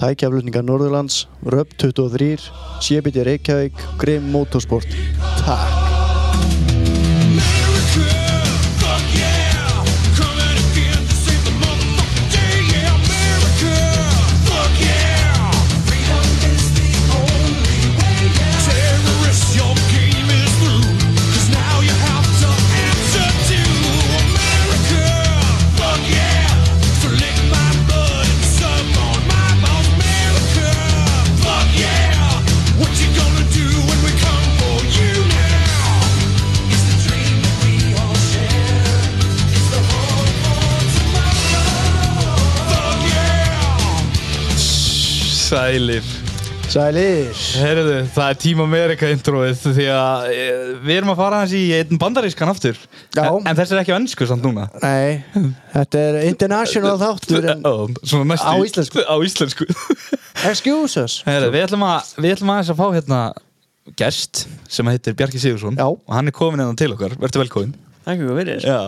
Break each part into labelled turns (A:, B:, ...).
A: Tækjaflutningar Norðurlands, Röp 23, Sébiti Reykjavík, Grim Motorsport. Takk!
B: Sælir
A: Sælir!
B: Herðu, það er Team America introið því að e, við erum að fara hans í einn bandarískan aftur
A: Já.
B: En, en þessi er ekki á ennsku samt núna
A: Nei, þetta er international þáttur en
B: Ó, Svona næstu
A: Á íslensku.
B: Á íslensku
A: excuse us.
B: Herðu, við ætlum, að, við ætlum aðeins að fá hérna gest sem heitir Bjarki Sigursson
A: Já.
B: Og hann er komin hérna til okkar, verður velkomin
C: Takk fyrir fyrir
B: Já.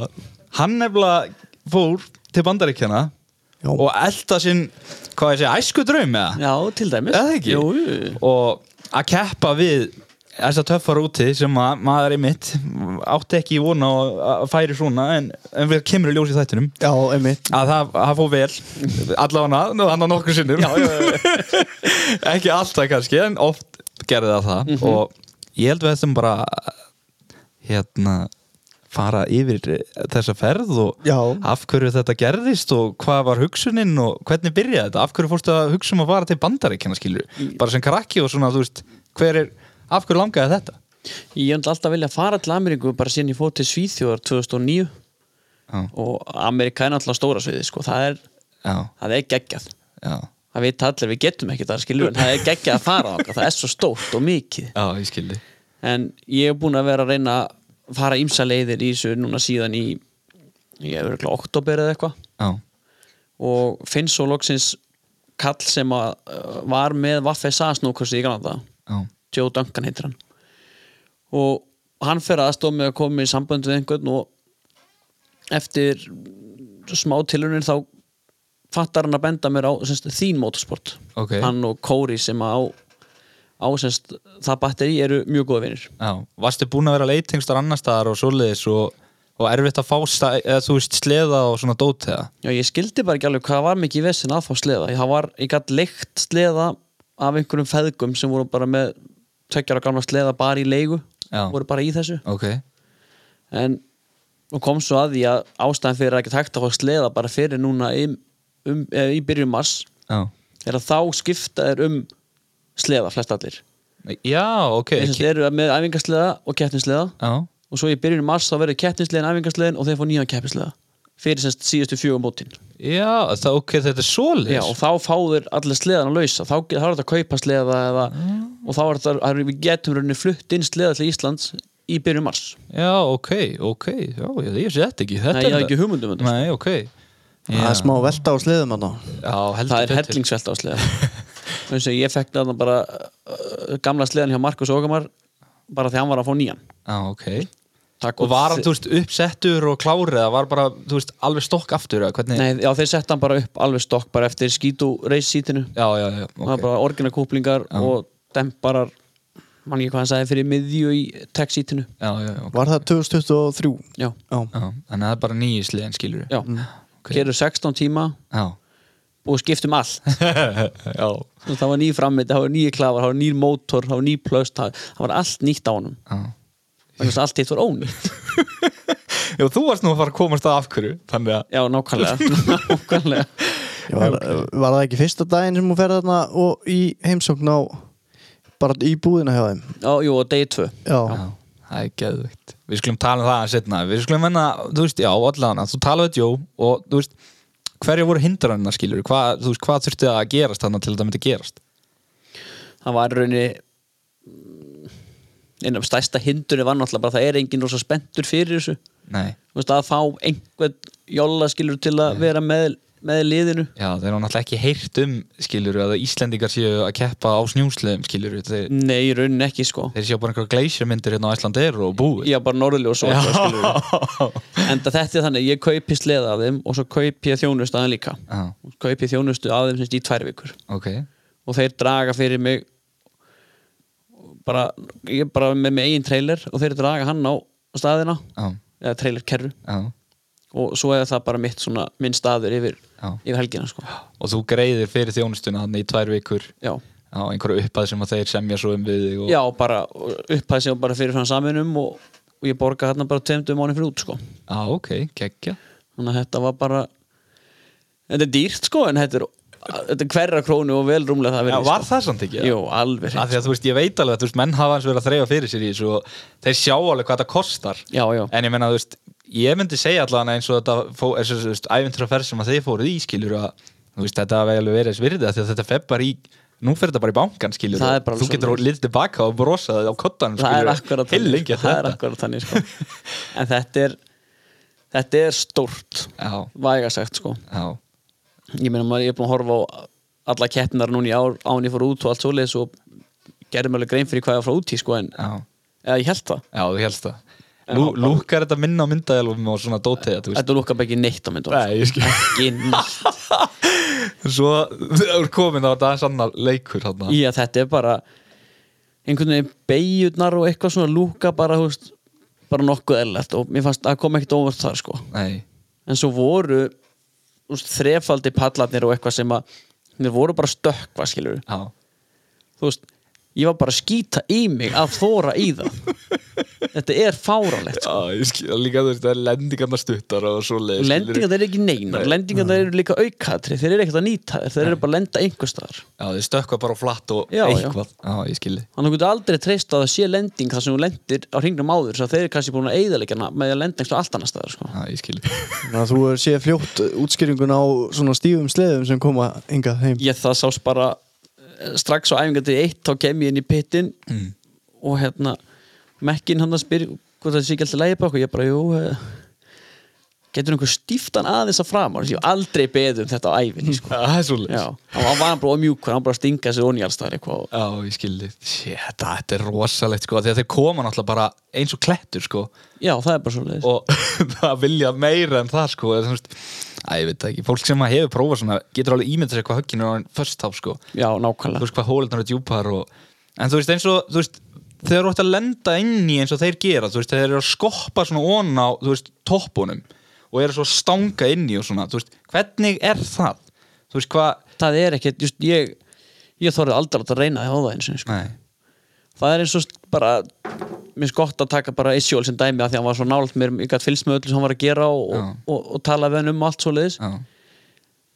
B: Hann nefnilega fór til bandaríkjana
A: Já.
B: og elda sinn, hvað ég segja, æsku draum eða?
C: Já, til dæmis
B: Eða ekki?
C: Jú, jú.
B: Og að keppa við þessa töffar úti sem að maður einmitt átti ekki í vona að færi svona en, en við kemur í ljós í þættinum
A: Já, einmitt.
B: að það, það fór vel allavega hann að nokkur sinnum já, já, já. ekki alltaf kannski en oft gerði það það og ég held við þessum bara hérna fara yfir þessa ferð og
A: Já.
B: af hverju þetta gerðist og hvað var hugsunin og hvernig byrjaði þetta af hverju fórstu að hugsa um að fara til bandaríkjana skilur bara sem krakki og svona þú veist hver er, af hverju langaði þetta
C: Ég hef alltaf viljað fara til Ameríku bara síðan ég fór til Svíþjóðar 2009
B: já,
C: og Ameríka er náttúrulega stóra sviði sko. það, er,
B: já,
C: það er geggjað
B: já,
C: það veit allir við getum ekki það skilur en það er geggjað að fara okkar, það er svo stórt og mikið
B: já, ég skildi
C: en ég hef búin að vera að reyna að fara ímsa leiðir í þessu núna síðan í ég hef verið oktober eða eitthvað
B: já,
C: og finn svo loksins kall sem að, uh, var með Vaffe Sassnúkursi í Granda
B: já,
C: Joe Duncan heitir hann og hann fer aðstofa með að koma í samband við einhvern og eftir smá tilunin þá fattar hann að benda mér á semst, þín motorsport
B: Ok.
C: hann og Kóri sem á, á semst, það batteri eru mjög góða vinir
B: já varstu búin að vera leitingst annar staðar og svoleiðis og, og erfitt að fá stæ, eða, þú veist sleða og svona dót eða
C: Já, ég skildi bara ekki alveg hvað var mikið vesinn að fá sleða ég, það var, ég gætt leikt sleða af einhverjum feðgum sem voru bara með tveggjara gamla sleða bara í leigu
B: Já.
C: voru bara í þessu
B: ok,
C: en og kom svo að því að ástæðan fyrir að ekki hægt að fá sleða bara fyrir núna í, um, eða, í byrjun mars
B: já
C: er að þá skipta er um sleða flest allir
B: já, ok,
C: eins og
B: ekki
C: þeir eru með æfingarsleða og keppnisleða
B: já,
C: og svo í byrjun mars þá verður keppnisleðin æfingarsleðin og þeir fá nýjan keppnisleða fyrir semst síðustu fjögum mótin
B: já það, ok, þetta er svoleiðis
C: Já, og þá fá þeir allir sleðan að lausa þá, get- þá er þetta að kaupa sleða eða, og þá er þetta að við getum rauninni flutt inn sleða til Íslands í byrjun mars
B: Já, ok, ok, já, ég, ég sé þetta ekki þetta
C: Nei, ég
B: er
C: haf
B: þetta-
C: ekki hugmynd um þetta,
B: Nei, ok
A: Það er smá velta á sliðum hann
B: Já, heldur
C: það er sko.
B: betur.
C: hellingsvelt á sleða eins og ég fekk þarna bara uh, gamla sleðan hjá Markus Ógamar bara þegar hann var að fá nýjan
B: Já, ok
C: Takk
B: Og var hann, þú veist, uppsettur og klárið eða var bara, þú veist, alveg stokk aftur eða hvernig
C: Nei, já, þeir setta hann bara upp alveg stokk bara eftir skítu reissítinu
B: Já, já, já,
C: það var
B: ok
C: bara orginakúplingar og demparar mann ekki hvað hann sagði fyrir miðju í texítinu
B: Já, já, já, ok
A: Var það 2023?
C: Já,
A: Já.
B: Já, Þannig að það er bara nýju sliðin skilur
C: já,
B: Mm, ok.
C: okay. 16 tíma
B: Já
C: og skiptum allt
B: Já,
C: Þú veist, það var nýr frammeiti, það var nýr klafar, það var nýr mótor það var nýr plöst, það, það var allt nýtt á honum
B: já
C: þannig að allt hitt var ónýtt
B: Já, þú varst nú að fara að komast að af hverju Þannig að
C: já, nákvæmlega, nákvæmlega.
A: Ég Var, var það ekki fyrsta daginn sem hún fer þarna og í heimsókn á bara í búðina hjá þeim?
C: Já, jú, og degi tvö
A: Já.
B: Já, það er geðvikt Við skulum tala um það að setna Við skulum menna, þú veist, já, allan Þú talaðu við Jó og þú veist Hverja voru hindranina skilur Hvað, þú veist, hvað þurfti að gerast þannig til þetta myndi gerast
C: það var í rauninni einum stærsta hindurinn var náttúrulega bara það er enginn rosa spenntur fyrir þessu
B: Nei,
C: Þú veist, að fá einhvern jólaskilur til að vera með með liðinu
B: Já, þeir eru náttúrulega ekki heyrt um skiljuru að Íslendingar séu að keppa á snjúsleðum skiljuru þeir,
C: Nei, í rauninni ekki sko
B: þeir séu bara einhverja gleisjamyndir hérna á Íslandir og búið
C: Já, bara norðljós og eitthvað skilur við. Enda þetta er þannig, ég kaupi sleða af þeim og svo kaupi ég þjónustu að þeim líka
B: Já,
C: kaupi þjónustu af þeim sem sagt, í tvær vikur
B: ok
C: og þeir draga fyrir mig bara, ég er bara með mig eigin trailer og þeir draga hann á staðina
B: Já,
C: eða trailerkerru
B: já,
C: og svo er það bara mitt svona, minn staður yfir,
B: já
C: yfir helgina sko.
B: Og þú greiðir fyrir þjónustuna hann í tvær vikur
C: já.
B: á einhverju upphæð sem að þeir semja svo um við þig og...
C: já, bara upphæði sig bara fyrir fram saminum og, og ég borga hérna bara tveimtum mánu fyrir út sko.
B: Já, ok, geggja
C: þannig að þetta var bara þetta er dýrt sko en þetta er, þetta er hverra krónu og vel rúmlega það
B: Já,
C: verið
B: var
C: sko.
B: það samt ekki?
C: Jú, alveg
B: Af
C: hreint.
B: því að þú veist, ég veit alveg að þú veist, menn hafa hans verið að þreyja fyrir sér í þessu og þeir sjá alveg hvað það kostar
C: já, já,
B: En ég menna, þú veist, ég myndi segja allavega eins og þetta fó, er, svo, þú veist, æfintraferð sem að þeir fóruð í, skilur að, þú veist, þetta hafi alveg verið þess virðið af því að þetta fer bara í, nú fer þetta bara í bankan, skilur
C: Það er bara
B: þú
C: alveg
B: getur
C: svoleiðis.
B: litið tilbaka og brosaði á kottanum,
C: það
B: skilur
C: er akkurat þannig, sko. það er
B: þetta
C: akkurat þannig sko. en þetta er þetta er stórt
B: Já,
C: vægasagt sko
B: já,
C: ég meina maður, ég er búin að horfa á alla keppnar núna í ár án ég fór út og allt svoleiðis og gerði mér alveg grein fyrir hvað ég var frá út í sko en
B: já,
C: eða ég held það,
B: já, þú helst það
C: En
B: Lú,
C: hann bara-
B: Lúkar þetta minna á myndaðelvum og svona dótið, þú veist
C: þetta lukkar bara ekki neitt á myndunum
B: Nei, ég skil
C: sko. ekki neitt
B: Svo, þú er komin á þetta sannar leikur hann
C: í að þetta er bara einhvern veginn beigjurnar og eitthvað svona lúka bara, þú veist, bara nokkuð erlegt og mér fannst að kom ekkert óvart þar sko
B: Nei,
C: en svo voru þú veist, þrefaldi pallarnir og eitthvað sem að þeir voru bara stökkva skilur
B: já,
C: þú veist, ég var bara að skýta í mig að þóra í það þetta er sko. fáralegt
B: já, ég skil líka, þú veist, það er lendingarnar stuttar og svo leið
C: lendingar þeir eru ekki neinar, lendingar þeir eru líka aukatri þeir eru ekkert að nýta þeir, þeir eru bara að lenda einhver staðar
B: Já, þið stökkva bara á flatt og
C: Já, já.
B: eitthvað Já, ég skilji
C: þannig að þú getur aldrei treyst á að það sé lending þar sem þú lendir á hringnum áður svo að þeir eru kannski búin að eyðileggja hana með að lenda einhver allt annað staðar sko.
B: Já, ég skilji
A: Þannig að þú hefur séð fljótt útskýringun á svona stífum sleðum sem koma hingað heim
C: ég það sást bara eh, strax á æfingar til eitt þá kem ég inn í pittin
B: Mm.
C: og hérna mekkin hann að spyrja hvort það sé ekki alltaf lægi bara okkur ég bara, jú eh, getur einhver stíftan aðeins að framar ég hef aldrei beðið um þetta á æfinni sko.
B: Já, það er svo
C: já, hann hann var bara mjúkur hann bara að stinga sér onni allstaðar eitthvað og-
B: Já, ég skilji Shit, þetta er rosalegt sko Þegar þeir koma náttúrulega bara eins og klettur sko
C: já, það er bara svo leiðis
B: Og það vilja meira en það sko Það er svona Æ, ég veit það ekki Fólk sem að hefur prófað svona Getur alveg ímyndað sér hvað högginu er Först þá sko
C: já,
B: Þú
C: nákvæmlega
B: veist hvað hólunar eru djúpar og En þú veist eins og Þú veist Þegar þú ætti að lenda inn í eins og þeir gera Þú veist þeir eru að skoppa svona ón á Þú veist toppunum Og eru svo að stanga inn í og svona Þú veist hvernig er það Þú veist hvað
C: það er ekkert, just, ég ég þorði aldrei að reyna því á það eins og sko.
B: Nei,
C: það er eins og st- bara mér finnst gott að taka bara Isjól sem dæmi af því að hann var svo nált mér, ég gætt fylgst með öllu sem hann var að gera og,
B: Já.
C: og, og, og tala við hann um allt svo leiðis
B: já,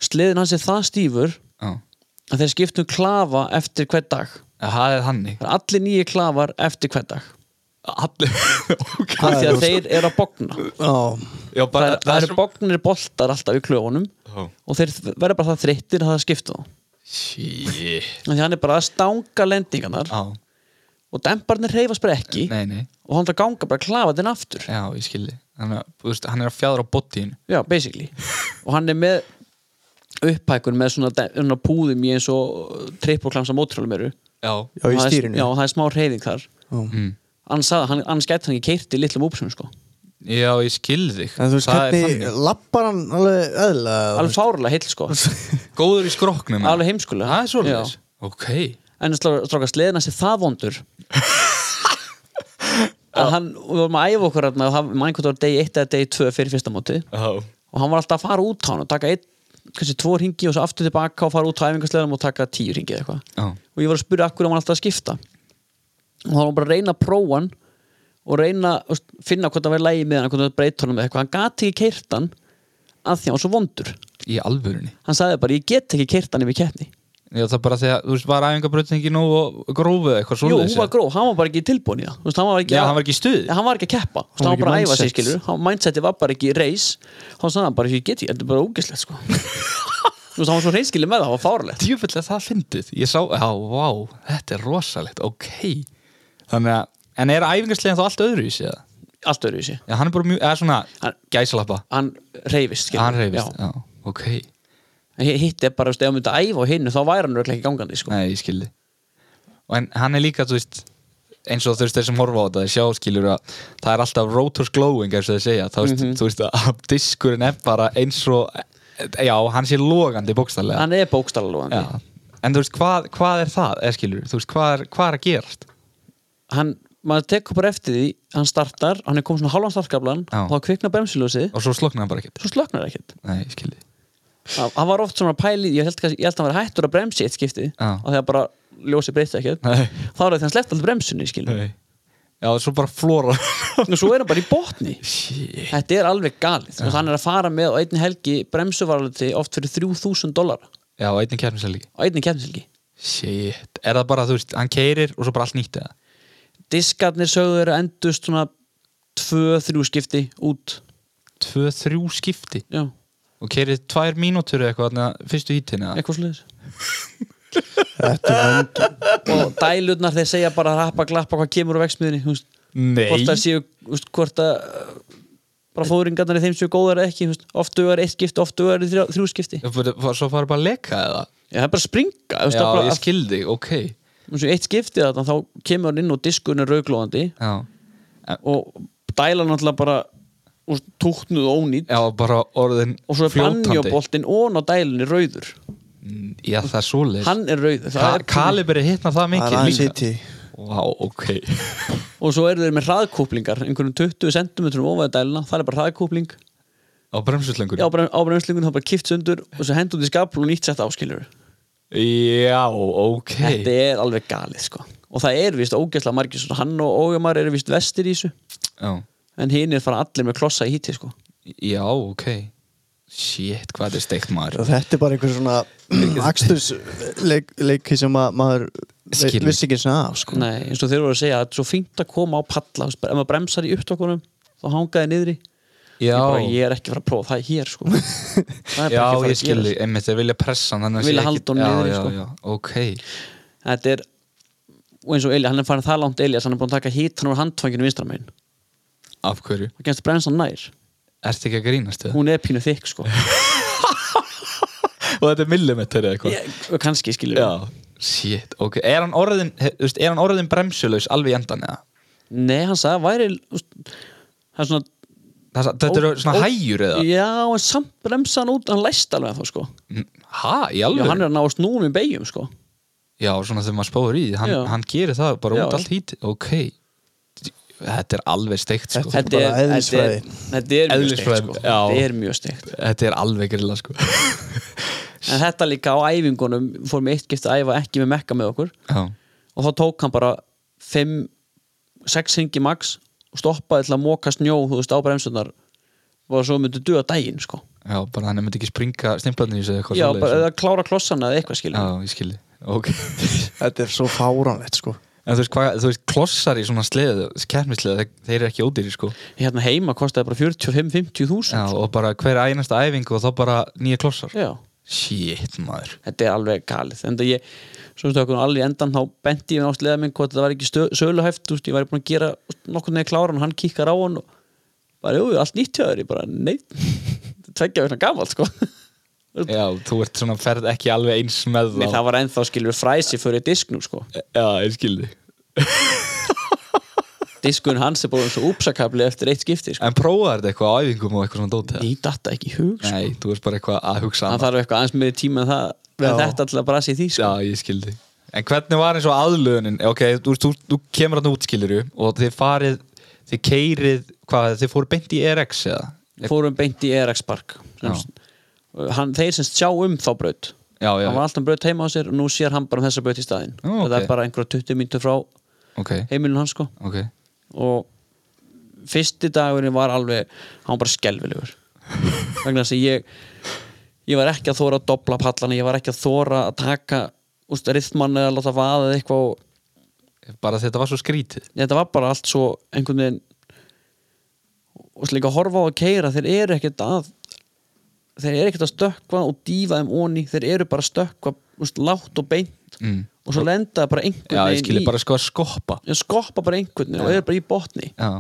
C: sliðin hans er það stífur
B: já
C: að þeir skiptum klafa eftir hvern dag
B: Já, Það er hannig
C: það er allir nýju klafar eftir hvern dag
B: Allir okay.
C: af því að þeir eru að bogna það,
A: Já,
B: Já, bara,
C: er, það eru bognir boltar alltaf í klöfunum
B: svo...
C: og þeir þ- verða bara það þreyttir að það skipta þá
B: Shit
C: Af því að hann er bara að stanga lendingarnar
B: Já,
C: og dembarnir reyfast bara ekki
B: nei, nei
C: og hann það ganga bara að klafa þinn aftur
B: Já, ég skilji Þannig að, þú veist, hann er að fjadra á botín
C: Já, basically Og hann er með upphækun með svona, de- svona púðum í eins og trippoklamsa mótrólum eru
B: Já
A: já í
C: Og það er-
A: stýrinu
C: Já, og það er smá reyðing þar
A: Já.
B: mm.
C: Annars sagði hann, annars gæti hann ekki keirt í litlum úpsum sko
B: Já, ég skilji þig
A: En þú veist
B: Það er
A: hvernig
B: þannig.
A: lappar hann alveg eðla
C: Alveg fárlega heill sko
B: Góður í skrokknum
C: Alveg heimskulega
B: Það er svolítið Ok
C: En stróka sleðina sér það vondur að hann, við vorum að æfa okkur þarna og það mann hvort það var degi 1 eða degi 2 fyrir fyrsta móti
B: Já
C: og hann var alltaf að fara út á hann og taka einn, kannski tvo ringi og svo aftur tilbaka og fara út á æfingarsleðanum og taka tíu ringi eða eitthvað
B: Já
C: og ég var að spyrja akkur hann var alltaf að skipta og þá var hann bara að reyna að prófa hann og reyna að finna hvort það væri lægi með hann hvort það breyt honum eða eitthvað, hann gati ekki keirt hann að því hann var svo vondur
B: Í alvörunni
C: hann sagði bara, ég get ekki keirt hann yfir keppni
B: Já, það er bara þegar, þú veist, var æfingabrötingi nú og grófið eitthvað
C: jú,
B: svolítið
C: hún var gró, hann var bara ekki tilbúin í það Þú veist, hann var ekki,
B: Já, hann var ekki í stuði.
C: hann var ekki að keppa, Þú veist,
A: Hann
C: hann
A: var
C: var bara
A: ekki
C: að æfa sig
A: mindset.
C: skilur hann, mindseti var bara ekki reis hann sagði hann bara, ég get ekki, þetta er bara ógislegt sko. Þú veist, hann var svo reyskilið með það, hann var fárlegt
B: Djöfull er það fyndið Ég sá, já, vá, þetta er rosalegt, ok Þannig að, en er æfingarslegin þá allt öðru í sig það?
C: allt öðru í sig,
B: Já, hann er bara mjög, eða svona
C: Hann-
B: gæsalappa
C: hann reyfist
B: Hann reyfist, já, ok
C: En hi- hitt er bara, þú veist, ef hann myndi að æfa á hinnu þá væri hann örugglega ekki gangandi, sko
B: Nei, ég skildi Og en hann er líka, þú veist eins og þú veist þeir sem horfa á þetta, þeir sjá skilur að það er alltaf rotors glowing eins og þeir segja, þá veist, þú veist að diskurinn er bara eins og já, hann sé logandi bókstallega
C: Hann er bókstallalóðandi
B: já. en þú veist, hvað, hvað er það, eða skilur þú veist, hvað er, hvað er að gerast
C: Hann, maður tekur bara eftir því Hann startar, hann er komið svona hálfan startkablan
B: Já.
C: Þá kviknar bremsiljósið,
B: og svo sloknar hann bara ekkert
C: svo slöknar ekkert
B: Nei, ég skildi
C: Hann hann var oft svona pæli, ég held, kannski- ég held að hann var hættur að bremsi eitt skipti
B: Já.
C: Og þegar bara ljósið breytti ekkert
B: Nei.
C: Þá er þetta hann sleppt alltaf bremsunni, skilur
B: Nei. Já, svo bara flóra
C: Og svo er hann bara í botni
B: Shit.
C: Þetta er alveg galið ja. Hann er að fara með á einni helgi bremsuvaraliti oft fyrir 3000 dólar á
B: Já, og einnig kjærnum sér líka
C: einni kemselgi
B: Shit, er það bara, þú veist, hann keirir og svo bara allt nýtt eða
C: Diskarnir sögður að endust svona 2-3 skipti út
B: Tvö, þrjú skipti
C: Já,
B: og keirir tvær mínútur eða eitthvað þarna fyrstu hítina
C: eitthvað sliðis
A: Þetta er vond
C: Og dælurnar þeir segja bara rappa glappa hvað kemur á vexmiðinni húst,
B: Nei
C: Hvort það séu, húst, hvort að uh, bara fóðringarnar í þeim séu góðar eða ekki húst, Oft dugar eitt skipti, oft dugar þrjá, þrjú skipti Já,
B: Svo fara bara að leka eða
C: það er bara að springa húst,
B: Já,
C: það er bara,
B: ég skildi, ok
C: að, húst, Eitt skipti þarna, þá kemur hann inn og diskurinn er rauglóðandi
B: Já,
C: og dæla náttúrulega bara úr túknuð og ónýtt
B: Já bara orðin
C: og svo er bannjóboltinn ón á dælunni rauður
B: Mm, Já, það er svoleiðis
C: hann er rauður það
B: Ka
C: er-
B: Kalibri hittna það
A: Það
B: mikið
A: er aðeins
B: líka
A: hitti
B: Vá, ok
C: og svo eru þeir með hraðkúplingar einhverjum 20 cm ofað dæluna það er bara hraðkúpling
B: Á bremsuslöngur
C: á bremslingun það er bara kift sundur og svo hendur út í skapul og nýtt sett áskilur
B: Já, ok
C: þetta er alveg galið sko og það er vist ógeðslega margir svona hann og Ógamar eru vist vestir í þessu
B: Já.
C: en hinn er fara allir með klossa í hitti sko
B: Já, ok Shit, hvað þetta er steikt maður
A: Þetta er bara einhver svona Akstursleiki sem að maður
B: Skilur.
A: Vissi ekki svona af sko
C: Nei, eins og þeir voru að segja að þetta er svo fínt að koma á palla þú veist, bara ef maður bremsar í upptökunum þá hangaði niðri
B: Já,
C: ég, bara, ég er ekki að fara að prófa það hér sko. það
B: já
C: er bara ekki að fara
B: ég
C: að gera
B: skildi Einmitt, þeir vilja pressa hann þannig að
C: Vilja
B: sé
C: halda honum
B: Já,
C: niðri,
B: já,
C: sko.
B: já, ok
C: þetta er, og eins og Elías, hann er farin það langt Elías, hann er búin að taka hít hann úr handfanginu vinstramegin,
B: Af hverju?
C: það genst bremsan nær
B: Ertu ekki að grínast þið?
C: hún er pínu þykk sko
B: Og þetta er millimetri eða eitthvað?
C: ég, kannski skilur við.
B: Já Shit, ok Er hann orðin, he- þú veist, er hann orðin bremsulaus alveg í endan eða?
C: nei, hann sagði, að væri þú veist, það er svona
B: Það er sa- Þetta eru
C: ó-
B: svona
C: ó-
B: hægjur eða?
C: já, en samt bremsa hann út, hann læst alveg þá sko
B: Mm, Ha, í
C: já,
B: alveg?
C: hann er að ná að snúum í beigjum sko
B: Já, svona þegar maður spáður í því hann,
C: Já.
B: hann gerir það bara
C: Já.
B: út allt hít Ok Þetta er alveg steikt sko
A: Þetta- er bara
C: þetta er,
A: eðlisfræði.
C: þetta er mjög steikt
B: Eðlisfræði,
C: sko.
B: já.
C: þetta er mjög steikt
B: Þetta er alveg grilla sko
C: en þetta líka á æfingunum fór með eitt gift að æfa ekki með mekka með okkur
B: Já
C: og þá tók hann bara 5, 6 hengi max og stoppaði til að móka snjó þú veist á bremsunar og svo myndi duða daginn sko
B: Já, bara hann myndi ekki springa stimplarnir í þessu eða eitthvað
C: já,
B: svoleiðis,
C: bara
B: eða?
C: eða klára klossana eða eitthvað skilja
B: Já, ég skilji Ok
A: Þetta er svo fáránlegt sko
B: En þú veist, hvað, þú veist, klossar í svona sleðu, kefnisleðu, þeir, þeir eru ekki ódýri sko
C: hérna heima kostiði bara 45-50 þúsund
B: Já, og bara hver einasta æfingu og þá bara nýja klossar
C: já,
B: Shit, maður
C: þetta er alveg galið en það ég, svo veist okkur alveg í endan þá benti ég ástlega minn hvort það var ekki stö- söluhæft þú veist, ég væri búin að gera nokkur neði kláran og hann kikkar á hann og bara, jú, allt nýtt hjá þér ég bara, nei, tveggja verðna gamalt sko
B: Já, þú ert svona ferð ekki alveg eins með
C: Nei, það var ennþá skilur fræsi fyrir disknum sko.
B: Já, ég skildi
C: Diskun hans er búin svo úpsakabli eftir eitt skipti sko.
B: En prófaði þetta eitthvað á æfingum og eitthvað svona dótið
C: Ný datta ekki í hug sko.
B: Nei, þú ert bara eitthvað að hugsa
C: Það
B: annað
C: þarf eitthvað aðeins með tíma en það
A: Já.
C: með þetta til að brasi í því sko.
B: Já, ég skildi En hvernig var eins og aðlöðunin? Ok, þú, þú, þú kemur hann út, skilur og þið farið, þið keirið hvað, þið fóru beint í RX eða?
C: Fórum beint í ERX Park sem, hann, Þeir sem sjá um þá braut
B: Já, já,
C: Hann var alltaf um braut heima á sér og nú sér hann bara um þessa braut í staðinn
B: Ó, ok.
C: Það er bara einhverja 20 mínútur frá
B: ok,
C: heimilun hans sko.
B: ok
C: og fyrsti dagurinn var alveg hann var bara skelfilegur vegna þess að ég ég var ekki að þóra að dobla pallana ég var ekki að þóra að taka úst, rithmann eða láta vaða eða eitthvað og
B: Bara þetta var svo skrítið
C: þetta var bara allt svo einhvern veginn og líka að horfa á að keira þeir eru ekkert að þeir eru ekkert að stökkva og dýfa þeim onni þeir eru bara að stökkva úst, látt og beint
B: mm.
C: og svo lenda þeir bara
B: Já,
C: einhvern
B: ég skildi
C: veginn í
B: bara sko að skoppa
C: ég skoppa bara einhvern veginn og eru bara í botni
B: Já,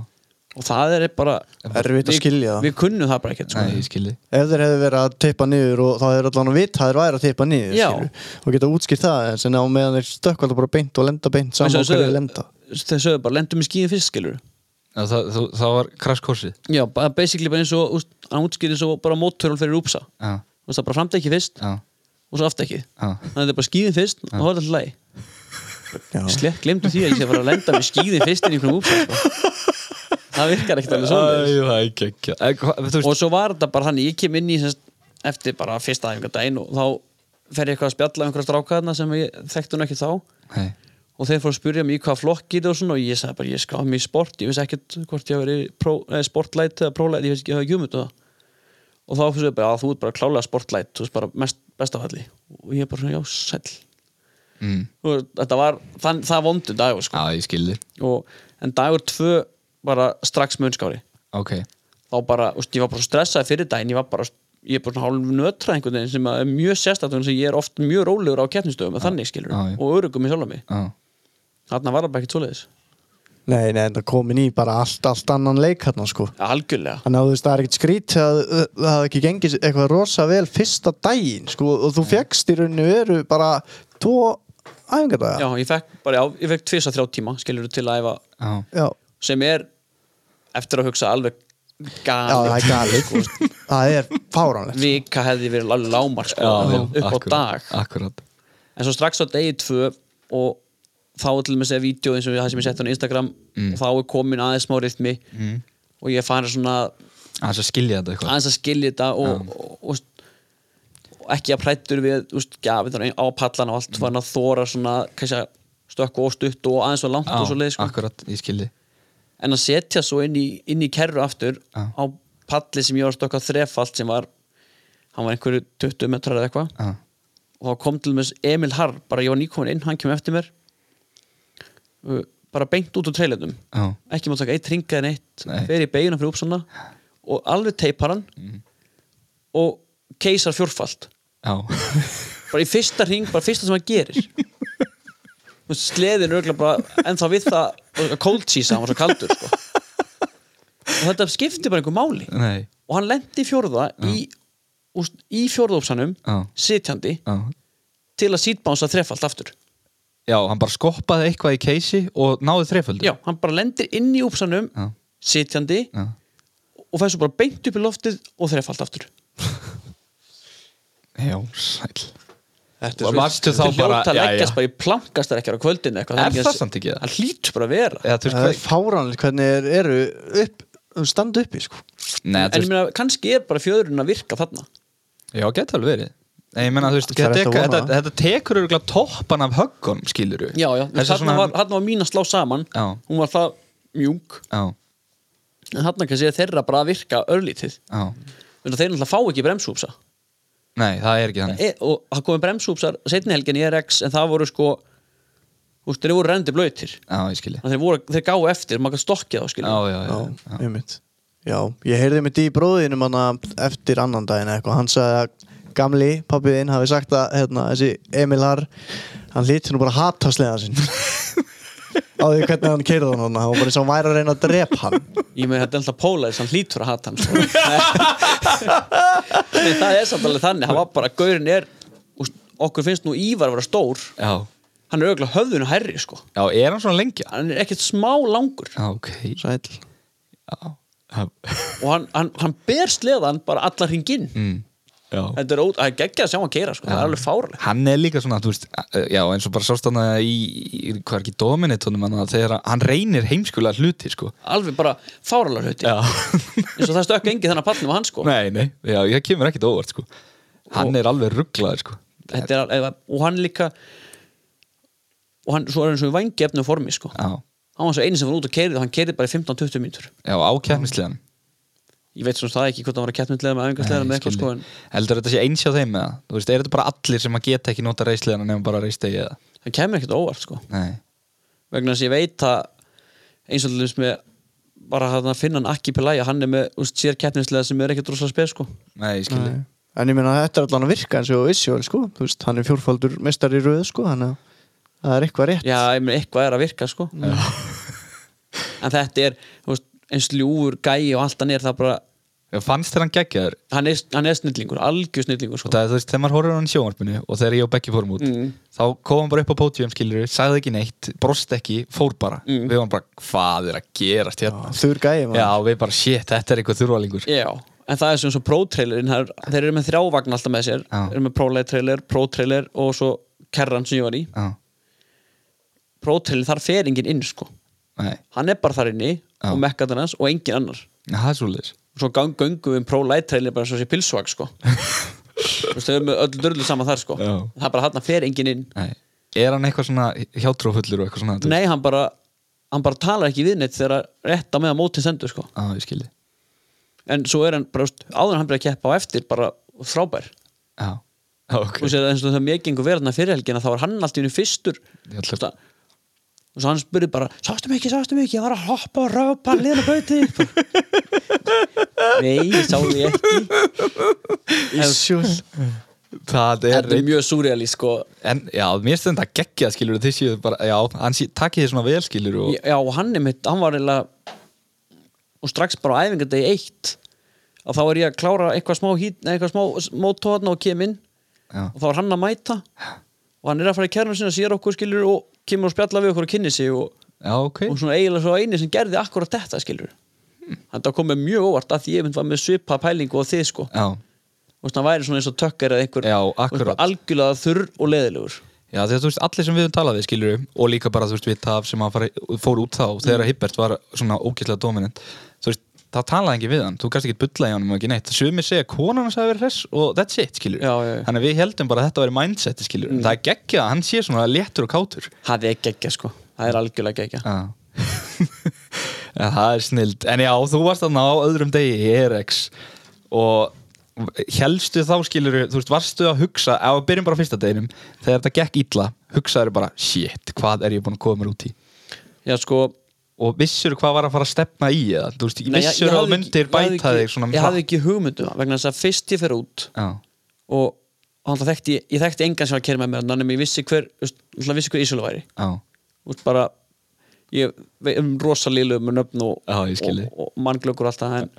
C: og það er bara
A: Erfitt að
C: Við-
A: skilja það
C: við kunnum það bara ekkert sko.
B: Nei, ég skilji
A: Ef þeir hefðu verið að tippa niður og þá hefur allan að vita að þeir væri að tippa niður
C: Já.
A: skilurðu, og geta útskýrt það en sen á meðan þeir stökkvalda bara beint og lenda beint
C: Eins
A: saman
C: og
A: og hverju
C: sögðu-
A: þeir lenda
C: þeir sögðu bara, lendum í skíðin fyrst skilur
B: Það, það, það, það var crash course
C: já, bara basically bara eins og úst, hann útskýrði svo bara mótturul fyrir úpsa
B: Já,
C: Þú veist, það bara framdekki fyrst
B: já,
C: og svo aftdekki
B: já
C: þannig að þetta er bara skíðin fyrst og það er alltaf læg
A: Já.
C: slett glemdu því að ég sé að fara að lenda með skíðin fyrst inn í einhverjum úpsa sko. það virkar ekkert alveg svona
B: Æ, það er ekki ekki Þú veist,
C: og svo var þetta bara hann ég kem inn í semst, eftir bara fyrsta æfingadaginn og þá fer ég eitthvað að spjalla um einhverja strákaðna sem ég þekkti hún ekki þá og
B: nei,
C: þeir fóru að spyrja mig í hvað flokki þetta og svona og ég sagði bara ég skáði mig í sport ég vissi ekkert hvort ég hafi verið í pró- eh, sportlight eða prólight, ég veist ekki, ég hafi ekki umut og það og þá fyrir bara að þú ert bara klálega sportlight þú veist bara mest, bestafalli og ég bara svona já sæll
B: mm,
C: og þetta var, þann, það vondu dagur sko.
B: já, ég skilji
C: og, en dagur tvö bara strax mun skári
B: Ok,
C: þá bara, úst, ég var bara svo stressaði fyrir daginn ég var bara, ég er bara svona hálf nötra einhvern veginn sem að er mjög sérstættun sem ég er oft mjög rólegur á keppnistöðum og þannig skilur
B: já, já.
C: og örugum í sjálf mig
B: já
C: þarna var það bara ekkert svoleiðis
A: Nei, nei, en það komin í bara allt, allt annan leik hérna sko
C: Ja, algjörlega,
A: Þannig að þú veist, það er ekkert skrít að uh, það hafi ekki gengið eitthvað rosa vel fyrsta daginn, sko, og þú fegst í rauninu veru bara tvo
C: já,
A: æfingardaga.
C: ég fekk bara, já, ég fekk tvisa þrjá tíma skilur til að æfa
B: Já,
A: Já,
C: sem er, eftir að hugsa alveg
A: já, það er
C: gali,
A: galið, sko. Það er fáránlegt. sko.
C: vika hefði verið alveg lámar sko, upp á dag
B: Akkurat
C: en svo strax á degi tvö og þá er til með segja vídeo eins og það sem ég setti á Instagram
B: Mm.
C: og þá er komin aðeins smá rithmi og ég fari svona
B: Það er að skilja þetta eitthvað
C: aðeins að skilja þetta og, og, og, og ekki að prættur við úst, já, við þarfum á pallan og allt mm. farin að þóra svona kannski að stökku og stutt og aðeins og langt og svo leið sko.
B: akkurat, ég skilji
C: en að setja svo inn í, inn í kerru aftur
B: Já.
C: á palli sem ég var að stökka þrefalt sem var hann var einhverju 20 metrar eða eitthvað
B: Já,
C: og þá kom til með Emil Harr bara ég var nýkomin inn, hann kemur eftir mér Uh, bara beint út úr treylandum
B: já,
C: ekki maður taka eitt ringa en eitt
B: Nei. Mhm.
C: fer í beiguna fyrir uppsanna og alveg teipar hann og keisar fjórfalt
B: já
C: bara í fyrsta ring, bara fyrsta sem hann gerir og sleðin örgulega bara ennþá við það cold cheese, hann var svo kaldur sko. og þetta skipti bara einhver máli
B: Nei,
C: og hann lendi fjórða í, úst, í fjórða uppsannum
B: Já.
C: sitjandi
B: já
C: til að sítbánsa þrefalt aftur
B: Já, hann bara skoppaði eitthvað í keisi og náði þreföldu
C: já, hann bara lendir inn í úpsanum
B: Já.
C: sitjandi
B: já
C: og fær svo bara beint upp í loftið og þrefalt aftur
B: Já, sæl
A: Þetta
B: Og varstu þá
C: þetta er
B: bara
C: hljóta að
B: já, já.
C: leggjast bara í plankastar ekkert á kvöldinu eitthvað
B: Er
C: ekki
B: það
C: að-
B: samt ekki það?
C: hann hlýtur bara að vera
B: Eða, þú veist
A: Það er
B: hvað
A: fáránlegt hvernig þeir eru upp, standa uppi, sko.
B: Nei,
C: en
B: þú
C: ég
B: veist
C: meina, kannski er bara fjöðurinn að virka þarna
B: Já, geta alveg verið Nei, ég meina, þú veist
A: Það er
B: þetta,
A: þetta að
B: þetta,
A: vona.
B: þetta, tekur örgulega toppan af höggunum, skilur
C: já, já, þarna,
B: Þessi svona
C: var, þarna var mín að slá saman
B: Já.
C: hún var það mjúk
B: Já,
C: en þarna kannski er þeirra bara að virka örlítið
B: já
C: Þannig að þeir náttúrulega fá ekki bremsúpsa
B: Nei, það er ekki þannig
C: e, og það komið bremsúpsar setni helgin í RX en það voru sko úst, þeir voru rendi blöytir
B: Já, ég skilji
C: þeir, voru, þeir gáu eftir, maður kannski stokkið á
B: Já,
C: skilja
B: já, já,
A: Já,
B: já.
A: einmitt. Já, ég heyrði mitt í bróðinum hann eftir annan daginn eða eitthvað, hann sagði að gamli pappiðinn hafi sagt að hérna, þessi Emil Har hann líti nú bara að hata sleðan sinn á því hvernig hann keirði hann hann var bara eins og hann væri að reyna að drepa hann
C: Ég með þetta er alltaf Polaris, hann hlýtur að hata hann sko. Nei, Það er samt alveg þannig, hann var bara Gaurin er, úst, okkur finnst nú Ívar að vera stór,
B: já
C: hann er auðvitað höfðun og herri sko,
B: Já, er hann svona lengja?
C: hann er ekkert smá langur
B: Já, Ah, ok
A: Sæll
B: Já, já,
C: og hann, hann, hann ber sleðan bara allar hringinn mm.
B: já.
C: Þetta er ót, það er geggjað að sjá hann keira sko, það er alveg fáralegt
B: hann er líka svona, þú veist, eh, já, eins og bara sást hann að í, í hvað er ekki dominitunum hann að þegar hann reynir heimskulega hluti, sko.
C: Alveg bara fáralar hauti
B: Já.
C: eins og það stökka engi þannig að pallum á hann sko
B: nei, nei, já, það kemur ekkit óvart, sko. Hann er alveg rugglaður, sko.
C: Þetta er, alveg- og hann líka og hann svo er hann svo í vangjefnu formi sko
B: Já,
C: hann var svo eini sem var út og keirið og hann keirið bara í 15-20 mínútur
B: já, ákjæfnislegan.
C: ég veit svona það ekki hvort hann var að keppmyndlega með æfingarslega með eitthvað sko en
B: Heldur þetta sé eins hjá þeim eða? Þú veist, er þetta bara allir sem að geta ekki nota reislegan nefnum bara reistegi eða?
C: það kemur ekkert á óvart sko
B: Nei.
C: vegna þess að ég veit að eins og þess með bara hann að finna hann ekki pelæja hann er með úst, sér keppnislega sem er ekkert rosalega spes sko
B: Nei, ég skilji.
A: En ég meina þetta er allan að virka eins og Isjóel sko, þú veist, hann er fjórfaldur mestar í röð sko, hann er það er eitthvað rétt
C: já, ég meina eitthvað er að virka sko en þetta er úst, eins ljúfur gæi og allt hann er það bara
B: Ég fannst þér hann geggjaður
C: hann er, hann er snillingur, algjör snillingur sko.
B: Það er þú veist, þegar maður horfir á hann í sjónvarpinu og þegar ég og Becky fórum út
C: Mm.
B: þá kom hann bara upp á pótjum, skilur sagði ekki neitt, brost ekki, fór bara
C: Mm.
B: við varum bara, hvað er að gerast hérna
A: Þur gæði
B: Já, við bara, shit, þetta er eitthvað þurvalingur
C: Já, en það er sem svo pro-trailerin það er- þeir eru með þrjá vagn alltaf með sér
B: Já.
C: þeir eru með pro-trailer, pro-trailer og svo kerran sem ég var í
B: Já,
C: pro-trailer þar fer enginn inn sko
B: nei,
C: hann er bara þar inni
B: Já.
C: og mekkat hans og enginn annar
B: Já, það er svoleiðis
C: svo gang, göngum við um pro-light trailer bara svo sé pilsvag sko Þú veist, þau eru með öll dörlu saman þar sko
B: Já.
C: það er bara hann fer enginn inn
B: Nei. Er hann eitthvað svona hjátrúfullur og eitthvað svona? þú veist?
C: nei, hann bara, hann bara talar ekki við neitt þegar rétt á meðan mótið sendur sko
B: Já, ég skildi
C: en svo er hann bara, þú veist, áður en hann byrja að keppa á eftir bara frábær
B: Já, Já, ok
C: okay. sér, eins og það mér gengur verðna fyrir helgina þá var hann allt í hennu fyrstur
B: Ég ætla-
C: Þetta- og svo hann spurði bara sástu mikið, sástu mikið, ég var að hoppa og rápa liðan að bauti nei, ég sá því ekki
A: Ísjúl
B: Það er,
C: þetta er mjög súrealist sko
B: En, já, mér stöðum þetta geggjað, skilur Þið séu bara, já, hann sé, takið þið svona vel, skilur og...
C: já, og hann er mitt, hann var eiginlega og strax bara á æfingardegi eitt að þá er ég að klára eitthvað smá hít, nei, eitthvað smá mótóðna og kem inn
B: Já,
C: og þá er hann að mæta og hann er að fara í kærnum sinna, sér okkur skilur og kemur og spjalla við okkur og kynni sig og,
B: já ok
C: og svona eiginlega svo eini sem gerði akkurat þetta skilur þannig að komið mjög óvart að því ég mynd var með svipa pælingu og þið sko
B: Já,
C: og svona væri svona eins og tökkar eða einhver
B: Já,
C: og
B: akkurat.
C: bara algjörlega þurr og leðilegur
B: já þegar þú veist, allir sem við höfum talað við, skilur Og líka bara, þú veist, við taf sem að fara, fór út þá
C: Mm.
B: Þegar Hibbert var svona ógæslega dominant Þú veist, það talaði enginn við hann Þú kannski ekki bulla í honum og ekki neitt Sumir segja konan hans hafi verið hress og that's it, skilur
C: Já, já, já.
B: Þannig að við heldum bara að þetta veri mindseti, skilur mm. Það er geggjað, að hann sé svona léttur og kátur
C: það er geggja sko, það er algjörlega geggja
B: Já En það er snild En já, þú varst þarna á öðrum degi í ERX Og helstu þá skilur Þú veist, varstu að hugsa Ef við byrjum bara á fyrsta deginum Þegar þetta gekk illa, hugsaðu bara Shit, hvað er ég búin að koma mér út í
C: já sko,
B: Og vissur hvað var að fara að stefna í eða Þú veist,
C: Nei, ég-
B: vissur
C: ég
B: að
C: hafði
B: þú myndir
C: ekki- ég
B: bæta
C: hafði
B: þig
C: ekki-
B: svona
C: ég hafði ekki hugmyndu vegna þess að fyrst ég fer út
B: Já,
C: og alltaf þekkti ég, ég þekkti engan sem var að kera með mér þannig að ég vissi hver, þú veist, náttúrulega vissi hver Ísölu væri
B: já,
C: Þú veist, bara ég ve- um rosa lilu með nöfn og,
B: Já, ég skil
C: og,
B: þig.
C: og mannglökkur alltaf en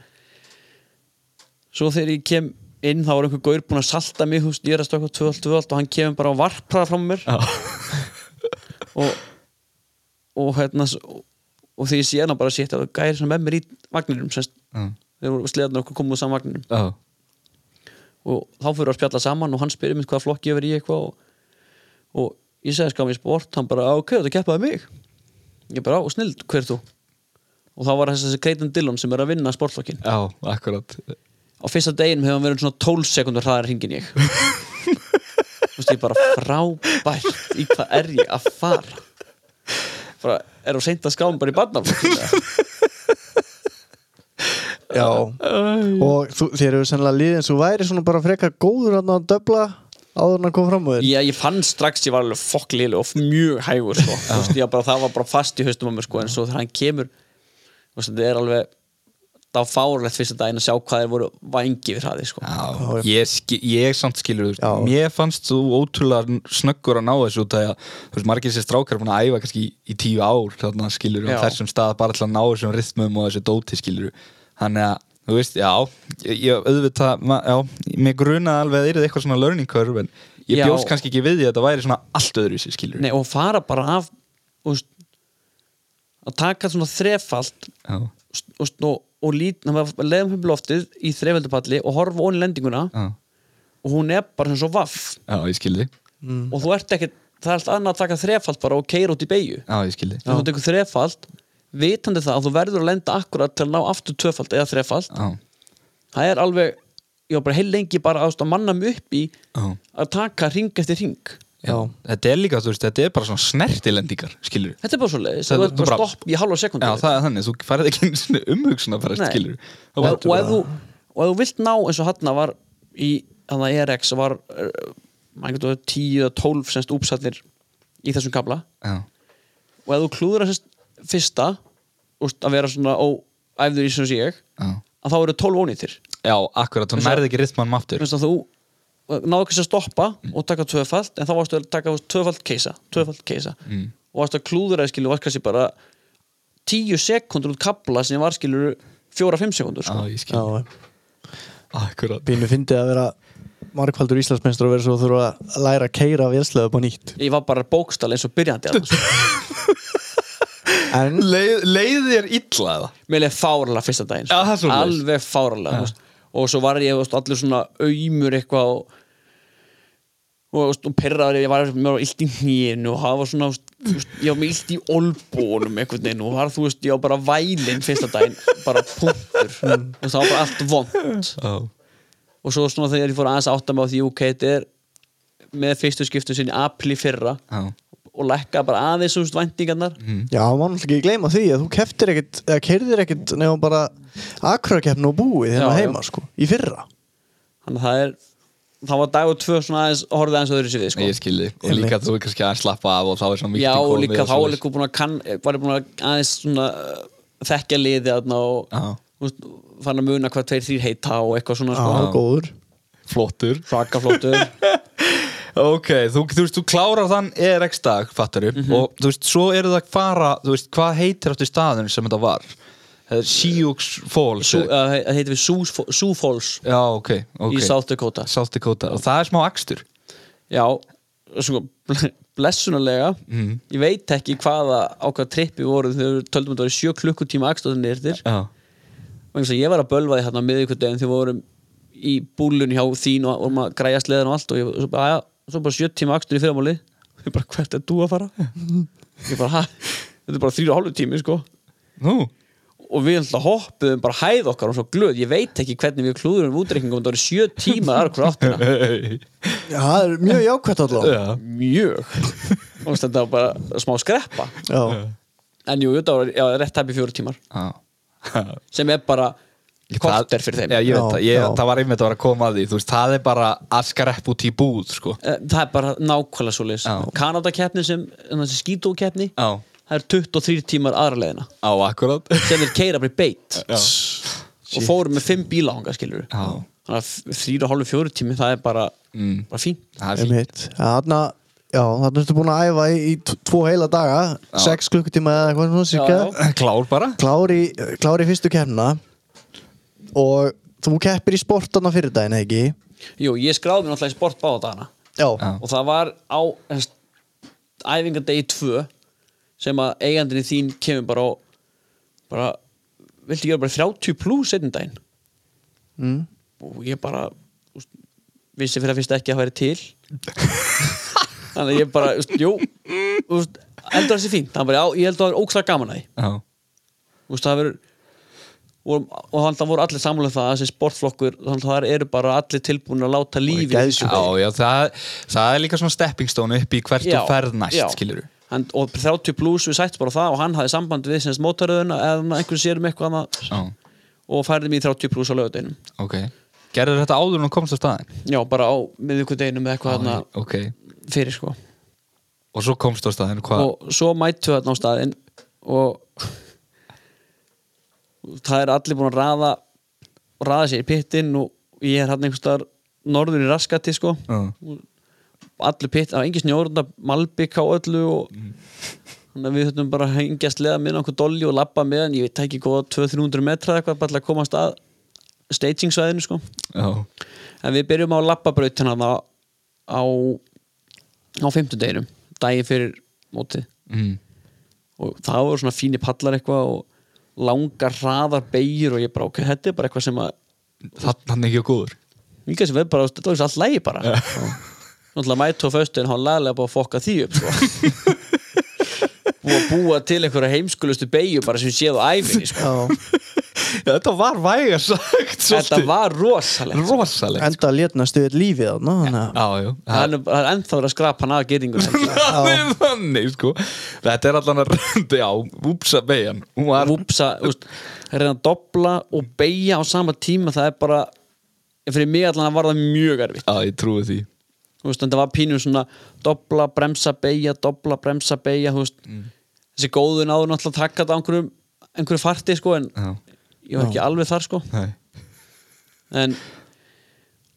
C: svo þegar ég kem inn þá var einhver gaur búinn að salta mig þú veist, ég er að stökka tvöld, tvöld og hann kemur bara og varpraða frá mér
B: já
C: og, og hérna s- og, og því ég sé hann bara sétt að gæri sem er með mér í vagninum semst,
B: Já,
C: þeir voru sleðan okkur komuð saman vagninum
B: já,
C: og þá fyrir að spjalla saman og hann spyrir mér hvaða flokki ég verið í eitthvað og, og ég segi skam í sport hann bara, "Á, ok, þetta keppaði mig ég bara, á, snild, hver ert þú? og þá var þess þessi Creighton Dillon sem er að vinna sportflokkin
B: já, akkurat
C: á fyrsta deginum hefur hann verið svona 12 sekundur hraðar hringin ég þú veist, ég bara frábært í hvað er ég að fara bara, er þú seint að skáum bara í barnaflokkin
A: Já Og þú, þér eru sennilega líðið eins og væri svona bara frekar góður að að döbla áður en að koma fram úr þér
C: Já, ég fann strax ég var alveg fokklilu og mjög hægur sko. Þú veist, ég var bara, það var bara fast í haustum á mér sko, en svo þegar hann kemur þú veist, þetta er alveg það var fárlegt fyrsta daginn að sjá hvað þeir voru vangi við hraði sko.
B: Já, ég, ski, ég samt skilur þú veist,
A: Já.
B: Mér fannst þú ótrúlega snöggur að ná þessu út af því að þú veist, margir sér strákar búin að æfa kannski í, í tíu ár þarna skilur
C: Já.
B: á þessum stað bara til að ná þessum rithmum og þessu dóti skilur Þannig að, þú veist, já ég- ég auðvitað, ma, já, mér grunaði alveg að það yrði eitthvað svona learning curve en ég
C: Já.
B: bjóst kannski ekki við því að þetta væri svona allt öðru sér skilur
C: Nei, og fara bara af þú veist, að taka svona þrefald
B: Já,
C: þú veist, og, og lít, leðum upp í loftið í þrefaldupalli og horfa onni lendinguna
B: já,
C: og hún er bara sem svo vaff
B: já, ég skildi Mm.
C: og þú ert ekkert, það er allt annað að taka þrefald bara og keira út í beigju
B: Já, ég skildi
C: þegar þú tekur þrefald vitandi það að þú verður að lenda akkurat til að ná aftur tvöfald eða þrefald
B: Já,
C: það er alveg, ég var bara heil lengi bara ást að manna mig upp í
B: já
C: að taka ring eftir ring
B: Já, þetta er líka, þú veist, þetta er bara svona snertilendingar, skilur
C: þetta er bara svo leiðis,
B: Það-
C: þú ert
B: þú
C: bara
B: bara-
C: stopp í halva sekundi
B: Já, það er þannig, þú færið ekki einu sinni umhugsuna bara,
C: Nei.
B: skilur
C: og, og, ef þú, og ef þú vilt ná eins og hann var í hann að ERX var eh, maður getur 10 eða 12 semst úpsallir í þessum kabla
B: Já,
C: og ef þú klúður að semst fyrsta úst, að vera svona óæfður í sem sé ég
B: já
C: að þá eru 12 ónýttir
B: Já, akkurat, þú
C: Eins og-
B: nærði ekki rithmanum aftur
C: Þú veist að þú náðu kannski að stoppa og taka tvöfald en þá
B: Mm.
C: varstu að taka tvöfald keisa tvöfald keisa og varstu að klúður að skilja varst kannski bara tíu sekundur út kapla sem var skilur fjóra-fimm sekundur sko.
B: Já, Ah, ég skil
A: Já,
B: Akkurat
A: pínu fyndið að vera margfaldur Íslandsmeinstur og vera svo að þurfa að læra að keira vélslega upp á nýtt
C: ég var bara bókstal eins og byrjandi þarna, sko.
A: En
B: Leið, leið þér illa eða?
C: mér leið fárlega fyrsta daginn sko.
B: Já, það er svoleiðis.
C: alveg fárlega ja. og svo var ég þú veist, allir svona auðmur eitthvað og, og, þú veist, og perraður ég var mér var illt í hnýinu og það var svona þú veist, ég var með illt í olbónum einhvern veginn og var, þú veist, ég var bara vælinn fyrsta daginn bara punktur mm. það var bara allt vond
B: Já
C: og svo svona þegar ég fór aðeins að átta mig á því ok, þetta er með fyrstu skiptum sinni apil í fyrra
B: Já
C: og lækka bara aðeins úr væntingarnar mm.
A: já, mann ekki gleyma því að þú keftir ekkit eða keirðir ekkit nefnum bara akrakeppn og búið hérna
C: Já, já.
A: heima sko, í fyrra
C: þannig að það er það var dag og tvö svona aðeins horfið aðeins öðru sér við
B: Nei,
C: sko.
B: ég skil þig Og
A: Einmitt.
B: líka þú er kannski aðeins slappa af og þá er svona mikið
C: já
B: í
C: og
B: kóli og
C: líka þá var
B: svoleiðis.
C: líka búin að kann, eh, var ég búin að aðeins svona uh, þekkja liði þarna og
B: Já.
C: úst, fann að muna hvað tveir þrýr heita og eitthvað svona
A: Já,
C: sko.
A: góður
B: Flottur
C: rakaflóttur
B: Ok, þú, þú veist, þú klárar þann E ERX-dag, fattaru
C: Mhm.
B: Og þú veist, svo eru það að fara Þú veist, hvað heitir áttu staðun sem þetta var? Það er Sioux Falls eða-
C: eh, það heitir við Sioux- Sioux Falls
B: Já, ok, ok
C: í South Dakota
B: South Dakota Og það er smá akstur
C: já, sko, ble- blessunarlega
B: Mhm.
C: ég veit ekki hvaða á hvaða trippi við vorum þegar við töldum að þetta var sjö klukkutíma akstóðinni eftir
B: Já
C: vegna þess að ég var að bölva því hérna á miðvikudegin þegar við vorum í búlun hjá þín og vorum að græja sleðan og allt og ég svo bara, aðja, svo bara sjö tíma akstur í fyrramáli ég bara, hvert er þú að fara? ég bara, hæ, þetta er bara þrýra og hálfu tími sko
B: Nú
C: og við alltaf hoppuðum bara hæð okkar og svo glöð, ég veit ekki hvernig við klúðurum við útreikningum, þetta voru sjö tíma aðra hver áttina,
A: Já, það er mjög jákvæmt allavega
B: Já
C: mjög og þetta var bara smá skreppa
A: Já,
C: en jú, þetta var, já, rétt tæpi fjóru tímar
B: Já
C: sem er bara korter fyrir þeim
B: Já, ég veit
A: Já,
B: það, ég,
A: já.
B: það var einmitt að vera að koma að því Þú veist, það er bara að skrepp út í búð, sko
C: Eh, Það er bara nákvæmlega svo leis
B: Já.
C: Kanadakeppni sem, hérna, þessi skítókeppni
B: Já.
C: Það er 23 tímar aðra leiðina
B: Á, akkurat
C: sem er keira bara í beitt
B: Já.
C: og fórum með 5 bíla ánga skilur
B: Já. Mm.
C: þannig að 3,5-4 tími það er bara, bara fín
B: Það er fínt
A: einmitt Já, Þarna, já, þarna ertu búin að æfa í, í t- tvo heila daga Sex klukkutíma eða eitthvað svona
C: Já, já.
A: cirka
B: Klár bara
A: Klári, klári fyrstu keppna Og þú keppir í sportana fyrir daginn, eða ekki?
C: Jú, ég skráði mér náttúrulega í sport báða dagana
A: Já,
B: Já.
C: og það var á þess, æfingadegi 2 sem að eigandinni þín kemur bara og bara, viltu gera bara 30 plus einn daginn
A: Mm.
C: og ég bara úst, vissi fyrir að fyrst ekki að það væri til þannig að ég bara úst, jú, úst, heldur þessi fínt hann bara, já, ég held að það er ókslega gaman að því
B: Já
C: úst, það verður vorum, og þannig að voru allir samlega það þessi sportflokkur, þannig að það eru bara allir tilbúin að láta lífi í
A: geðsjúkt.
C: þessu.
B: Já, já, það, það er líka svona stepping stone upp í hvert
C: Já,
B: þú ferð næst,
C: já.
B: skilur við
C: hann, og 30 plus við sætt bara á það og hann hafði samband við semst mótaröðuna eða einhvern sér um eitthvað annað
B: Já,
C: og færði mig í 30 plus á lögadeinum
B: ok Gerður þetta áður en þú komst á staðin?
C: já, bara á miðvíkudeginum eða eitthvað þarna
B: Ok,
C: fyrir sko
B: og svo komst á staðin, hvað?
C: og svo mættu þarna á staðinn og það er allir búin að raða raða sér í pittin og ég er hann einhvers staðar norður í raskati sko
B: Já.
C: allur pitt, það var engin snjórunda malbik á öllu og þannig að við höfum bara að hengja sleða með okkur dolli og labba með hann, ég veit ekki góða 200-300 metra eða eitthvað, bara til að komast að stagingsvæðinu sko
B: Já,
C: en við byrjum á labbabrautina á, á á fimmtudeginum, daginn fyrir mótið
B: mm.
C: og það voru svona fínir pallar eitthvað og langar hraðar beigir og ég bara ok, þetta er bara eitthvað sem að
B: þannig ekki og góður
C: ég kannski verð bara, þetta var eins og allt lægi bara náttúrulega mætu á föstu en hann laglega bara að fokka því upp sko. og að búa til einhverja heimskulustu beigju bara sem séð á æfinni sko.
A: já
B: Þetta var væga sagt,
C: þetta var rosalegt
B: rosalegt
A: Enda lét næstu við lífið þarna þannig að-
B: Já, já, það
C: það er, það er ennþá verið að skrapa hann að gerðingun
B: það er þannig, sko Þetta er allan að rönda, já, úpsa beigjan Hún var,
C: vúpsa, úst, reyna að dobla og beigja á sama tíma það er bara, fyrir mig allan að var það mjög erfitt
B: já, ég trúi því
C: þú veist, en það var pínum svona dobla, bremsa, beigja, dobla, bremsa, beigja þú veist,
B: Mm.
C: þessi góðu náður náttúrulega að taka þetta á einhverjum, einhverju farti sko, en
B: Já,
C: ég var ekki alveg þar sko
B: nei,
C: en,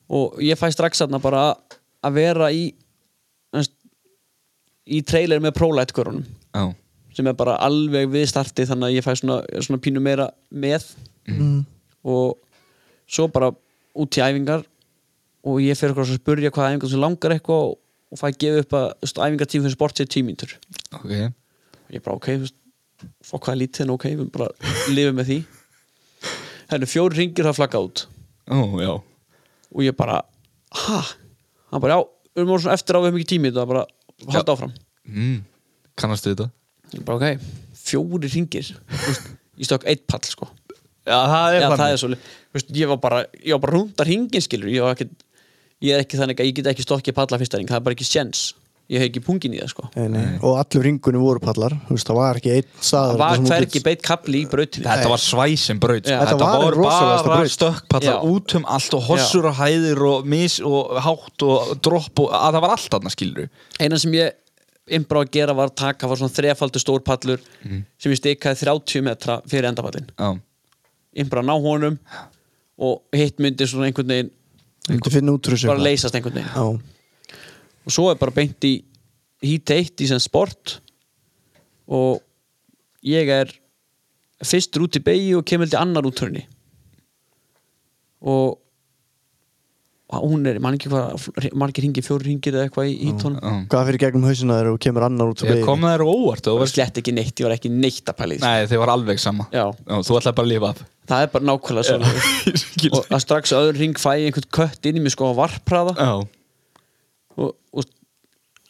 C: og ég fæ strax þarna bara að vera í þú veist, í trailer með prólætkörunum
B: já,
C: sem er bara alveg við starti þannig að ég fæ svona, svona pínu meira með og svo bara út í æfingar og ég fer eitthvað að spurja hvað æfingar sem langar eitthvað og- og fæ að gefa upp að þú veist, æfingartími fyrir sport sér tímíntur
B: ok
C: ég bara ok, þú veist, fokk hvað er lítið en ok, við bara lifum með því hérna fjóri ringir það flagga út
B: Ó, já
C: og ég bara, ha hann bara já, við erum orðin svona eftir á við hefum ekki tími í þetta bara halda áfram
B: mm. Kannastu þetta?
C: ég bara ok, fjóri ringir Þú veist, ég stökk eitt pall sko
B: Já, það
C: Já, það er
B: þannig.
C: svo veist, ég var bara, ég var bara rúndar hringin skilur ég var ekki, ég er ekki þannig að ég get ekki stokkið palla fyrsta hring, það er bara ekki sjens ég hef ekki pungin í það sko
A: Nei, nei. og allur ringunni voru pallar þú veist, það var ekki einn
C: það
A: staður
C: var
A: þar sem þú
C: hvergi
A: getur-
C: beitt kapli í brautinni
B: Þetta
A: Nei.
B: var svæsin braut sko.
C: Já.
B: Þetta,
A: Þetta var
B: voru
A: ein rosalegasta
B: bara
A: braut.
B: stökkpallar
C: Já.
B: út um allt og hossur og hæðir og mis og hátt og dropp og að það var allt annað skilur
C: eina sem ég innbrá að gera var að taka var svona þrefaldur stór pallur
B: Mhm.
C: sem ég stikaði 30 metra fyrir endapallin
B: Já,
C: innbrá að ná honum og hitt myndi svona einhvern veginn
A: þú getur finna útrúsum
C: bara leysast einhvern veginn
A: já,
C: og svo er bara beint í hít eitt í sem sport og ég er fyrstur út í beigi og kemur til annar útrunni og og hún er, mann ekki hvað margir hringir, fjóri hringir eða eitthvað í hít honum
B: já.
A: hvað fyrir gegnum hausina þegar þú kemur annar út úr
B: Ég
A: leiðinni?
B: kom þær á óvart þú
C: það var
B: varst-
C: slett ekki neitt, ég var ekki neitt að pæli
B: Nei, þeir var alveg sama
C: Já.
B: Þú ætlaði bara að lifa af
C: það er bara nákvæmlega svona
B: Ég skil.
C: og að strax öðru hring fæ ég einhvern kött inn í mig sko að varpraða
B: Já,
C: og, og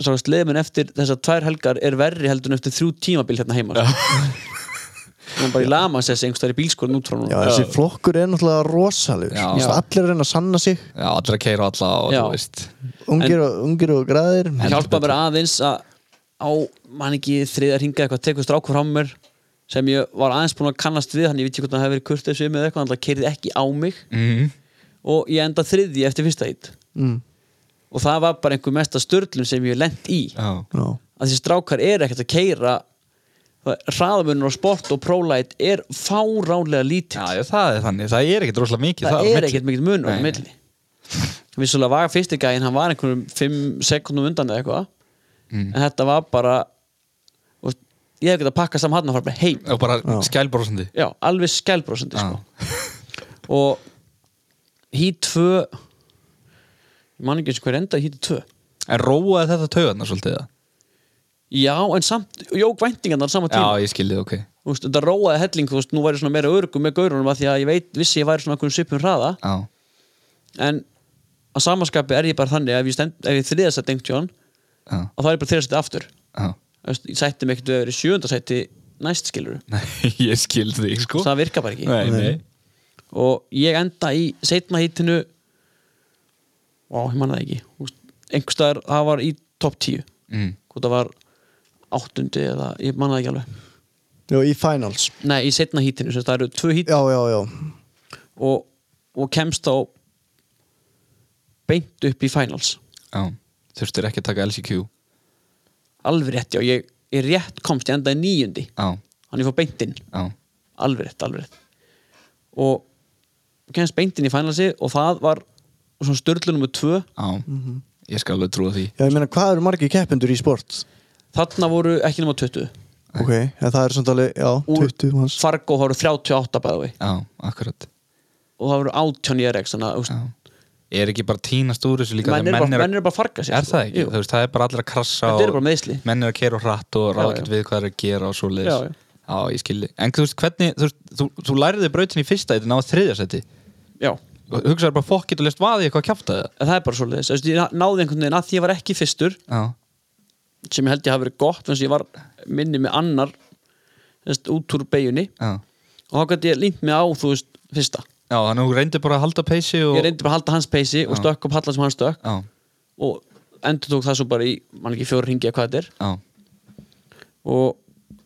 C: svo veist leðminn eftir þessar tvær helgar er verri heldur en eftir þrjú tímabil hérna heima sko. hann bara í lama sessi einhverstaðar í bílskórin út frá núna
A: já, þessi flokkur er náttúrulega rosalur
B: Já.
A: Þú veist, allir er að reyna að sanna sig
B: já allra keira alla og
C: Já.
B: þú veist
A: ungir, og, ungir og græðir
C: en hjálpa mér aðeins að á mann ekki þriða ringa eitthvað tekur stráku frá mér sem ég var aðeins búin að kannast við hann ég veit ekki hvort það hefur verið kurtið sem eða eitthvað hann keirði ekki á mig
B: mm.
C: og ég enda þriði eftir fyrsta hit
A: mm,
C: og það var bara einhver mesta störlum sem ég hef lent í
B: Já,
A: já,
C: að þessi strákar er ekkert að keira hraðamunur á sport og prólæt er fáránlega lítill
B: já já, það er þannig, það er ekkert rosalega mikið
C: það,
B: þar á
C: er
B: milli.
C: ekkert mikið munur á
B: Nei.
C: milli vissulega var fyrsti gæinn hann var einhverjum 5 sekundum undan eða eitthvað
B: Mm.
C: en þetta var bara og, ég hef getað að pakka saman hann og fara bara heim
B: Og bara skælbrósandi
C: já, alveg skælbrósandi
B: Já.
C: sko. og hít 2 ég man ekki eins og hver enda hít 2
B: En róaði þetta taugarnar svolítið það?
C: já, en samt, jók væntingarnar á sama tíma
B: Já, ég skilði, ok
C: þú veist, þetta róaði helling, þú veist, nú væri svona meira örgum með gaurunum að því að ég veit, vissi ég væri svona einhverjum svipum hraða,
B: Já,
C: en að samaskapi er ég bara þannig að ef ég, stend, ef ég þriðasett einhvern tjón,
B: já,
C: að þá er ég bara þriðasett aftur,
B: já
C: Þú veist, ég sætti mig ekkert við að vera í sjöundasætti næst skilur
B: Nei, ég skildi þig, sko
C: það virkar bara ekki
B: Nei, nei
C: og ég enda í setna hítinu á, ég man það ekki Þú veist, einhvers staðar, það var í topp 10
B: mm.
C: hvort það var áttundi eða, ég man það ekki alveg
A: já, í finals
C: nei, í setna hítinu, sem sagt, það eru tvö hít
A: já, já, já,
C: og, og kemst þá beint upp í finals
B: Já, þurftir ekki að taka LCQ Já,
C: alveg rétt já, ég, ég rétt komst ég endaði nýjundi
B: já,
C: hann ég fór beintinn, alveg rétt, alveg rétt og kemst beintinn í finalsi og það var svona störlu nummer tvö
B: já
C: Mhm.
B: Ég skal alveg trúa því
A: já, ég meina hvað eru margir keppendur í sport
C: þarna voru ekki nummer 20
A: ok, en það er samt alveg, já,
C: Úr
A: 20 manns
C: Fargo það voru 38 bæði
B: Já, akkurat
C: og það voru 18 í RX þannig að þú veist,
B: Já Er ekki bara tínast úr þessu líka
C: menn
B: þegar
C: eru bara, menn
B: að-
C: er bara að farga sér
B: Er
C: sko.
B: það ekki?
C: Jú.
B: Þú veist, það er bara allir að krassa
C: Þetta eru bara meiðsli.
B: Menn er að keira og hratt og ráða
C: Já,
B: ekkert
C: já.
B: við hvað er að gera og svo leiðis
C: Já, já.
B: ég skildi En þú veist, hvernig, þú, veist, þú, þú læriði brautin í fyrsta eitt en á þriðja seti
C: já,
B: Hugsaðu bara fokkið og lest vaði eitthvað kjafta það
C: en það er bara svoleiðis Þú veist, ég náði einhvern veginn að því ég var ekki fyrstur
B: Já,
C: sem ég held ég hafi verið gott þannig að ég var minni með annar þess, út úr beigjunni
B: já
C: og þá gæti ég línt mig á þú veist fyrsta
B: Já, þannig að þú reyndi bara að halda peysi og
C: ég reyndi bara að halda hans peysi og stökk upp hallan sem hann stökk
B: Já,
C: og endur tók það svo bara í mann ekki fjóra ringi eða hvað þetta er
B: já,
C: og,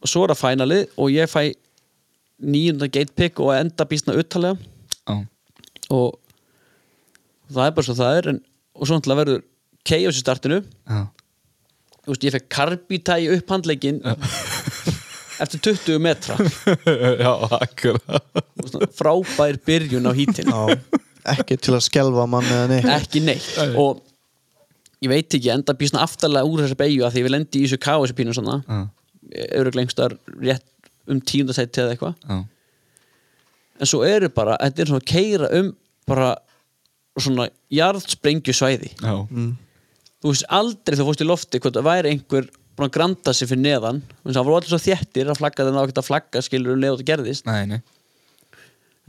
C: og svo er það fænalið og ég fæ níunda gatepick og enda býstna uttalega
B: já
C: og það er bara svo það er en, og svo náttúrulega verður chaos í startinu
B: Já,
C: Þú veist, ég fekk karbita í upphandlegin eftir 20 metra
B: já akkurat
C: Og svona frábær byrjun á hítinu
A: já, ekki til að skelfa mann eða neitt
C: ekki neitt og ég veit ekki, ég enda býsna aftarlega úr þessar beigju að því ég vil endi í þessu káu þessu pínu svona
B: Já.
C: eru glengstar rétt um tíundasætti eða eitthvað
B: já,
C: en svo eru bara, þetta er svona að keira um bara svona jarðsprengju svæði
B: já.
C: Mm. þú veist aldrei þegar þú fórst í lofti hvort það væri einhver búin að granda sig fyrir neðan þú veist, það voru allir svo þéttir að flagga þegar það var ekkert að flagga skilur um leið og þetta gerðist
B: nei, nei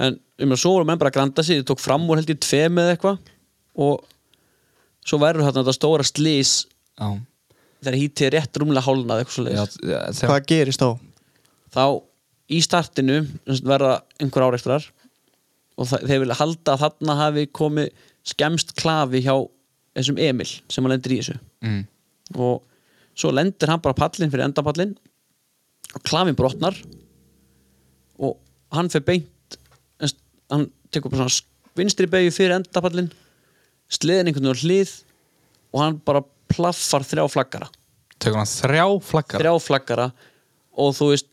C: en um að svo voru menn bara að granda sig þið tók fram úr held í tveim eða eitthvað og svo verður þarna þetta stóra slís
B: já,
C: þegar hítið er rétt rúmlega hálnað eitthvað svo
B: já, já, þegar,
A: Hvað gerist þá?
C: þá í startinu sem sagt, verða einhver áreikstrar og það, þeir vilja halda að þarna hafi komið skemst klafi hjá þessum Emil sem hann lendir í þessu
B: mm,
C: og svo lendir hann bara á pallinn fyrir endapallinn og klafinn brotnar og hann fer beint en st- hann tekur bara svona sk- vinstri beigju fyrir endapallinn sliðin einhvern veginn á hlið og hann bara plaffar þrjá flaggara
B: tökum hann þrjá flakkar
C: þrjá flaggara og þú veist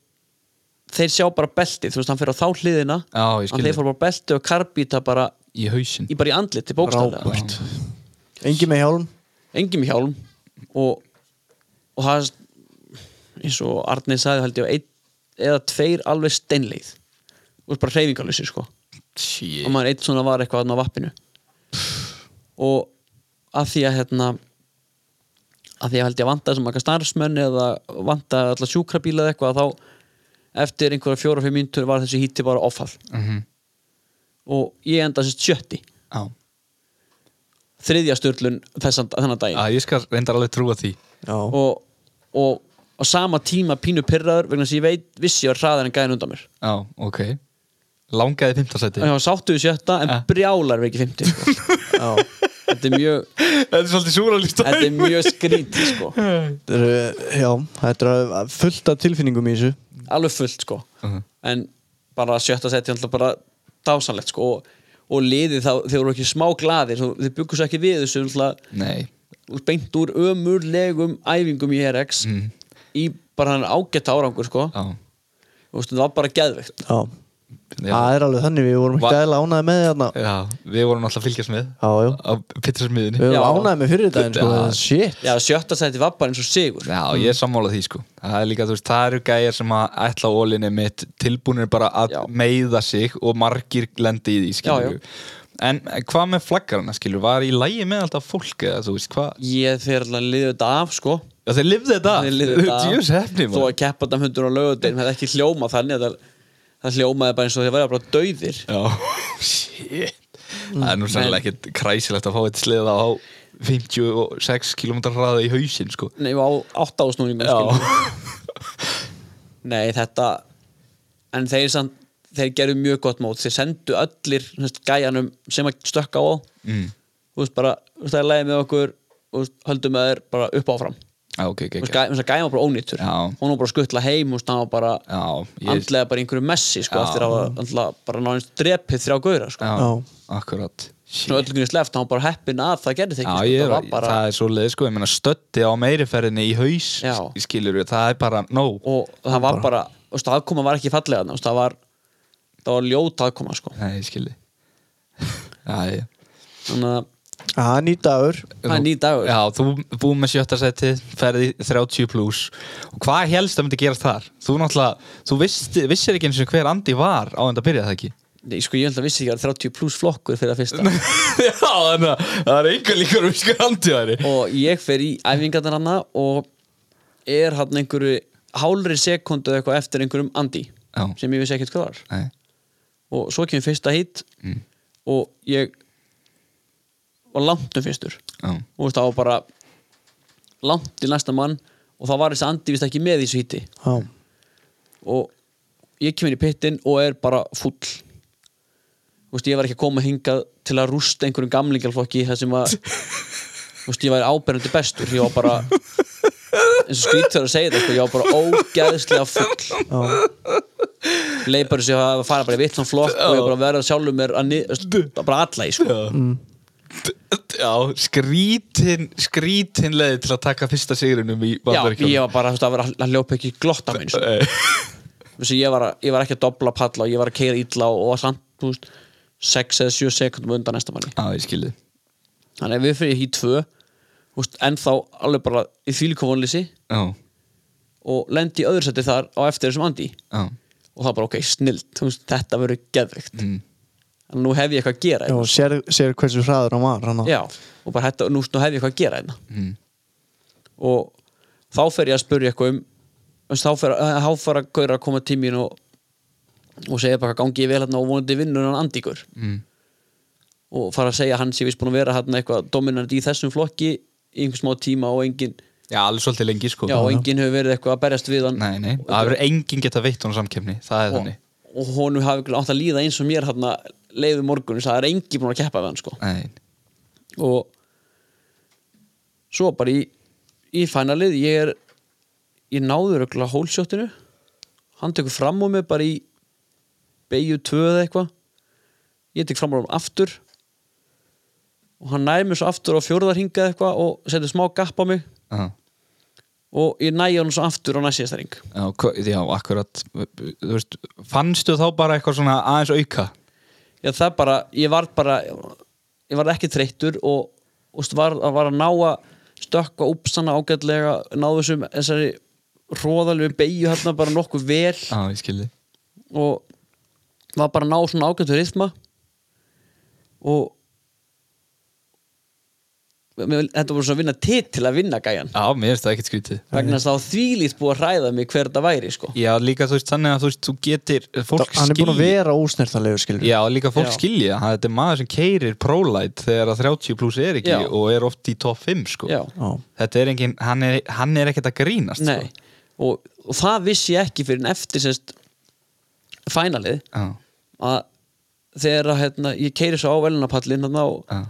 C: þeir sjá bara beltið, þú veist, hann fer á þá hliðina
B: Já, ég skil
C: hann þeir
B: þig.
C: fór bara beltið og karbíta bara
B: í hausin
C: í, bara í andlit til bókstæðlega
A: Rábært Engi með hjálm
C: engin með hjálm og, og það er eins og Arnið sagði held ég á einn eða tveir alveg steinleið og bara hreyfingalösi sko
B: Shit.
C: og maður einn svona var eitthvað þarna á vappinu og að því að hérna að því að held ég að vanta sem eitthvað starfsmenn eða vanta allar sjúkrabíla eða eitthvað þá eftir einhverja fjóra og fimm mínútur var þessi híti bara offall
B: Mhm.
C: og ég enda sérst sjötti
B: já,
C: þriðja störlun þessan þennan daginn
B: Já, Ah, ég skal reyndar alveg trúa því
A: Já,
C: og, og á sama tíma pínu pyrraður vegna þess að ég veit, vissi ég var hraðar en gæðin undan mér
B: já, ok langaði fimmtarsæti
C: og ég var sáttu í sjötta en
B: Ja.
C: brjálar við ekki 50 sko.
A: já
C: þetta er mjög,
B: þetta er svolítið súralist
C: þetta er mjög skrít sko.
A: Þetta eru, já, þetta eru fullt af tilfinningum í þessu
C: alveg fullt sko.
B: Mhm.
C: en bara sjötta seti alltaf bara dásanlegt sko. og, og liðið þá, þeir voru ekki smá glaðir svo, þeir byggur svo ekki við þessu alltaf,
B: nei,
C: beint úr ömurlegum æfingum í RX í bara hann ágætt árangur sko.
B: Mhm. já,
C: og veistu, það var bara geðveikt
A: Já,
B: já.
A: það er alveg þannig Við vorum ekki
B: Va-
A: aðeins ánæði með þarna
B: já við vorum alltaf að fylgjast með
A: Já, já,
B: á pittursmiðinni
A: við
C: Já.
A: vorum ánæði með fyrir daginn sko.
B: Já.
A: Shit
C: Já, sjötta sæti var bara eins og sigur
B: Já, ég er sammála því sko Það er líka, þú veist, það eru gæjar sem að ætla á ólinni mitt tilbúinir bara að
C: Já.
B: meiða sig og margir lendi í því, skilur
C: Já, já.
B: En hvað með flaggarna, skilur, var í lægi með alltaf fólk eða, þú veist, hvað
C: Ég þeir alltaf liðið þetta af, sko
B: Já, þeir lifðu þetta
C: Þeir lifðu þetta af.
B: Djús hefni,
C: Þó
B: maður
C: að keppa þetta hundur á lögudein Það er ekki hljóma þannig það, það hljómaði bara eins og þeir væri bara dauðir
B: Já, Mm, shit Það er nú sannlega ekkit kræsilegt að fá þetta sleða á 56 km hraða í hausinn, sko
C: Nei, á átta ásnúningum skilur. Nei, þetta En þeir, samt, þeir gerðu mjög gott mót Þeir sendu öllir þess, gæjanum sem að stökka á
B: mm.
C: Þú veist bara, þú veist það er leiði með okkur og þú veist, höldum með þeir bara upp áfram Þú
B: Já, ok, ok,
C: veist,
B: ok
C: gæ- þess að gæjan var bara ónýttur
B: Já.
C: Hún var bara að skuttla heim, þú veist, hann var bara
B: Já, ég,
C: andlega bara í einhverju messi sko,
B: Já.
C: eftir að andlega, bara náðist drepið þrjá gauðra sko.
B: já,
A: Já.
B: akkurat Shit.
C: svona öllugunni sleft, hann var bara heppin að það gerði
B: Já,
C: þegar
B: ég,
C: sko,
B: er,
C: það var bara,
B: það er svo leið sko, ég meina stötti á meiriferðinni í haus,
C: Já.
B: skilur við, það er bara, no,
C: og það var bara, þú veist, aðkoma var ekki fallega þú veist, það var, það var ljót aðkoma sko.
B: nei, ég skilji. Já, ég.
C: þannig að
A: Það er nýtt dagur
C: það er ný dagur
B: Já, þú búið með sjötta seti, ferði 30 pluss og hvað helst að myndi gerast þar? Þú náttúrulega, þú vissi, vissir ekki eins og hver Andi var á enda að byrja það ekki?
C: Nei, sko, ég held að vissi ekki að það er 30 pluss flokkur fyrir að fyrsta
B: Já, þannig að það er einhver líkur um hver Andi væri.
C: og ég fer í æfingarnar hana og er hann einhverju hálri sekundu eitthvað eftir einhverjum andi
B: Já.
C: sem ég vissi ekkert hvað var
B: Nei,
C: og svo kemur fyrsta hít
B: Mm.
C: og ég var langt um fyrstur
B: já,
C: og veist, það var bara langt til næsta mann og það var þessi andi vist ekki með í þessu híti
A: Já,
C: og ég kem inn í pittin og er bara full veist, ég var ekki að koma hingað til að rústa einhverjum gamlingalflokki það sem að veist, ég væri áberandi bestur ég var bara eins og skrýttur að segja þetta sko, ég var bara ógæðslega full
A: já,
C: leipur sem að fara bara í vittan flokk og ég bara verða sjálfur mér að niður, bara alla í sko.
B: já skrítin, skrítin leið til að taka fyrsta sigrunum í Eh.
C: já,
B: Bandaríkjum.
C: ég var bara þú veist, að vera að hljópa ekki glotta minn sko. Þessi, ég, var, ég var ekki að dobla palla og ég var að keira illa og, og var samt þú veist, 6 eða 7 sekundum undan næsta manni
B: Já, ég skilji.
C: þannig að við fyrir í 2 en þá alveg bara í þvíliku vonlýsi
B: Já.
C: og lendi í öðru seti þar á eftir þessum Andi
B: já,
C: og það bara ok, snilt, veist, þetta verður geðveikt mm. en nú hef ég eitthvað að gera
A: Já,
C: hérna.
A: og sér, sér hversu hraður hann var hann að-
C: Já, og bara þetta, nú, nú hef ég eitthvað að gera hérna
B: mm.
C: og þá fer ég að spyrja eitthvað um þú veist, þá fer, eh, þá fer að gauðra að koma tímin og, og segja bara hvað gangi ég vel hérna og vonandi vinnur hann andíkur
B: mm,
C: og fara að segja að hann sé vist búin að vera hérna eitthvað dominant í þessum flokki í einhver smá tíma og engin
B: já, alveg svolítið lengi sko
C: já, og enginn hefur verið eitthvað að berjast við hann
B: nei, nei, það verður enginn geta veitt honum samkefni það er
C: og,
B: þannig
C: og honum hafi ykkur átt að líða eins og mér hérna leiðu morgun, það er enginn búin að keppa við hann sko.
B: nei,
C: og svo bara í, í fænalið ég er ég náður öll að hólsjóttinu hann tekur fram úr mig bara í beigju 2 eða eitthvað ég tek fram úr hann aftur og hann næði mér svo aftur á fjórðarhinga eitthvað og setur smá gapp á mig
B: já,
C: og ég næði hann svo aftur á næstíðasta ring
B: já, hva- já, akkurat þú veist, fannstu þá bara eitthvað svona aðeins auka
C: Já, það bara, ég var bara ég var ekki þreyttur og, og var, var að ná að stökkva uppstanna ágætlega náðu þessum, þessari hróðalegu beigju hérna bara nokkuð vel
B: já, ég skilði
C: og var bara að ná svona ágættu rithma og mér, þetta voru svona að vinna til til að vinna gæjan
B: já, mér er það ekkert skrítið
C: vegna þess að þá þvílít búið að hræða mig hver þetta væri sko
B: já, líka þú veist, þannig að þú veist, þú getir fólk
A: hann er búin að
B: skilji-
A: vera ósnertanlegur skilur
B: Já, líka fólk
C: Já.
B: skilja, hann- þetta er maður sem keirir prólæt þegar að 30 pluss er ekki
C: Já.
B: og er oft í top 5 sko.
C: Já.
A: Já.
B: Þetta er engin, hann er, hann er ekkert að grínast
C: Nei,
B: Sko.
C: og, og það vissi ég ekki fyrir en eftir sérst fænalið
B: Já,
C: að þegar að, hérna, ég keiri svo á velunapallin hérna, og
B: já,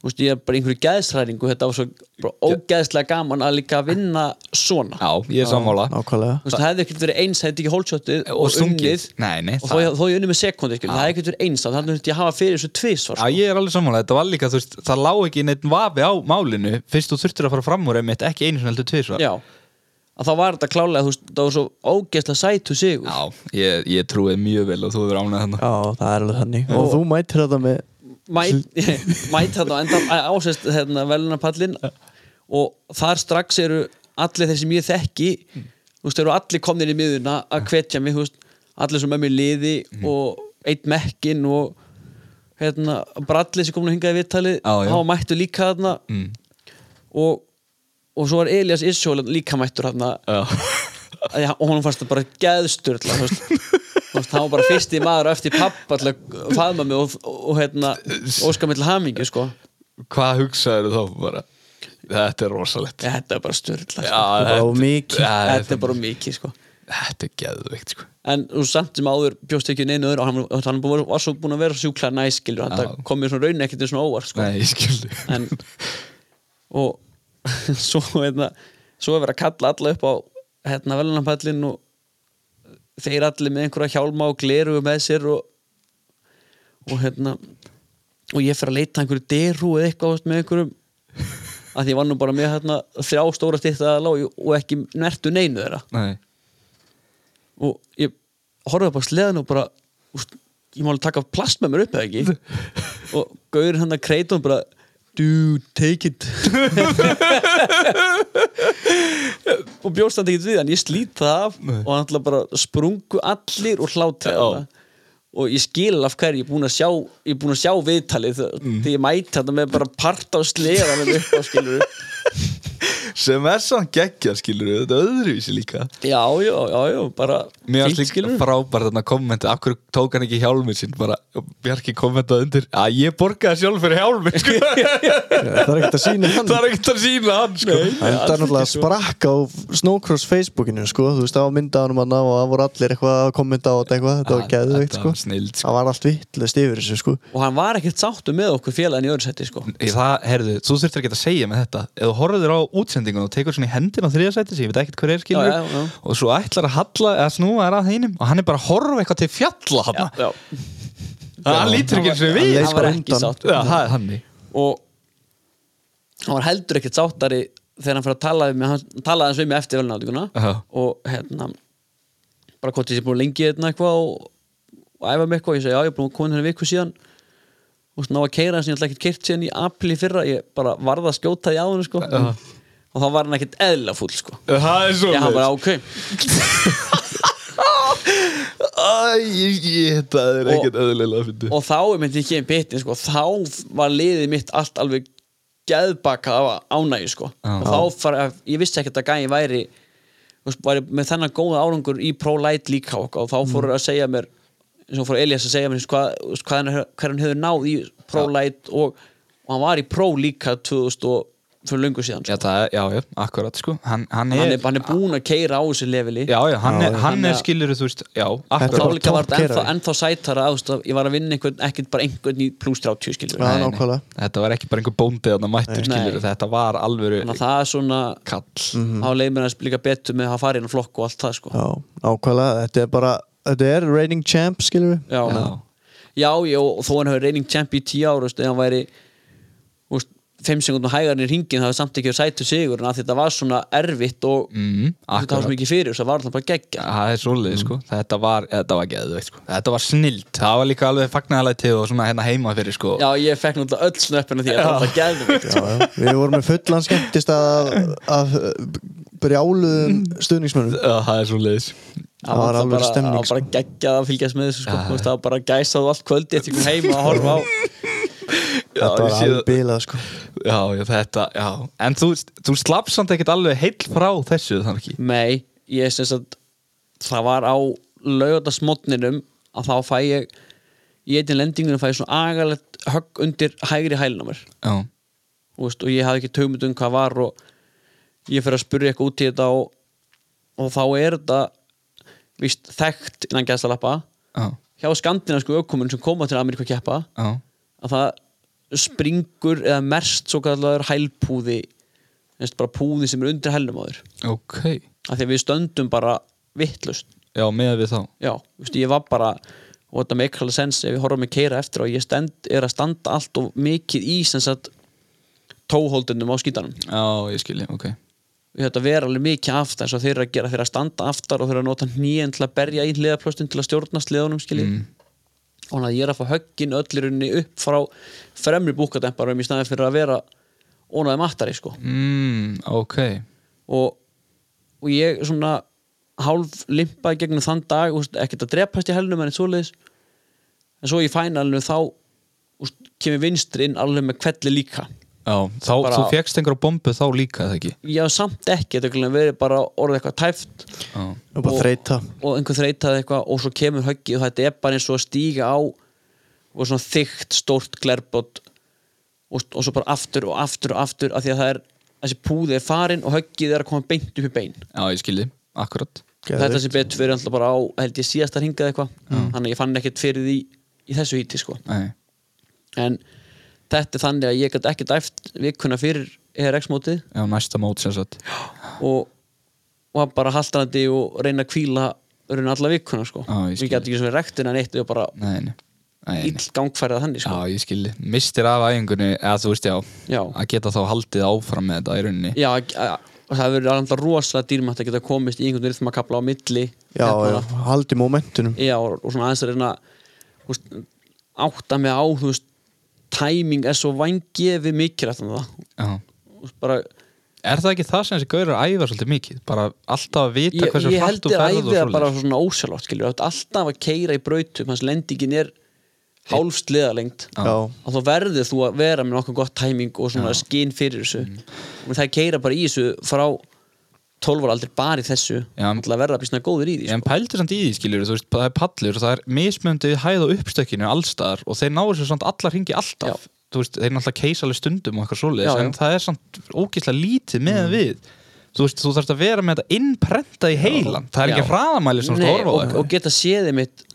C: þú veist, ég er bara í einhverju geðsræningu þetta var svo bara ógeðslega gaman að líka vinna svona
B: já, ég er sammála
A: nákvæmlega
C: þú veist, það hefði ekkert verið eins hefði ekki hólsjóttið
B: Og stungið.
C: unnið
B: Nei, nei,
C: og þó
B: það-
C: ég, þó ég unnið með sekundi skil, það hefði ekkert verið eins þannig að ég að hafa fyrir þessu tvisvar
B: Já,
C: sko.
B: ég er alveg sammála, þetta var líka, þú veist, það lá ekki neitt vafi á málinu fyrst þú þurftir að fara fram úr einmitt, ekki einu sem heldur tvisvar
C: já, að þá var þetta klálega þú veist, það var svo ógeðslega sætu sigur
B: Já, ég, ég trúið mjög vel og þú verður ánað þannig
A: Já, það er alveg þannig og þú mætir þetta með
C: mæt, mæt þarna á enda ásest hérna, velunarpallin og þar strax eru allir þeir sem ég þekki
B: Mm.
C: þú veist, eru allir komnir í miðuna að hvetja mig, þú veist, allir sem er mér liði
B: Mm.
C: og eitt mekkin og hérna, brallið sem komin að hingaði viðtalið,
B: Já, Mm. já.
C: þá mættu líka þarna og, og svo er Elias Isjóla líka mættur þarna að ég, og hún fannst það bara geðsturla þú veist Þú veist, hann var bara fyrsti maður á eftir pappa til að faðma mig og, og, og hérna óska mig til hamingju sko
B: Hvað hugsaður þá bara? Þetta er rosalegt
C: ja, þetta er bara sturla sko.
A: bara
B: þetta-
A: of mikið.
B: Já,
C: þetta er bara mikið sko
B: Þetta er geðveikt, sko
C: en þú veist, samt sem áður bjóst ekki neinu öðru og hann, og hann var, var svo búin að vera sjúkla
B: Já.
C: næskilur þetta kom mér svona raun ekkert svona óvart sko.
B: Nei, ég skildi
C: en og svo hérna svo er verið að kalla alla upp á hérna velunarpallin og þeir allir með einhverja hjálma og gleru með sér og og hérna og ég fer að leita að einhverju deru eða eitthvað veist, með einhverjum að ég var nú bara með hérna þrjá stóra stýtta lág og ekki nertu neinu þeirra
B: Nei
C: og ég horfði upp á sleðan og bara úst, ég má alveg taka plast með mér upp eða ekki og gauður hann að kreita og bara do take it og bjóst hann ekki við en ég slít það af og hann ætla bara sprungu allir og
B: Já.
C: hlátir það og ég skil af hverju ég er búin að sjá ég er búin að sjá viðtalið mm. þegar ég mæti þetta með bara part á sleðan upp á skilur
B: sem er samt geggja skilur við þetta er öðruvísi líka
C: já, já, já, já, bara
B: mér
C: fínt,
B: varst líka
C: skilurðu.
B: frábært þarna kommenti af hverju tók hann ekki hjálmið sinn bara Bjarki kommentaði undir að ég borgaði sjálf fyrir hjálmið sko.
A: það er ekkert að sína hann
B: það er ekkert að sína hann sko.
A: En það er náttúrulega sprakk á Snowcross Facebookinu sko, þú veist, það var myndaðanum hann og það voru allir eitthvað að kommenta á þetta eitthvað, þetta
C: Ah,
A: var
B: Að-
A: geðveikt
B: þetta
A: sko.
B: var snilld, sko.
A: Það var allt vittlust yfir þessu sko.
C: og hann var ekkert sáttu með okkur félagin í öðru seti sko.
B: Í það, heyrðu, þú þurftir ekki að segja með þetta ef þú horfður á útsendingun og tekur svona í hendin á þriðasæti sem ég veit ekkert hver er skilur
C: Já, já, já.
B: og svo ætlar að halla eða snúa er að þeinum og hann er bara að horfa eitthvað til fjalla hann,
C: já.
B: hann lítur ekki eins og
A: Hann
B: við sko.
A: leit
C: hann var
A: bara
C: ekki
A: undan.
C: sáttur.
B: Já, það er þannig
C: og hann var heldur ekkert sáttari þegar hann fyrir að tala við mig hann talaði hans við mig eftir velnátinguna
B: Já.
C: og hérna bara hvort ég sé búin lengi hérna eitthvað og, og æfa mig eitthvað, ég segi já ég er búin að koma hérna viku síðan og svona á að keira hans ég ætla ekkert keirt síðan í apil í fyrra, ég bara varða að skjóta því á hann sko
B: Já.
C: og þá var hann ekkert eðla fúll sko
B: Það er svo
C: ég hann bara ok
B: Æ, ég, ég, það er ekkert eðlilega að finna
C: og þá er mitt ekki einn pittin sko, þá var liðið mitt allt alveg geðbaka af ánægju sko.
B: Já.
C: og þá fara, ég vissi ekkert að gæði væri, þú veist, væri með þennan góða árangur í pro-light líka sko. og, og þá
B: Mm.
C: fóru að segja mér eins og fór Elias að segja mér þú veist, hvað, þú veist, hvað hann, hver hann hefur náð í pro-light og, og hann var í pro líka 2000 og fyrir lungu síðan sko.
B: Já, það er, já, já, akkurat sko Hann, hann er,
C: hann, er, hann er búin að keira á þessu leveli
B: Já, já, hann
A: Já,
B: er,
A: já.
B: hann
C: Þannig
B: er
C: að-
B: skilur þú veist Já,
C: og þá
A: bara
B: akkurat
C: líka var þetta
A: toppkerfi.
C: ennþá, ennþá sætara ást, ég var að vinna einhvern, ekkert bara einhvern í plus 30 skilur
A: Já,
B: Nei, nei.
A: nákvæmlega.
B: Þetta var ekki bara einhver bóndið Þannig mættur
C: Nei.
B: skilur Þetta var alvöru
C: þannig að það er svona
B: kall
C: á leimina líka betur með að fara inn á flokk og allt það sko já,
A: Já, ákvæðlega, þetta er bara Þetta er reigning champ, skilur við
C: já. já, já og þó hann hefur reyning champ í tíu ára eða hann væri úst, fimm sekundum hægar í ringin það hefur samt ekki verið sætur sigur en að þetta var svona erfitt og
B: Mm,
C: þetta var
B: akkurat
C: svo mikið fyrir það var alltaf bara geggja
B: Það er svolítið sko, þetta var, þetta var geðveikt sko Þetta var snilt, það var líka alveg fagnalætið og svona hérna heima fyrir sko
C: já, ég fekk náttúrulega öll snöppina því að það var geðvikt
A: Já, já. Við vorum með fullan skemmtist að, að brjáluðum stuðningsmönnum
B: Já, það er svolítið
A: Það var alveg
C: bara,
A: stemning, sko.
C: það Mm. var bara geggjað að fylgjast með þessu sko Þú veist, það var bara gæsað allt kvöldi eftir einhvern heima að horfa á
A: Þetta var alveg bilað, sko
B: Já, já, þetta, já En þú, þú slapp samt ekkert alveg heill frá þessu þannig ekki
C: Nei, ég syns að það var á laugardagsmotninum að þá fæ ég í einn lendingunum fæ ég svona agalegt högg undir hægri hælinn á mér
B: Já,
C: þú veist, og ég hafði ekki taumut um hvað var og ég fyrir að spurja eitthvað út í þetta og, og þá er þetta víst þekkt innan gæstalappa
B: já,
C: hjá skandinavísku ökumun sem koma til Ameríku að keppa
B: já
C: að það springur eða merst svo kallar hælpúði þú veist, bara púði sem er undir hælnum á þér
B: Ok
C: af því að við stöndum bara vittlust
B: Já, með við þá
C: já, þú veist, ég var bara og þetta make all sense ef ég horfum að keira eftir og ég stend, er að standa allt og mikið í sem sagt tóhóldunum á skítanum
B: Já, ég skilji, ok
C: við þetta vera alveg mikið aftar eins og þeir eru að gera þeir eru að standa aftar og þeir eru að nota hnýjan til að berja í hliðaplöstin til að stjórna sliðunum skilji og þannig að ég er að fá höggin öllirinni upp frá fremri búkademparum í staðin fyrir að vera ónaði mattari sko
B: mm, Ok
C: og, og ég svona hálf limpaði gegnum þann dag úst, ekkert að drepast í helnum en eitt svoleiðis en svo í fænalinu þá úst, kemur vinstri inn alveg með kvelli líka
B: Já, þá,
C: Bara-
B: þú fjekkst einhverja bombu þá líka, eða ekki
C: ég hafði samt ekki, þetta er greinilega verið bara orðið eitthvað tæft
B: Já,
A: Og bara þreyta
C: og einhver þreytaði eitthvað og svo kemur höggið og þetta er bara eins og að stíga á og svona þykkt stórt glerbot og, og svo bara aftur og aftur og aftur af því að það er, þessi púði er farin og höggið er að koma beint upp í bein
B: já ég skilji, akkurat
A: Geðveikt.
C: þetta sem betur fyrir alltaf bara á held ég síðasta hringað eitthvað þannig að ég fann ekkert fyrir því í þessu híti sko
B: Nei,
C: en þetta er þannig að ég gæti ekki dæft vikuna fyrir ERX mótið
B: já, næsta mót sem sagt
C: og, og var bara haldanandi og reyna að kvíla raun alla vikuna sko
B: Já, ég skil.
C: ég gæti ekki sem er rektin en eitt og bara
B: Nei, nei, nei, nei.
C: ill gangfærið þannig sko
B: Já, ég skilji, mistir af æfingunni eða þú veist, já,
C: Já.
B: að geta þá haldið áfram með þetta í rauninni
C: já, já og það verður alltaf rosalega dýrmætt að geta komist í einhvern rithmakabla á milli
A: Já, já,
C: hérna.
A: haldi momentunum
C: Já, og, og svona aðeins að reyna þú veist, átta mig á þú veist, tæming er svo vangefi mikilvægt um það
B: Já.
C: Þú veist, bara,
B: Er það ekki það sem þessi gaur er að æfa svolítið mikið? Bara alltaf að vita
C: ég,
B: hversu
C: ég
B: hratt
C: held
B: þú
C: er
B: ferð og
C: æfið að bara
B: svoleiðis?
C: svona ósjálfátt skilur, þú ert alltaf að keira í brautum hans lendingin er hálfst leðalengt
A: Já,
C: og þá verður þú að vera með nokkuð gott tæming og svona skinn fyrir þessu
B: Mm.
C: og það keira bara í þessu frá 12 ára aldrei bara í þessu
B: Já.
C: til að verða að bli svona góður í því
B: En pældu samt í því skilur, þú veist, það er pallur og það er mismöndið hæð og uppstökkinu allstaðar og þeir náður sér samt allar hringi alltaf
C: Já.
B: þú veist, þeir náttúrulega keisa alveg stundum og eitthvað
C: Já,
B: svoleiðis,
C: já. Mm.
B: en það er samt ógeðslega lítið meðan við þú veist, þú þarfst að vera með þetta innprenta í heilan það er
C: Já.
B: ekki hraðamæli sem þú
C: Nei,
B: ert að
C: og,
B: horfa á
C: og geta séð einmitt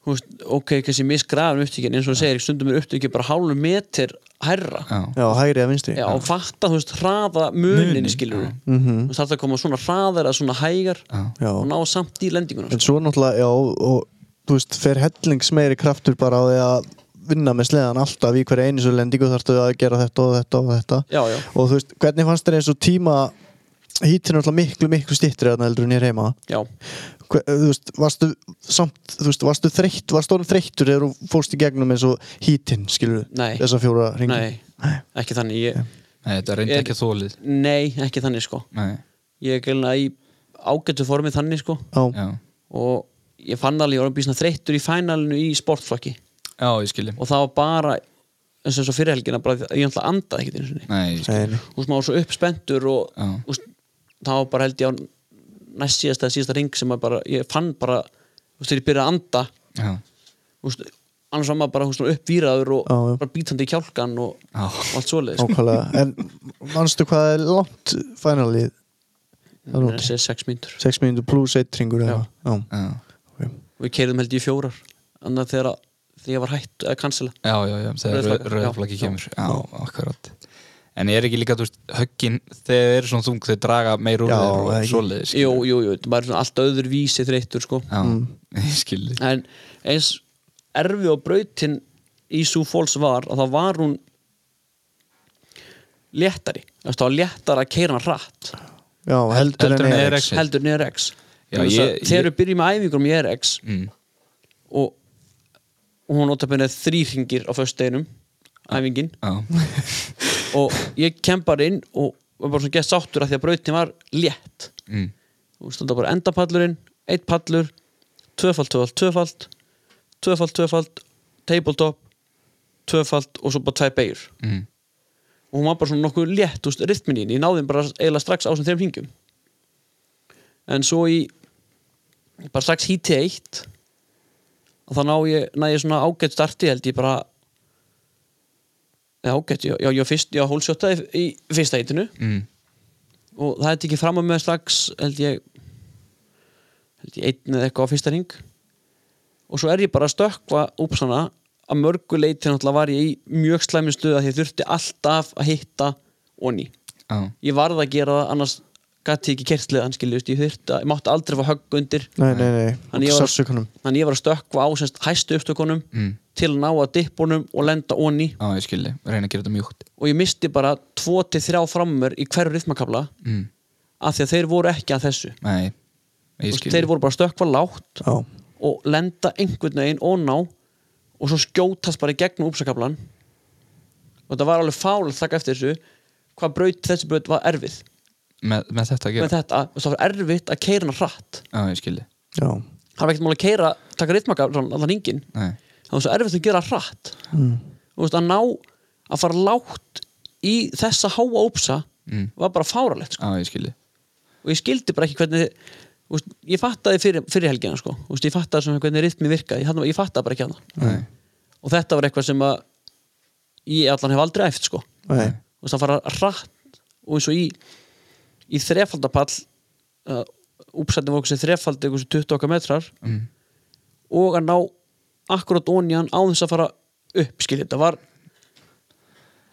C: þú veist, ok, kannski misgrafin upptíkin eins og það segir, stundum er upptíkin bara hálfu metr hærra já.
B: eitthvað.
A: já hægri að vinstri
C: og fatta, þú veist, hraða munin
B: Muninn,
C: skilur við, þú veist, þarf að koma svona hraðar að svona hægar
B: Já.
A: Já.
C: og ná samt í sko. lendinguna
A: En svo náttúrulega, já, og þú veist, fer hellingsmeiri kraftur bara á því að vinna með sleðan alltaf í hverja einu svo lendingu þarftu að gera þetta og þetta og þetta
C: Já, já.
A: Og þú veist, hvernig fannst þér eins og tíma hítið náttúrulega miklu, miklu stýttri þarna heldur en ég er heima
C: já,
A: Hver, þú veist, varstu samt, þú veist, varstu þreytt, varstu orðin þreyttur eða þú fórst í gegnum eins og hítinn, skilur
C: Nei.
A: þessa fjóra ringi
C: nei, ekki þannig ég,
B: Nei, þetta reyndi
C: Er-
B: ekki þólið
C: Nei, ekki þannig sko
B: Nei,
C: Ég er gælna í ágætu formi þannig sko
A: Já,
B: já
C: og ég fann alveg, ég var býsna þreyttur í fænalinu í sportflokki
B: Já, ég skilji
C: og það var bara eins og eins og fyrir helgina, bara, ég ætla að andaði ekkert einu sinni
B: Nei, ég skilji
A: nei, nei.
C: og maður var svo uppspendur og,
B: Já.
C: og það var bara held ég á næst síðasta eða síðasta ring sem maður bara, ég fann bara þú veist, þegar ég byrjaði að anda
B: Já,
C: þú veist, annars var maður bara þú veist, uppvýraður og
A: Já, já.
C: bara bítandi í kjálkan og,
B: Já.
C: og allt svoleiðis sko.
A: ákvæmlega En manstu hvað er langt finalið?
C: Ég meina, þessi er sex mínútur
A: 6 mínútur pluss 1 ringur eða eitthvað?
B: já
A: Já, ok
C: og við keirðum held ég í fjórar annað þegar, að- þegar ég var hætt að kansela
B: Já, já, já,
C: Rauð
B: þegar
C: flagg- já,
B: rauðflaggi
C: já.
B: kemur Já, akkurat En ég er ekki líka, þú veist, höggin þegar þau eru svona þung, þau draga meir úr
A: Já,
B: þeir
A: það
B: og
A: er ekki-
B: svoleiðis
C: jú, jú, jú, þetta var svona allt öður vísi þreyttur sko.
B: Já,
A: Mm.
B: ég skilji
C: en eins erfi og brautin í Sue Falls var að það var hún léttari Þú veist, það var léttara að keira hann hratt
A: Já, heldur
B: heldur
A: en
B: en
A: er
B: ERX.
A: X
C: heldur niður X
B: Já,
C: Vegna þess að
B: ég-
C: þegar
B: ég-
C: við byrjum með æfingur með RX
B: mm.
C: og, og hún nota bennið þrýringir á föstudeginum æfingin
B: Já,
C: og ég kem bara inn og var bara svona gett sáttur að því að brautin var létt
B: mm.
C: og standa bara endapallurinn, eitt pallur tvöfald, tvöfald, tvöfald tvöfald, tvöfald, tabletop tvöfald og svo bara tvær beigur
B: Mm.
C: og hún var bara svona nokkuð létt úst, rithmin í henni, ég náði henni bara eiginlega strax á sem þeim hringjum en svo í bara strax hítið eitt og þá ná ég, ná ég svona ágætt starti held ég bara eða ágætt, já, já, ég var fyrst, já, hólsjóttaði í fyrsta hitinu
B: Mm.
C: og það hefði ekki fram að með strax held ég held ég einn eða eitthvað á fyrsta ring og svo er ég bara að stökkva upp svona að mörgu leiti náttúrulega var ég í mjög slæmi stuð að ég þurfti alltaf að hitta onni
B: Já,
C: ég varð að gera það annars gæti ég ekki kertlið hann skiljust ég þurfti að ég mátti aldrei fá högg undir
A: Nei, nei, nei,
C: Þannig ég var-
A: sársökunum
C: þannig ég var að stökkva á semst hæstu upptökunum
B: Mm.
C: til að ná að dippunum og lenda onni
B: já, ég skilji Reyna að gera þetta mjúkt
C: og ég misti bara 2-3 frammur í hverju rithmakabla
B: mm.
C: af því að þeir voru ekki að þessu
B: Nei, ég
C: Þú veist,
B: skilji
C: þeir voru bara að stökkva lágt
A: Já,
C: og lenda einhvern veginn og ná og svo skjótast bara í gegnum úpsakablan og það var alveg fálega þakka eftir þessu hvað braut þessi braut var erfið
B: með, með þetta að
C: með
B: gera
C: þetta, og það var erfitt að keira hana hratt
B: Já, ég skilji
A: já,
C: það var ekkert mál að keira, taka ritmakablan allan hringinn,
B: Nei,
C: það var svo erfitt að gera hratt
A: mm.
C: Þú veist, að ná að fara lágt í þessa háa úpsa
B: Mm.
C: var bara fáralegt sko.
B: já, ég skilji
C: og ég skildi bara ekki hvernig þú veist, ég fattaði fyrir, fyrir helgina sko. Þú veist, ég fattaði svona hvernig ritmi virkaði ég, þarna- ég fattaði bara ekki hana
A: Mm.
B: Nei,
C: og þetta var eitthvað sem að ég allan hef aldrei æft sko
A: nei,
C: og það fara rætt og eins og í í þrefaldapall uh, uppsættum okkur sem þrefaldi okkur sem 20 okkar metrar
B: mm.
C: og að ná akkurat onjan á þess að fara upp skiljið, þetta var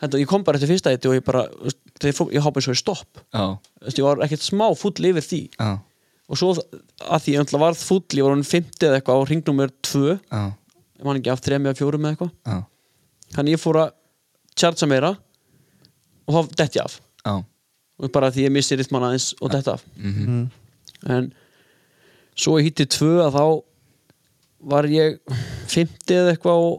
C: þetta, ég kom bara eftir fyrsta þetta og ég bara þegar ég fór- ég hoppa eins og í stopp
B: já,
C: Þú veist, ég var ekkert smá fúll yfir því
B: já,
C: og svo þ- að því ég öll varð fúll ég var hann 50 eða eitthvað á ringnúmer 2
B: já,
C: ég man ekki af 3 eða 4 eða eitthvað
B: já,
C: þannig ég fór að tjartsa meira og þá dett ég af
B: já
C: og bara því ég missi ritman aðeins og dett af
B: mhm,
A: mm.
C: en svo ég hitti tvö að þá var ég 50 eða eitthvað og,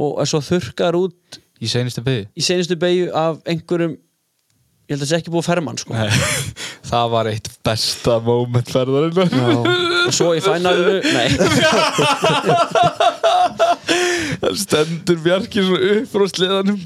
C: og er svo þurkar út
B: Í seinustu byggði
C: í seinustu beigju af einhverjum ég held að það sé ekki búið ferman sko
B: Það var eitt besta moment ferðarinn
A: já,
C: og svo ég fænaði nei,
B: Það stendur Bjarki svona upp frá sleðanum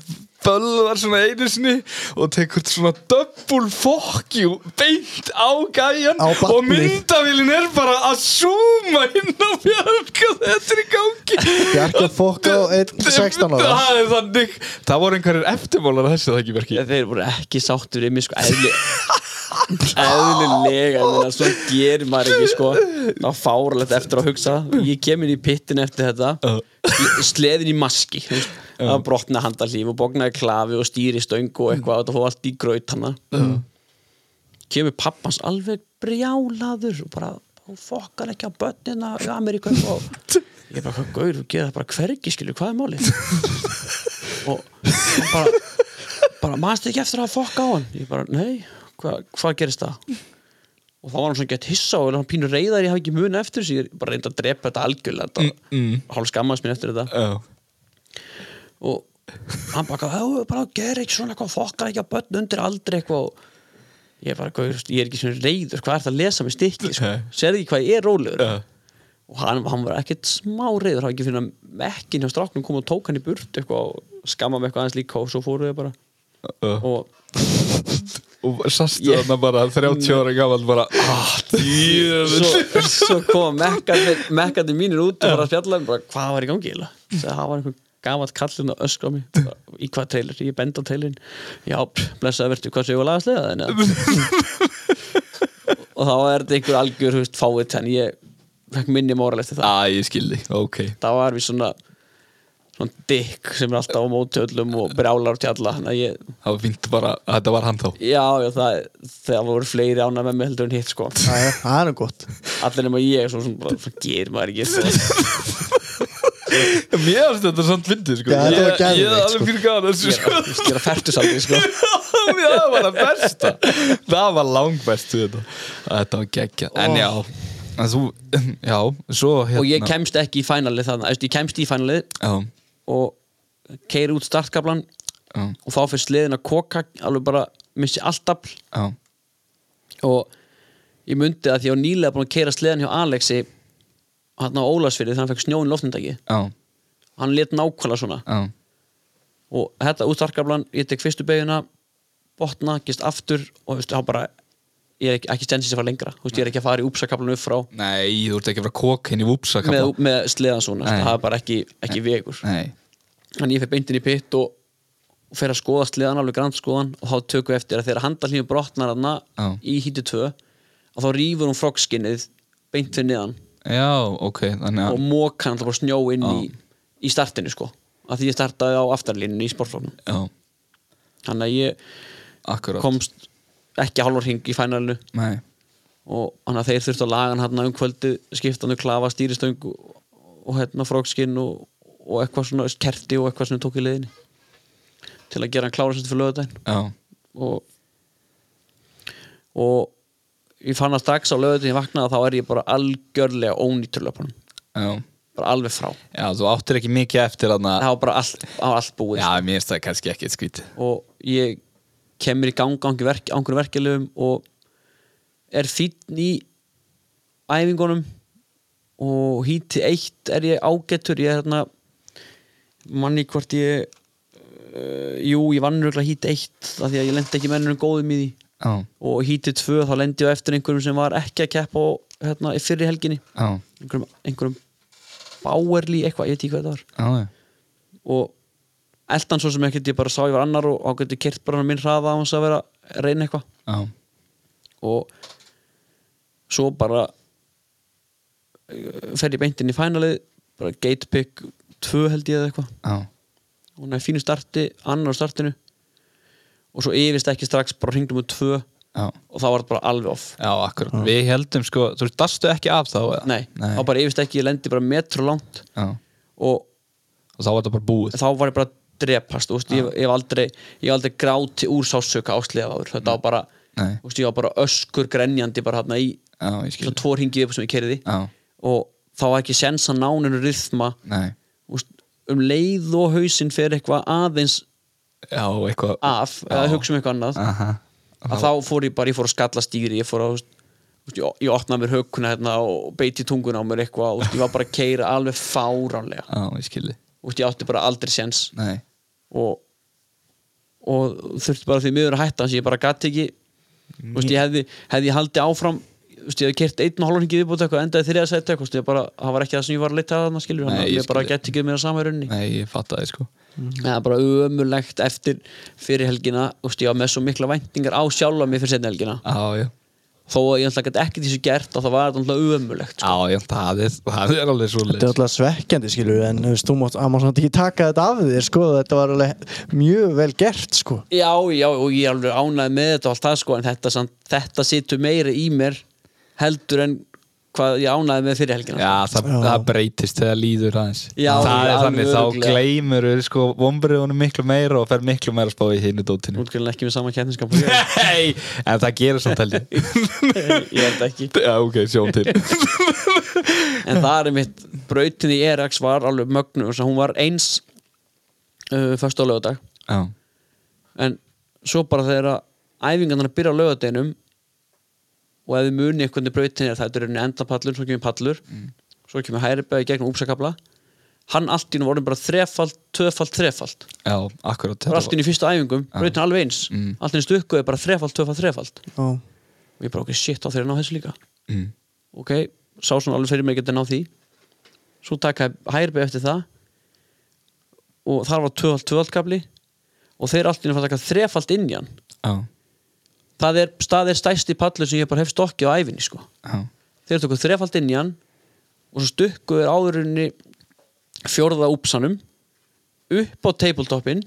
B: Böllar svona einu sinni Og tekur svona double fuck you Beint á gæjan
A: Á barnið.
B: Og myndavélin er bara að zooma inn á Bjarka Þetta er í gangi
A: Bjarki að fokka á einn 16 ára.
B: Það er þannig Það voru einhverjir eftirmálar að þessu það ekki Bjarki
C: þeir voru ekki sáttur í mig sko eðli eðlilega, ég meina, svo gerir maður ekki sko, þá fáralegt eftir að hugsa ég kem inn í pittin eftir þetta
B: Já.
C: sle- sleðin í maski þú veist. það brotnaði handalíf og bognaði klafi og stýri stöngu og eitthvað og það fóð allt í graut hana kemur pappans alveg brjálaður og bara, hún fokkar ekki á börnina í Ameríku og ég bara, hvað gaur, þú gerir það bara hvergi skilur, hvað er málið og hann bara bara, manstu ekki eftir að fokka á hann ég bara, nei, hva, hvað gerist það og þá var hann svona gett hissa og hann pínur reyðar, ég hafi ekki muna eftir þessu ég bara reyndi að drepa þetta algjörlega þetta, mm, mm. hálf skammaðist mín eftir þetta
B: Já,
C: og hann bara, "Já, bara gera ekki svona eitthvað fokkar ekki á börn undir aldrei eitthvað og ég er bara, "Gaur, ég er ekki svona reyður hvað er það að lesa með stikki sko?
B: Nei.
C: serði ekki hvað ég er rólegur
B: Já.
C: og hann, hann var ekkert smá reyður hann var ekki finna mekkin hjá stráknum kom og tók hann í burt eitthvað og skamma mig eitthvað aðeins líka og svo fóruðu þau bara
B: og,
C: og
B: og sastu
C: Ég-
B: þarna bara 30 ára gammal bara ah, djöfull."
C: svo, svo kom mekkarnir, mekkarnir mínir út og var að spjalla um bara, hvað var í gangi eiginlega Sagði, það var einhver gamall kallinn að öskra á mig Bara, í hvað trailer, ég benda á trailerin já, blessaði verður, hvað séu að laga sleða þenni og þá er þetta einhver algjör þú veist, fáið tenn, ég fekk minni móralist það,
B: Æ, "Ah, ég skildi, ok
C: það var við svona svona dikk sem er alltaf á móti öllum og brjálar til alla þannig að ég,
B: Það var fínt bara, þetta var hann þá
C: já, já, það það voru fleiri ána með mig heldur en hitt sko
A: Það er- það er nú gott
C: allir nema ég, svo svona, bara, hvað gerir maður ekki svo
B: Mér finnst þetta samt fyndið sko
A: Já, þetta var
B: Ég- Ég
A: geðveikt,
B: er alveg fyrir gana þessu
C: Ég er
B: sko
C: að- ég er að færtu saldið sko
B: Já, það var það besta Það var langbestu þetta Þetta var geggja En já, en þú, já, svo hérna
C: og ég kemst ekki í fænalið þannig Æst, ég kemst í fænalið
B: Já,
C: og keiri út startkablan
B: já,
C: og þá fyrir sliðin að koka alveg bara missi alltaf
B: já
C: og ég myndi að því ég var nýlega búin að keira sliðin hjá Alexi hann á Ólasfyrði þannig að hann fekk snjóin loftindagi
B: Já,
C: hann let nákvæmlega svona
B: já,
C: og þetta út startkablan, ég tek fyrstu beiguna botna, gist aftur og þú veist, þá bara ég er ekki, ekki stensið sem fara lengra, þú veist, ég er ekki að fara í úpsakablan upp frá
B: nei, þú ert ekki að vera kók henni í vúpsa
C: með, með sliðan svona,
B: Nei.
C: það er bara ekki, ekki vegur
B: Nei,
C: Þannig ég fyrir beintin í pitt og, og fer að skoða sliðan alveg grann skoðan og þá tökum við eftir að þegar handalínu brotnar hana
B: Já.
C: í hítu 2 og þá rýfur hún froggskinnið beint fyrir niðan
B: já, ok Þannig
C: og
B: að,
C: móka hann alltaf bara snjó inn í,
B: Já.
C: í startinu sko að því ég startaði á aftarlínunni í sportflóknum
B: já,
C: þannig að ég
B: akkurat
C: komst ekki hálfur hring í fænalinu
B: Nei,
C: og þannig að þeir þurftu að laga hann hann um kvöldi skiptanu klafa stýristöng og, og hérna froggskinn og, og eitthvað svona kerti og eitthvað sem þau tók í leiðinni til að gera hann klára sér fyrir lögadaginn
B: já,
C: og og ég fann það strax á lögðu þegar ég vaknaði að þá er ég bara algjörlega ónýtur löpunum
B: já
C: bara alveg frá,
B: Já, þú áttir ekki mikið eftir þarna
C: það var bara allt, það var allt búið
B: Já, mér finnst það kannski ekki skrítið
C: og ég kemur í gang á einhver verk, einhverjum verkefliðum og er fínn í æfingunum og híti eitt er ég ágættur ég er hérna manni hvort ég uh, jú, ég vann röglega híti eitt af því að ég lendi ekki mennunum góðum í því
B: Já,
C: og hítið tvö þá lendi ég á eftir einhverjum sem var ekki að keppa á, hérna, í fyrri helginni
B: já,
C: einhverjum, einhverjum báerli eitthvað, ég veit ekki hvað þetta var
B: já, já
C: og eldan svo sem ekkert ég bara sá ég var annar og ágætti kert bara hann minn hraða á hans að vera að reyna eitthvað
B: Já,
C: og svo bara eh, fer ég beint inn í fænalið bara gatepick 2 held ég eða eitthvað
B: já,
C: og hann er fínu starti, annar á startinu og svo yfirst ekki strax bara hringdum um 2 og
B: já
C: það var bara alveg off
B: Já, akkurat, við heldum sko, þú veist, dastu ekki af þá eða?
C: Nei,
B: Nei.
C: þá bara yfirst ekki, ég lendi bara metru langt
B: Já,
C: og
B: og þá var þetta bara búið
C: þá var ég bara að drepast, þú veist,
B: Ah.
C: ég, ég hef aldrei ég hef aldrei gráti úr sásöka áslega áður, þetta var bara,
B: Nei.
C: þú veist, ég var bara öskur grenjandi bara hérna í
B: Já, ég skil
C: svona tvo ringið upp sem ég kerði
B: Já.
C: og þá var ekki sens að náninu rithma,
B: Nei,
C: þú veist, um leið og hausinn fer eitthvað aðeins
B: já, eitthvað
C: af, eða hugsa um eitthvað annað
B: Aha,
C: að þá fór ég bara, ég fór að skalla stýri ég fór að, þú veist, þú veist, ég- ég opnaði mér hökuna hérna og beiti tunguna á mér eitthvað og þú veist, ég var bara að keira alveg fáránlega
B: já, ég skildi
C: Þú veist, ég átti bara aldrei séns
B: Nei,
C: og, og þurfti bara því miður að hætta þannig ég bara gati ekki Þú veist, ég hefði, hefði ég haldið áfram þú veist, ég hefði kert einn og hálfningi viðbútt eitthvað endaði þriða sæti eitthvað, þú veist, ég bara, það var ekki það sem ég var að leita að þarna skilur, þannig
B: Nei,
C: að
B: ég
C: ég bara
B: skil.
C: geti ekki mér að sama í rauninni
B: nei, ég fatt að þið sko
C: það er bara ömulegt eftir fyrir helgina, þú veist, ég var með svo mikla væntingar á sjálfa mig fyrir setni helgina
B: Já, já,
C: þó að ég ætla ekki ekki þessu gert og það var þetta sko. alltaf ömulegt
B: já, já, það er, það er alveg svo
A: Þetta er alltaf svekkjandi skilur en þú veist, þú mátt, að maður samt ekki taka þetta af þér sko, þetta var alveg mjög vel gert sko.
C: já, já, og ég er alveg ánæði með þetta og allt það sko, en þetta, samt, þetta situr meira í mér heldur en hvað ég ánæði með fyrir helgina
B: Já, það,
A: Já.
B: það breytist þegar líður aðeins
C: Já,
B: Það er
C: alveg
B: þannig, þá
C: örugglega.
B: gleymur sko, vombriðunum miklu meira og fer miklu meira að spá í hinu dótinu
C: útgjörlega ekki með sama kætninskap
B: Nei, en það gerir samt held ég
C: ég held ekki
B: Já, ok, sjáum til
C: en það er mitt, brautin í Erax var alveg mögnu og hún var eins uh, föstu á lögadag
B: já,
C: en svo bara þegar að æfingarnar byrja á lögadeginum og ef við muni eitthvað hvernig brautin er þetta er einu endapallur, svo kemur pallur
B: Mm.
C: svo kemur hægri bæði gegnum úpsakabla hann allt í nú vorum bara þrefald, tvöfald, þrefald
B: já, akkurat
C: það var allt í nú í fyrstu æfingum,
B: Já.
C: brautin alveg eins
B: Mm.
C: allt í nú stukkuði bara þrefald, tvöfald, þrefald
A: já,
C: og ég bara okkur shit á þeirra að ná þessu líka
B: mm,
C: ok, sá svona alveg fyrir mig að geta náð því svo taka hærbi eftir það og þar var tvöfald tvöfald kapli og þeir allt í náttúrulega taka þrefald inn í hann
B: já,
C: það er, það er stæsti pallur sem ég bara hef stokkið á æfinni sko.
B: já,
C: þeir tóku þrefald inn í hann og svo stukku er áðurinni fjórða úpsanum upp á tabletopin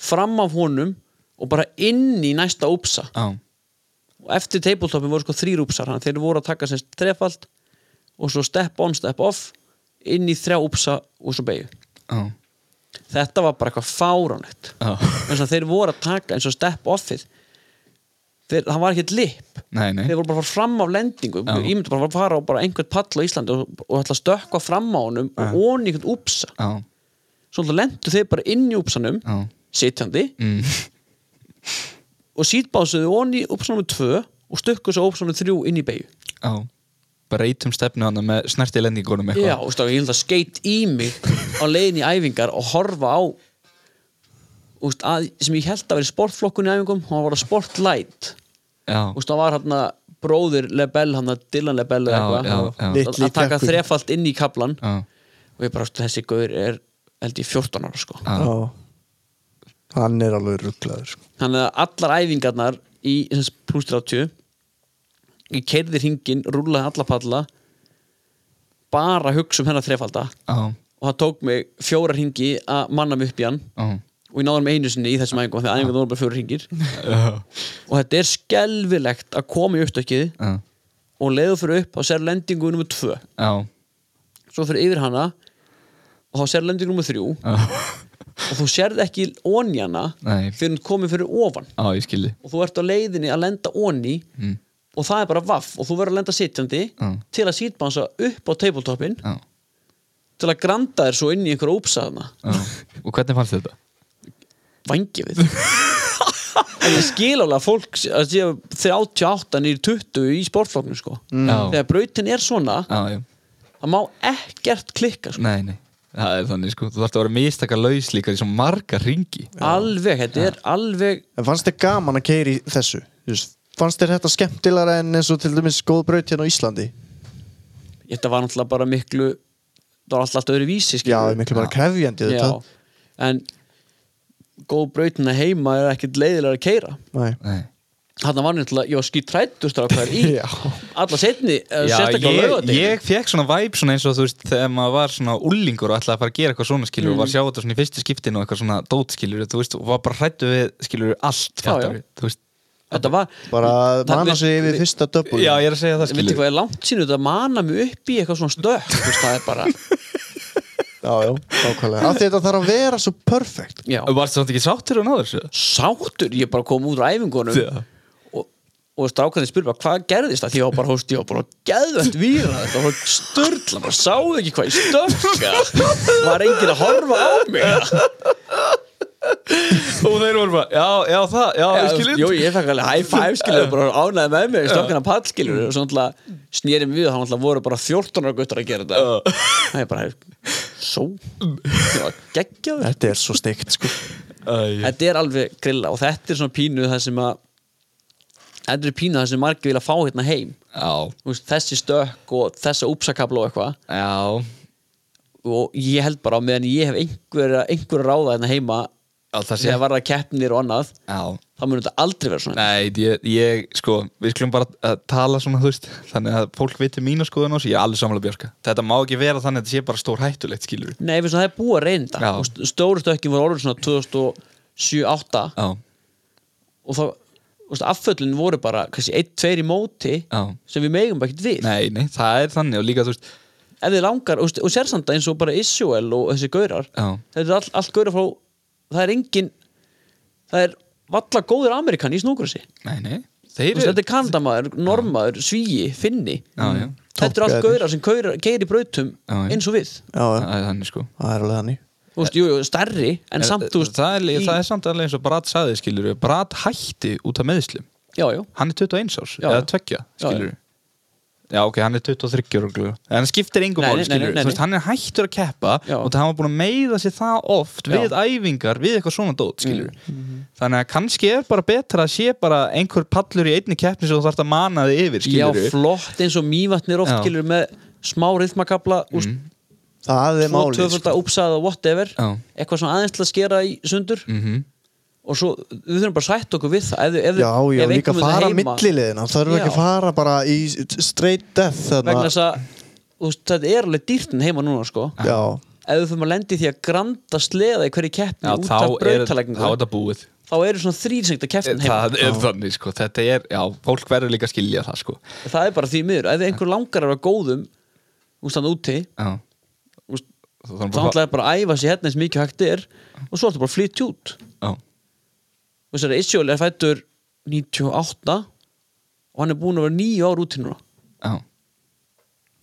C: fram af honum og bara inn í næsta úpsa
B: já,
C: og eftir tabletopin voru sko þrýr úpsar þannig að þeir voru að taka semst þrefald og svo step on, step off inn í þrjá úpsa og svo beigju
B: já,
C: þetta var bara eitthvað fáránlegt
B: já
C: eins og þeir voru að taka eins og step offið þeir, það var ekkert lip
B: nei, nei,
C: þeir voru bara að fara fram á lendingu
B: Já.
C: ég myndi bara að fara á bara einhvern pall á Íslandi og, og ætla að stökkva fram á honum og onni einhvern úpsa
B: já,
C: svo lendu þeir bara inn í úpsanum
B: já
C: sitjandi
B: mm,
C: og sítbásuðu onni úpsanum 2 og stökkuðu svo úpsanum 3 inn í beigju
B: já, bara eitum stefnu hann með snerti lendingunum eitthvað
C: Já, úst, ég held að skeit í mig á leiðin í æfingar og horfa á úst, að, sem ég held að vera sportflokkun í æfingum og það var að sportlight
B: já,
C: úst, það var hann bróðir Lebel, hann að Dylan Lebel eða
B: Já,
C: eitthvað,
B: já, já.
C: að-
A: Litli
C: að taka
A: kjakkur.
C: þrefalt inn í kaplan
B: já,
C: og ég bara, úst, þessi gaur er held ég 14 ára sko
B: Já.
A: já hann er alveg rugglaður sko.
C: þannig að allar æfingarnar í pluss 30 ég keirði hringin, rúlaði alla palla bara að hugsa um hennar þrefalda
B: já,
C: og það tók mig fjóra hringi að manna mig upp í hann
B: já
C: og ég náði hann einu sinni í þessum æfingum þegar æfingum voru bara fjóra hringir
B: Já,
C: og þetta er skelvilegt að koma í upptökið
B: já,
C: og leiðu fyrir upp og sér lendingu nummer 2
B: já,
C: svo fyrir yfir hana og þá sér lendingu nummer 3
B: já,
C: og þú sérð ekki onni hana
B: Nei.
C: fyrir hún komið fyrir ofan
B: já, ég skilji
C: og þú ert á leiðinni að lenda onni
B: Mm.
C: og það er bara vaff og þú verður að lenda sitjandi
B: Já.
C: til að sítbansa upp á tabletopin
B: Já,
C: til að granda þér svo inn í einhverja úpsaðna
B: já, og hvernig fannst þetta?
C: vangi við en ég skil alveg að fólk sé- að sé 38 nýr 20 í sportfloknum sko
A: Mm.
B: Já,
C: þegar brautin er svona
B: já, já,
C: það má ekkert klikka sko.
B: nei, nei Það er þannig sko, þú þarfst að vera mistaka laus líka í svo marga ringi
C: alveg, þetta er alveg
A: en fannst þér gaman að keiri þessu Just, fannst þér þetta skemmtilega en eins og til dæmis góð braut hérna á Íslandi
C: þetta var náttúrulega bara miklu það var alltaf allt öðru vísi
A: já, það er miklu bara krefjandi þetta
C: en góð brautina heima er ekkert leiðilega að keira
A: Nei.
B: Nei
C: þarna var náttúrulega, ég var skýt trættustrákar í
A: Já.
C: alla setni,
B: Eh,
C: sérstaklega
B: ég,
C: lögadegin
B: ég fekk svona væp svona eins og þú veist þegar maður var svona ullingur og ætlaði að fara að gera eitthvað svona skilur og var að sjá þetta svona í fyrstu skiptinu og eitthvað svona dót skilur þú veist og var bara hrættu við skilur allt
C: Já, já.
B: fattar við, þú veist
C: þetta var
A: bara að
C: Það-
A: manna
C: við-
A: sig yfir
C: við-
A: fyrsta döpul
B: Já ég er að segja það
C: Ég veit ekki
B: skilur
C: hvað er langt sínu þetta að mana mig upp í eitthvað svona stökk þú veist, það er bara,
A: já, já, nákvæmlega af því þetta þarf að vera svo perfect
C: já,
B: Varst það ekki sáttur og náður þessu?
C: sáttur ég bara kom út úr æfingunum
B: Já.
C: og, og strákarnir spurði bara hvað gerðist það því ég var bara, hóst, ég var bara geðvægt víra þetta var störla, bara sáðu ekki hvað ég stökka var enginn að horfa á mig já,
B: Og þeir voru bara, já, já það, já, já
C: þú veist,
B: skilur
C: jú, ég fekk alveg high five skilur bara ánæði með mig, stökkana pall skilur og svo náttúrulega snýrið mig við og þá náttúrulega voru bara 14 ára guttar að gera þetta það er bara, svo ég var geggjaður
A: þetta er svo steikt sko
B: Æ,
C: þetta er alveg grilla og þetta er svona pínu það sem að þetta er pínu það sem margir vilja fá hérna heim
B: Já,
C: Þú veist, þessi stökk og þessa úpsakabla og eitthvað
B: já
C: og ég held bara á meðan ég hef einhverja einhverja ráða hérna heima
B: Já, það sé
C: þegar var það keppnir og annað
B: Já,
C: þá munur þetta aldrei vera svona
B: nei, ég, ég, sko Við skulum bara uh, tala svona, þú veist Þannig að fólk viti mína skoðun á þessu Ég er alveg samlega björska Þetta má ekki vera þannig að þetta sé bara stór hættulegt, skilur
C: Nei, við svona það er búið að reynda
B: Já.
C: og stóru stökkin voru orðin svona 2007-2008
B: Já,
C: og þá þú veist, afföllin voru bara kannski 1-2 í móti
B: Já.
C: sem við megum bara ekkert við
B: nei, nei, það er þannig Og líka, þú veist,
C: ef þið langar og, og sérsanda eins og bara Israel og þessi gaurar
B: Já.
C: þetta er all, allt gaurar frá það er engin það er valla góður Amerikan í snúkursi
B: nei, nei Þeir
C: þetta
B: eru
C: er kandamaður, normaður, svíi, finni
B: Já, já,
C: þetta er allt
A: Toppgaurar.
C: gaurar sem gaurar, geir í brautum
B: Já, já.
C: eins og við
A: já, já,
B: það er þannig, sko Eh,
A: það er alveg þannig
C: Þú veist, jú, jú, stærri, en samt, þú veist
B: það, er,
C: í-
B: það er samt alveg eins og Brad saði skilur við Brad hætti út af meðslum
C: Já, já,
B: hann er 21 árs,
C: Já,
B: eða
C: já.
B: 2
C: Já,
B: skilur við Já, ok, hann er 23 öruglu. En hann skiptir engum
C: Nei,
B: máli,
C: nei, nei,
B: skilur
C: nei,
B: við. Þú veist,
C: nei.
B: hann er hættur að keppa
C: Já.
B: og það hafa búin að meiða sér það oft
C: Já. Mm, mhm.
B: við æfingar, við eitthvað svona dót, skilur við. Þannig að kannski er bara betra að sé bara einhver pallur í einni keppni sem þú þarft að mana þig yfir,
C: já,
B: skilur við.
C: flott eins og mývatnir oft,
B: Já. Mm.
C: skilur með smá rithmakabla úr
A: það er
C: tvo
A: málið
C: tvöfölda
A: sko.
C: uppsæða whatever
B: Já.
C: eitthvað svona aðeins til að skera í sundur
B: Mhm.
C: og svo við þurfum bara að sætta okkur við það ef, ef,
A: já, já,
C: ef
A: líka
C: einhver mun
A: fara
C: heima-
A: millilegina það eru ekki
C: Já.
A: að fara bara í straight death þarna.
C: vegna þess að þú veist, þetta er alveg dýrt en heima núna sko
A: já,
C: ef við fyrir að lendi því að granda sleða í hverju keppni
B: Já,
C: út
B: þá
C: af
B: er þá er
C: brautalegningu
B: þetta búið.
C: þá eru svona þrýrsengta keppnin heima
B: Það er þannig, sko. Þetta er, já, fólk verður líka að skilja það, sko.
C: það er bara því miður, ef einhver langar að vera góðum úst hann úti
B: Já.
C: úst,
B: Þú þarf
C: þá
B: bara-
C: ætlaði bara að æfa sér hérna eins mikið hægt er og svo ertu bara að flytja út
B: Já.
C: og þess að Isjóli er fættur 98 og hann er búin að vera nýju ár úti núna
B: Já,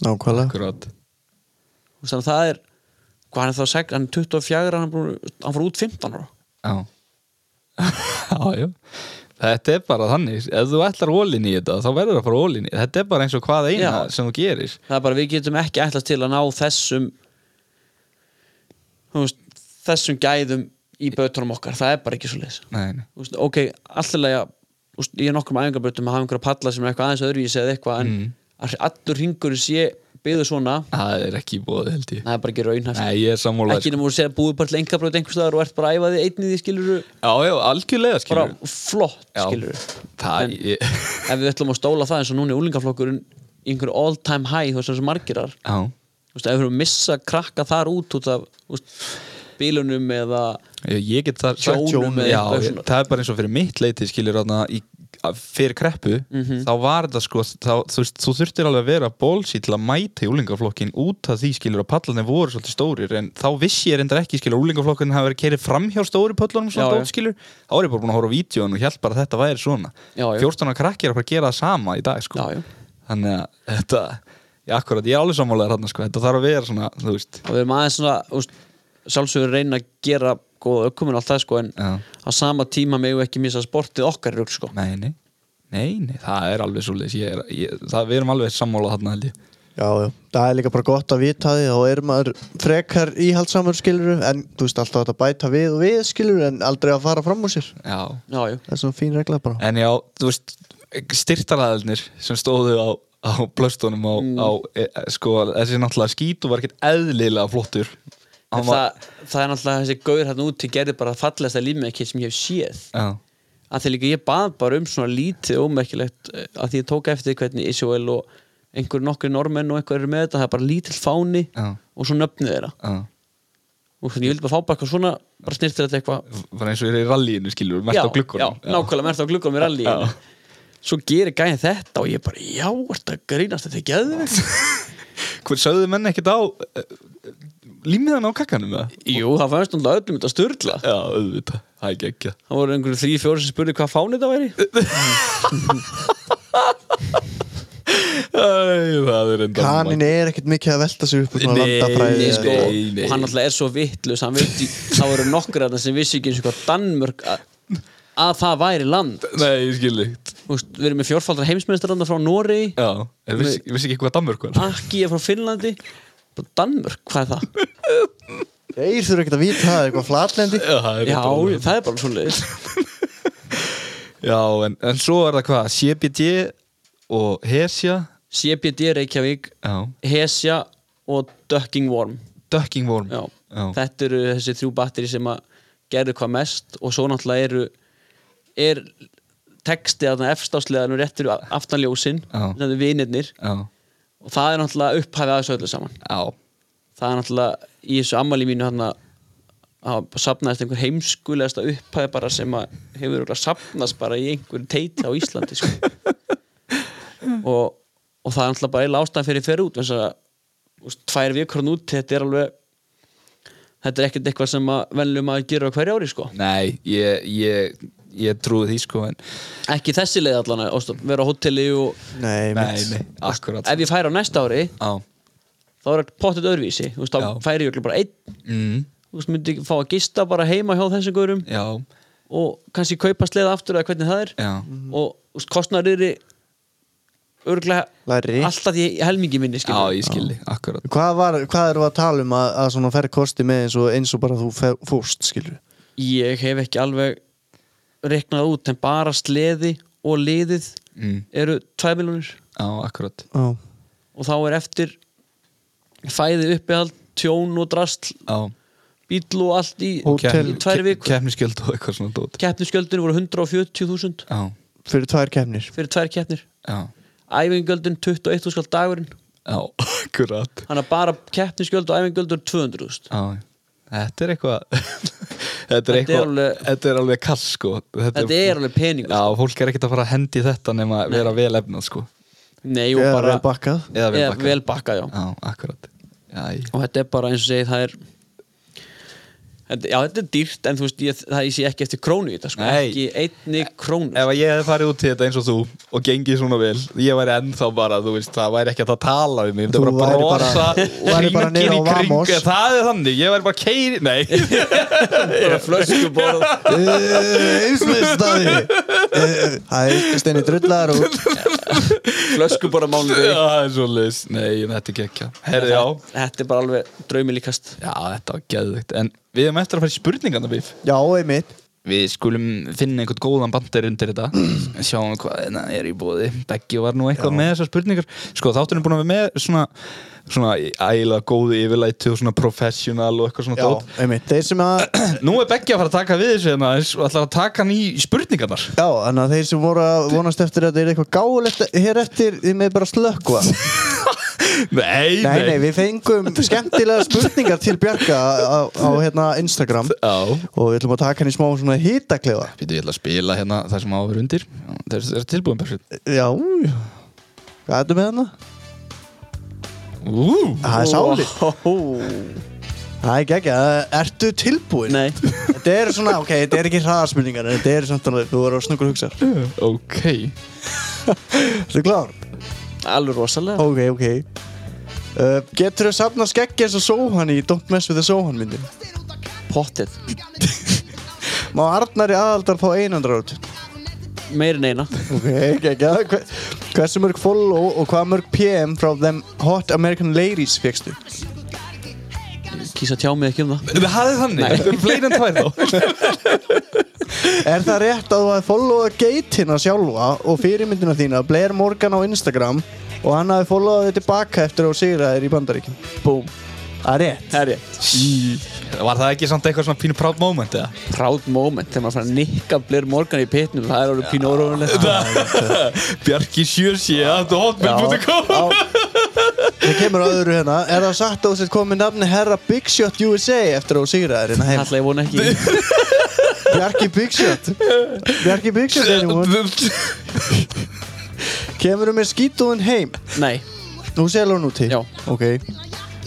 A: nákvæmlega
B: akkurat.
C: Þú veist, þannig að það er hvað hann er þá sagt, hann er 24 hann, er búinn- hann fór út 15 ára
B: Já Já, já Þetta er bara þannig, ef þú ætlar ólinn í þetta þá verður það bara ólinn í þetta Þetta er bara eins og hvað eina
C: Já.
B: sem þú gerir
C: það er bara við getum ekki ætlast til að ná þessum þú veist, þessum gæðum í bötunum okkar, það er bara ekki svo leis
B: Nei, nei.
C: veist, ok, allirlega veist, ég er nokkrum æfingarbötum að hafa einhverja palla sem er eitthvað aðeins öðruvísi eða eitthvað en
B: Mm.
C: að allur ringurinn sé byggður svona
B: það er ekki búið held ég
C: það er bara ekki raunhæft
B: Nei, ég er sammála
C: ekki nema þú sé að búið bara til engabröð einhvers staðar og ert bara að æfa þig einnig því skiluru
B: Já, já, algjörlega
C: bara
B: skilur
C: flott
B: Já.
C: skiluru
B: Það,
C: En-
B: ég
C: ef við ætlum að stóla það eins og núna er úlingaflokkurinn í einhverju all time high þú veist þessu margirar
B: Já,
C: þú veist, ef við höfum missa krakka þar út út af þú veist, bílunum eða
B: ég ég get það
C: Tjónum eða
B: Já,
C: eitthvað
B: ég,
C: svona.
B: það er bara eins og fyrir mitt leiti skilur þarna í- að- fyrir kreppu
C: Mhm.
B: þá var þetta sko þá, þú, veist, þú þurftir alveg að vera bólsi til að mæta í úlingaflokkin út af því skilur að pallarnir voru svolítið stórir en þá vissi ég reyndar ekki skilur að úlingaflokkin hafi verið kerið fram hjá stóri pöllunum
C: Já, já.
B: svona dót skilur þá er ég bara búin að horfa á vídjón og held bara að þetta væri svona
C: Já, já.
B: 14 ára krakki er að fara að gera það sama í dag sko
C: Já, já.
B: þannig að þetta Já, akkurat, ég er alveg sammálaður þarna sko, þetta þarf að vera svona, þú veist,
C: og við erum aðeins svona þú veist, sjálfsögur reyna að gera góða ökumun allt það sko en
B: Já.
C: á sama tíma megum við ekki missa sportið okkar rugg sko
B: Nei, nei, nei, nei það er alveg svolítið ég er, ég, það, Við erum alveg sammála þarna held ég
A: já, já, það er líka bara gott að vita því þá er maður frekar íhaldsamur skiluru en þú veist alltaf að bæta við og við skiluru en aldrei að fara fram úr sér
B: Já,
C: já, já,
A: það er svona fín regla bara
B: en já, þú veist styrtaraðalnir sem stóðu á, á blöstunum á, á e, e, sko, þessi náttúrulega skít og var ekkert eðlilega flottur
C: það,
B: Hann var,
C: það er náttúrulega þessi gaur hérna úti gerði bara fallegasta límekið sem ég hef séð
B: já,
C: að því líka ég bað bara um svona lítið ómerkilegt eh, að því ég tók eftir hvernig Isjóel og einhver nokkur normenn og einhver eru með þetta, það er bara lítill fáni
B: Já.
C: og svo nöfnið þeirra
B: já
C: og þannig ég vildi bara fá bara eitthvað svona bara snirtir þetta eitthvað
B: var eins og er í rallíinu skilur mert
C: já,
B: á glukkunum
C: já, nákvæmlega mert á glukkunum í rally
B: Já.
C: svo gerir gæðin þetta og ég bara já, ertu að grínast þetta er geðvegt
B: hver sögðu menn ekkert á e, límiðan á kakkanum eða?
C: jú, það fannst náttúrulega öllum þetta styrla
B: já, auðvitað, það er ekki ekki
C: það voru einhverju þrý fjóri sem spurði hvað fáni þetta væri
B: það er enda
A: kanin er ekkert mikið að velta sig upp úr svona
B: Nei,
A: landafræði
B: nei,
A: eða-
C: sko,
B: nei, nei.
C: og hann alltaf er svo vittlus það voru nokkur að það sem vissi ekki eins og hvað Danmörk að, að það væri land
B: nei, ég skil eitt
C: Þú veist, við erum með fjórfaldra heimsmeistaranda frá Noregi
B: já, ég vissi, ég vissi ekki hvað Danmörk var
C: Akki er frá Finnlandi Bara Danmörk, hvað er það?
A: þeir þurfa ekkert að vita það er eitthvað flatlendi
B: já, það er
C: Já,
B: enda-
C: það er bara svoleiðis
B: Já, en, en svo er það hvað, CBD og Hesja
C: CBD Reykjavík
B: Já,
C: Hesja og Ducking Worm
B: Ducking Worm
C: já.
B: Já.
C: þetta eru þessi þrjú batteri sem að gerðu hvað mest og svo náttúrulega eru er texti að það efstásleðan og réttur aftanljósin,
B: Já.
C: þetta er vinirnir
B: Já,
C: og það er náttúrulega upphæfið aðeins öllu saman
B: já,
C: það er náttúrulega í þessu ammali mínu hann að að sapnaðist einhver heimskulegasta upphæði bara sem að hefur örugglega sapnast bara í einhverju teiti á Íslandi sko. og, og það er náttúrulega bara eila ástæðan fyrir fyrir út þess að þú veist, tvær vikur hann út þetta er alveg þetta er ekkert eitthvað sem að venlum að gera á hverju ári sko.
B: nei, ég, ég, ég trúi því sko en
C: ekki þessi leið allan að óst, vera á hóteli og
A: nei,
B: Nei,
A: mitt.
B: nei, akkurat
C: ef ég færi á næsta ári
B: Já,
C: þá er þetta pottet öðruvísi Þú veist,
B: Já.
C: þá færi ég örugglega bara einn
B: mm,
C: þú veist, myndi fá að gista bara heima hjá þessum gaurum
B: já,
C: og kannski kaupa sleða aftur eða hvernig það er
B: já
C: og þú veist, kostnaður er örglega
A: Læri
C: alltaf í helmingi minni
B: Já,
C: skilur.
B: ég skilji, akkurat
A: Hvað, var, hvað erum við að tala um að, að svona fer kosti með eins og, eins og bara þú fer, fórst, skilur
C: ég hef ekki alveg reiknað út en bara sleði og liðið
B: mm.
C: eru 2 miljonir
B: Já, akkurat
A: Já,
C: og þá er eftir fæði uppehald, tjón og drastl
B: Já,
C: bíl og allt í
A: Hótel.
C: í tvær vikur
B: Kefniskjöld og eitthvað svona dót
C: keppnisgjöldin voru 140.000
B: Já,
A: fyrir tvær kefnir
C: fyrir tvær keppnir
B: já,
C: æfingöldin 21.000 skall dagurinn
B: já, akkurat
C: þannig að bara keppnisgjöld og æfingöldur 200.000
B: Já, þetta er eitthvað Þetta
C: Þetta
B: er
C: er
B: eitthvað
C: alveg-
B: Þetta er alveg kall, sko
C: þetta er alveg peningur sko.
B: Já, fólk er ekkert að fara að hendi í þetta nema að vera vel efnað, sko
C: Nei, og
A: Eða
C: bara
A: vel bakkað
B: Eða vel
C: eða
B: bakkað.
C: vel bakka, já
B: Já, akkurat Já, í-
C: og þetta er bara eins og segið það er þetta, já þetta er dýrt en þú veist ég, það ég sé ekki eftir krónu í þetta sko,
B: Nei.
C: ekki einni krónu
B: Ef að ég hefði farið út í þetta eins og þú og gengið svona vel, ég væri ennþá bara, þú veist, það væri ekki hægt að tala við mig, ég
A: Þú
B: myndi bara
A: væri bara-
B: brosa,
A: þú væri bara
B: hringir
A: niður
B: í
A: á Vamos.
B: kring, það er þannig, ég væri bara keiri, nei,
C: bara flöskuborð
A: Eh, Íslistaði Það er steini drullar og
C: flöskuborð mánuði
B: Já, það er svo leis, nei, en þetta er gekkja. Herri, já,
C: þetta er bara alveg draumi líkast
B: já, þetta var geðvögt, en við erum eftir að fara í spurningarna, Bif.
A: Já, einmitt
B: Við skulum finna einhvern góðan bandir undir þetta Sjáum hvað hérna er í bóði Beggi var nú eitthvað með þessar spurningar Sko þátturinn er búin að vera með svona Svona ægilega góðu yfirlæti og svona professional og eitthvað svona
A: Já,
B: dót
A: einmitt Þeir sem að
B: Nú er Beggi að fara að taka við þessu hérna aðeins Og ætlar að taka hann í spurningarnar
A: Já, þannig að þeir sem voru að vonast eftir að þetta er eitthvað gáulegt hér eftir, þið með bara slökva
B: Nei,
A: Nei, nei, við fengum skemmtilega spurningar til Bjarka á, á hérna Instagram
B: Já
A: og við ætlum að taka hann í smá svona hýtaklefa
B: Býtu, ég ætla að spila hérna það sem á að vera undir Já, Það er- það er tilbúin Bergsveinn.
A: Já, hvað er þetta með hana?
B: Ú,
A: Það er sálið
C: sálið
A: Það er ekki, ertu tilbúin?
C: Nei.
A: Þetta er svona, ok, þetta er ekki hraðarspurningar en þetta er samt alveg, þú voru að snuggur hugsa
B: Ok
A: Ertu klár?
C: alveg rosalega
A: Ok, ok uh, Getur þau safna skeggi eins og Sóhan í Don't Mess With The Sóhan myndi?
C: pottið
A: Má Arnari aðaldar fá einandra út?
C: meir en eina
A: Ok, ekki, ekki Hversu mörg follow og hvað mörg PM frá Them Hot American Ladies fegstu?
C: kýsa tjá mig ekki um það
B: Það er þannig, þetta er fleiri en tvær þá
A: Er það rétt að þú hafi followað geitina sjálfa og fyrirmyndina þína Blair Morgan á Instagram og hann hafi followað þig tilbaka eftir að þú sigraðir í bandaríkjum?
C: búm
A: Það er rétt
C: það er ég
B: Var það ekki samt eitthvað svona pínu proud moment eða?
C: proud moment þegar maður fara að nikka Blair Morgan í pitnum það er alveg pínu óróðulegt
B: Bjarki Sjössi, þetta er hotmail.com
A: Það kemur á öðru hérna Er það satt að þú sett komið nafni herra Big Shot USA eftir að þú sigraðir hérna heim?
C: alltaf ég vona ekki
A: Bjarki Big Shot Bjarki Big Shot anyone Kemur með skítúðin heim?
C: nei
A: Nú selur hún úti?
C: Já.
A: Ok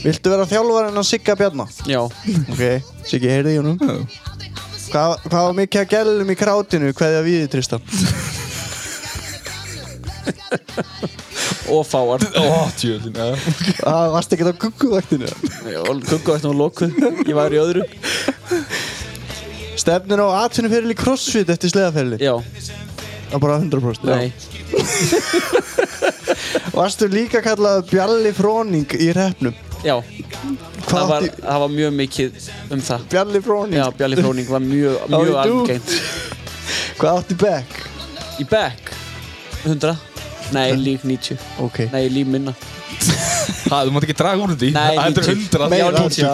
A: Viltu vera þjálfarinn að Sigga Bjarnar?
C: já
A: Ok, Siggi, heyrðu í honum Hvað hvað var mikið að gælum í krátinu Hverja við þið, Tristan?
C: og fáar
B: Ó, tjóðin
A: Það varst ekkert á kukkuvaktinu
C: kukka eftir hún lokuð ég var í öðru
A: Stefnir á atvinnum fyrir í crossfit eftir sleðaferli
C: já
A: Það bara 100%
C: nei
A: Varstu líka kallað Bjalli Fróning í repnum
C: já það
A: Hvað
C: var,
A: átti
C: það var mjög mikið um það
A: Bjalli Fróning?
C: Já, Bjarli Fróning var mjög,
A: Já,
C: mjög
A: í dú.
C: algengt
A: Hvað átti Beck?
C: Í back 100 Nei, lík 90
A: Ok
C: Nei, lík minna
B: Það, þú mátt ekki draga úr því
C: Nei,
B: Það er
C: 90.
B: 100
A: Meira,
C: Já, 90,
A: já.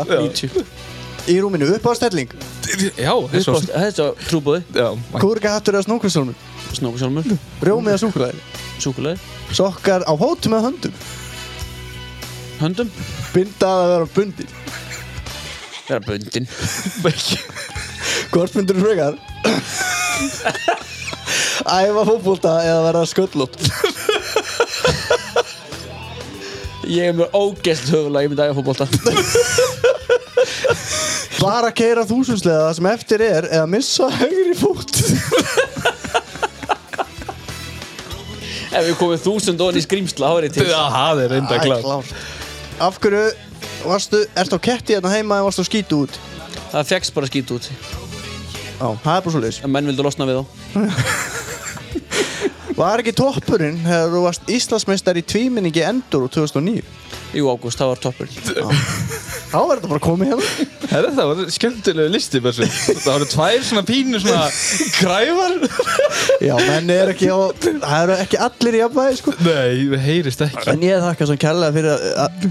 C: 90.
A: Í rúminu, upp á stelling
B: Já, það er svo
C: Uppást- Þetta er trúbóði
B: Já, mæ-
A: Kúrika hattur eða snókvistólmur
C: Snókusjálmur
A: Rjómið að súklaði
C: Súkulegði
A: Sokkar á hótum eða höndum
C: Höndum
A: Bindað að vera bundin
C: Vera bundin
A: Hvort myndur þú frekar? Æfa fótbolta eða verða sköllótt
C: Ég er með ógæst höfulega Ég myndi aðja fótbolta
A: Bara keira þúsundslega það sem eftir er eða missa högri fót
C: Ef við komum þúsund ofan í skrýmsla Það var ég til
B: Já, það er reynda
A: Æ,
B: klart
A: klárt. Af hverju varstu, ertu á ketti hérna heima eða varstu á skítu út?
C: það fegst bara skít út
A: Já, það er bara svo
C: en menn vildu losna við þá
A: Var ekki toppurinn þegar þú varst Íslandsmeistar í tvíminningi endur úr 2009?
C: í ágúst, það var toppur
A: Þá var þetta bara komið hérna
B: Herra, það var skemmtilegu listi Bessi. Það voru tvær svona pínu svona græfar
A: Já, menn er ekki á, það eru ekki allir í jafnvægi sko
B: Nei, við heyrist ekki
A: En ég þakka svo kærlega fyrir að, að,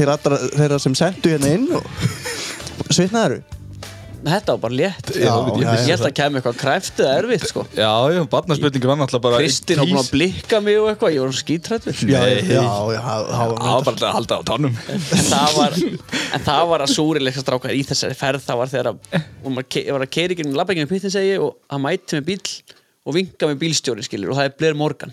A: til allra þeirra sem sendu hérna inn og svitnaðaru
C: þetta var bara létt
A: Já, já,
C: ég
A: já.
C: held að kemur eitthvað kræftið að erfitt sko
B: Já, já, barnaspurningin var náttúrulega bara
C: Kristinn var búin að blikka mig og eitthvað, ég var skítrætt við
A: Já,
B: Nei.
A: já, já, það það var
B: Það var bara að halda á tánum
C: en það var, en það var að súrileika strákar í þessari ferð það var þegar að, og maður ke- var að keiri gegnum labbækjum pittin segi ég, og hann mætti með bíl og vinka með bílstjóri skilur og það er Blair Morgan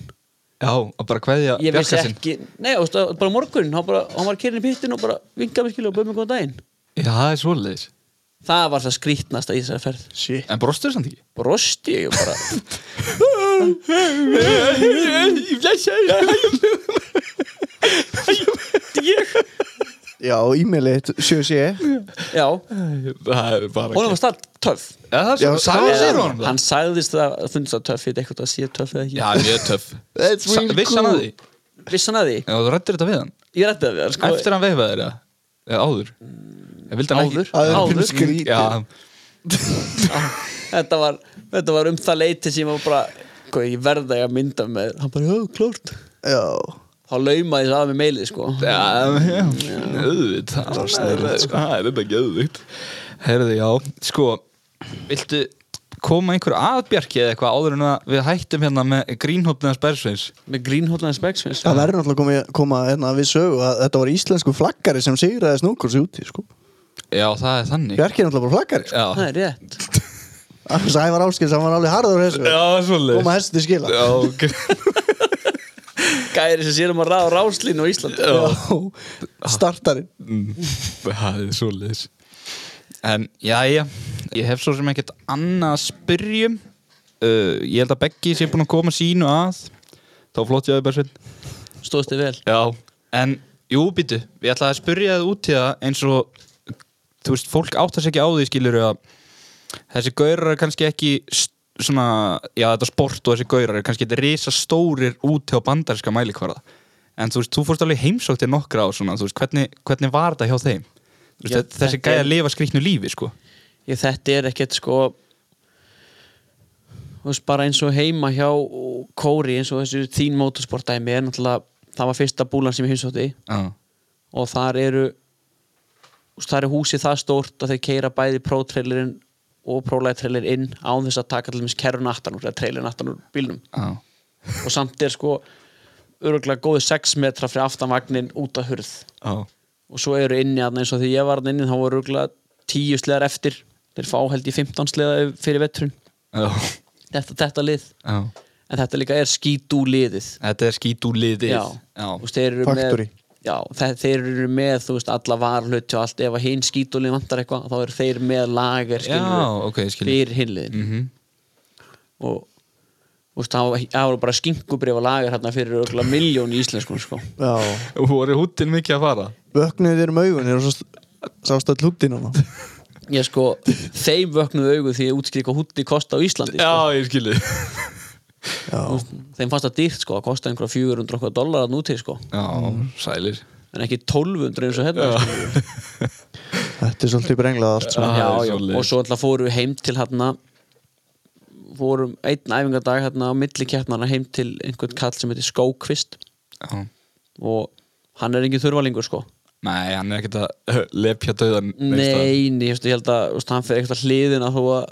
B: Já, að bara kveðja
C: ég vissi
B: Bjarka sinn.
C: ekki, nei, þú veist, það var bara morgun hann, bara, hann var að keira inn í pittin og bara vinka með skilur og bauð mig góðan daginn
B: Já, það er svoleiðis
C: það var það skrítnasta í þessari ferð
A: Shit
B: En brostur samt ekki
C: brosti ég bara
A: Já, e-mailið 7C
C: já,
B: Það er bara
C: honum var stað töff
B: Já, það er
A: Já,
B: svo Sæðan
A: það-
B: sér honum
C: hann,
B: það
C: sagðist það að fundist það töff ég veit eitthvað að sé töff eða ekki
B: Já, mjög töff
A: That's
B: Sa-
A: really
B: Vissi hann
A: cool.
B: að því?
C: vissi hann að því,
B: Já, þú rættir þetta við hann
C: ég rætti það við hann sko.
B: Eftir hann veifaði þér, já Eða áður Ég vildi hann ekki
C: Áður?
A: Það er
C: Áður?
A: pínu skrítið
B: Já,
C: þetta var, þetta var um það leiti sem ég var bara, hvað ég verða að mynda með, hann bara, já, klárt
A: Já
C: þá laumaði þess að með meilið, sko
B: já, já Auðvitað
A: sko.
B: Það er þetta ekki auðvitt Herði, já, sko Viltu koma einhverju að Bjarki eða eitthvað áður en að við hættum hérna með grínhópnina Spersveins
C: með grínhóllaðan speksvins
A: Það verður náttúrulega komið, koma hérna við sögu að þetta var íslensku flaggari sem sigraði snúkursi úti sko
B: Já, það er þannig
A: Bjarki er náttúrulega bara flaggari sko
C: það
B: Já,
C: er rétt
A: Annars ævar áskil sem var alveg harður á þessu
B: já svolítið
A: Koma hesti skila
B: Já, ok
C: gæri sem sérum að ráða ráslínu á Íslandi
A: Startarinn
B: Mm, Það er svolítið En jæja Ég hef svo sem ekkert annað að spyrjum uh, Ég held að Beggi sé búin að koma sínu að Þá flott ég að þið Bersveit
C: stóðst þið vel
B: Já, en jú, býtu Ég ætlaði að spyrja þið út í það eins og Þú veist, fólk áttar sér ekki á því skilur að Þessi gaurar er kannski ekki st- svona, já þetta sport og þessi gaurar er kannski risa stórir úti á bandarinska mælikvarða En þú veist, þú fórst alveg heimsótt þér nokkra á svona, þú veist, hvernig, hvernig var þetta hjá þeim? Þú Veist,
C: Já,
B: já, þessi
C: þetta
B: gæja
C: er-
B: lifa skrýtnu lífi, sko
C: ég, þetta er ekkert, sko þú veist, bara eins og heima hjá Kóri, eins og þessu þín motorsportdæmi er náttúrulega, það var fyrsta búlan sem ég hinsótti
B: Já,
C: og þar eru þú veist, þar er húsið það stórt að þeir keira bæði prótrailerinn og prólæðtrailer inn án þess að taka til þess kerfun aftan úr eða trailerin aftan úr bílnum
B: já,
C: og samt er sko öruglega góði 6 metra fyrir aftanvagnin út að hurð
B: já
C: og svo eru inni aðna eins og því ég var aðna inni þá voru öruglega 10 sleðar eftir þeir fá held í 15 sleða fyrir vetrun
B: Já,
C: þetta, þetta lið
B: já
C: en þetta líka er skítú liðið
B: Þetta er skítúliðið
C: já,
B: já,
C: Þú veist, þeir eru
A: Factory.
C: með Já, þe- þeir eru með, þú veist, alla varluti og allt, ef að hinn skítulinn vantar eitthvað þá eru þeir með lager
B: já
C: skilurðu,
B: ok, skilur
C: fyrir hinliðin mm -hmm. og þú veist, það var- það voru bara skinkubrifa lager hérna fyrir örugglega miljón í íslenskum sko.
A: Já
B: Voru húttin mikið að fara?
A: Vöknuðu þér um augunir og svo st- sást hérna. að hlutin hana
C: ég sko, þeim vöknuðu augu því ég útskriði hvað hútti kosta á Íslandi sko.
B: Já, ég skilur
A: Já,
C: þeim fannst það dýrt sko, það kosta einhverja 400 okkur dólar að núti sko,
B: Já, sælir
C: en ekki 1200 eins og hérna sko.
A: þetta er svolítið brenglað allt sko. saman.
B: Ah, það
C: já,
B: er
C: já,
B: svoleiðis.
C: og svo alltaf fórum við heim til hérna fórum einn æfingadag hérna á milli keppnarna heim til einhvern kall sem heitir Skókvist
B: Já.
C: og hann er engin þurfalingur sko
B: Nei, hann er ekkert að uh, lepja döðan
C: nei, nei, ég veist, ég held að þú veist, hann fer eitthvað hliðina þó að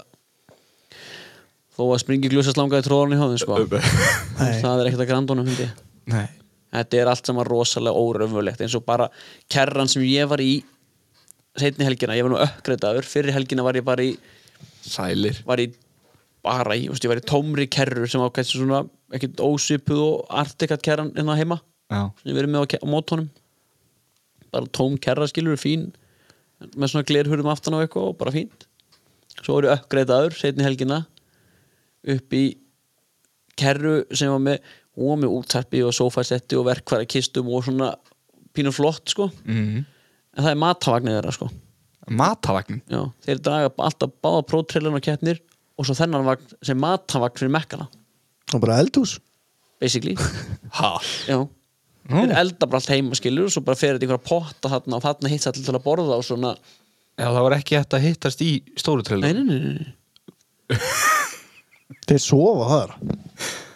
C: þó að springi gljósa slangaði tróðan í hóðin sko Þú veist, það er ekkert að grandunum hundi
B: Nei
C: þetta er allt saman rosalega óraumvölegt eins og bara kerran sem ég var í seinni helgina, ég var nú ökkreitaður fyrir helgina var ég bara í
B: Sælir
C: var ég bara í, þú veist, ég var í tómri kerru sem var kannski svona ekkert ósvipuð og artikat kerran inn á heima
B: Já,
C: sem ég verið með á, ke- á mótónum bara tóm kerra skilur fín með svona glerhurðum aftan á eitthvað og bara fínt svo voru uppgreitaður setni helgina upp í kerru sem var með hún var með útarpi og sofasetti og verkværa kistum og svona pínu flott sko
B: mm.
C: en það er matavagnir þeirra sko
B: matavagn
C: Já, þeir draga alltaf báða prótrillin og keppnir og svo þennan vagn sem matavagn fyrir mekkana
A: og bara eldhús
C: basically,
B: ha,
C: já þeir elda bara allt heima skilur og svo bara fer þetta í einhverja potta þarna og þarna hitt allir til að borða og svona
B: já, það var ekki hægt að hittast í stóru
C: nei,
B: trillin
C: nei, nei, nei, nei.
A: þeir sofa þar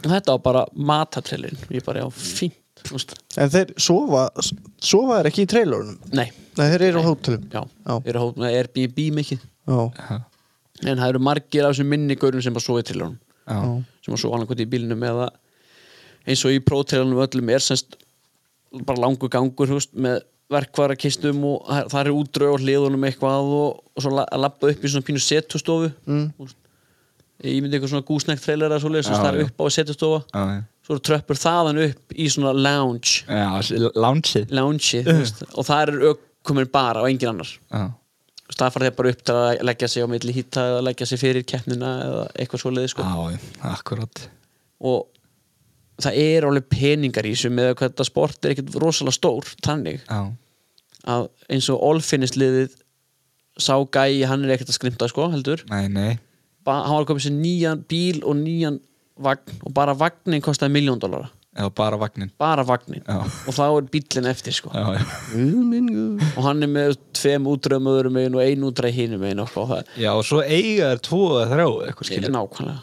C: Og þetta var bara matatrillin ég bara, já, fínt þú veist.
A: en þeir sofa sofa þeir ekki í trailorunum
C: nei,
A: nei þeir eru á hótelum
C: já,
A: Já.
C: þeir eru hótt með Airbnb mikið
A: já.
C: en það eru margir af þessum minni gaurum sem bara sofið trillunum
B: já,
C: sem að svo annað í bílnum eða eins og í prótrelunum öllum er semst bara langur gangur þú veist, með verkvarakistum og það það eru útdraug og hliðunum eitthvað og, og svo la- að lappa upp í svona pínu setustofu mm. ég myndi eitthvað svona gúsnækt trailer eða svo leið,
B: Já,
C: það er
B: já.
C: upp á setustofa
B: já,
C: svo eru tröppur þaðan upp í svona lounge
B: já lounge
C: lounge, þú veist,
B: Uh.
C: og það eru ökkumir bara og engin annar
B: já,
C: Þú veist, það fara þeir bara upp til að leggja sig á milli hýta eða leggja sig fyrir keppnina eða eitthvað svo leiði sko
B: já, akkurat
C: og það er alveg peningar í þessu með hvað þetta sport er ekkert rosalega stór þannig
B: já,
C: að eins og allfinnisliðið sá gæi, hann er ekkert að skrimta sko heldur,
B: nei, nei
C: ba hann var að koma sér nýjan bíl og nýjan vagn og bara vagnin kostaði miljón dólara
B: já, bara vagnin
C: bara vagnin
B: Já.
C: og þá er bílinn eftir sko
B: já, já,
A: Guð minn guð.
C: og hann er með tveim útræðum öðrum megin og einu útræð hinum megin og sko, það
B: já, og svo eiga þær tvo eða þrjá eitthvað
C: er
B: skilur
C: nákvæmlega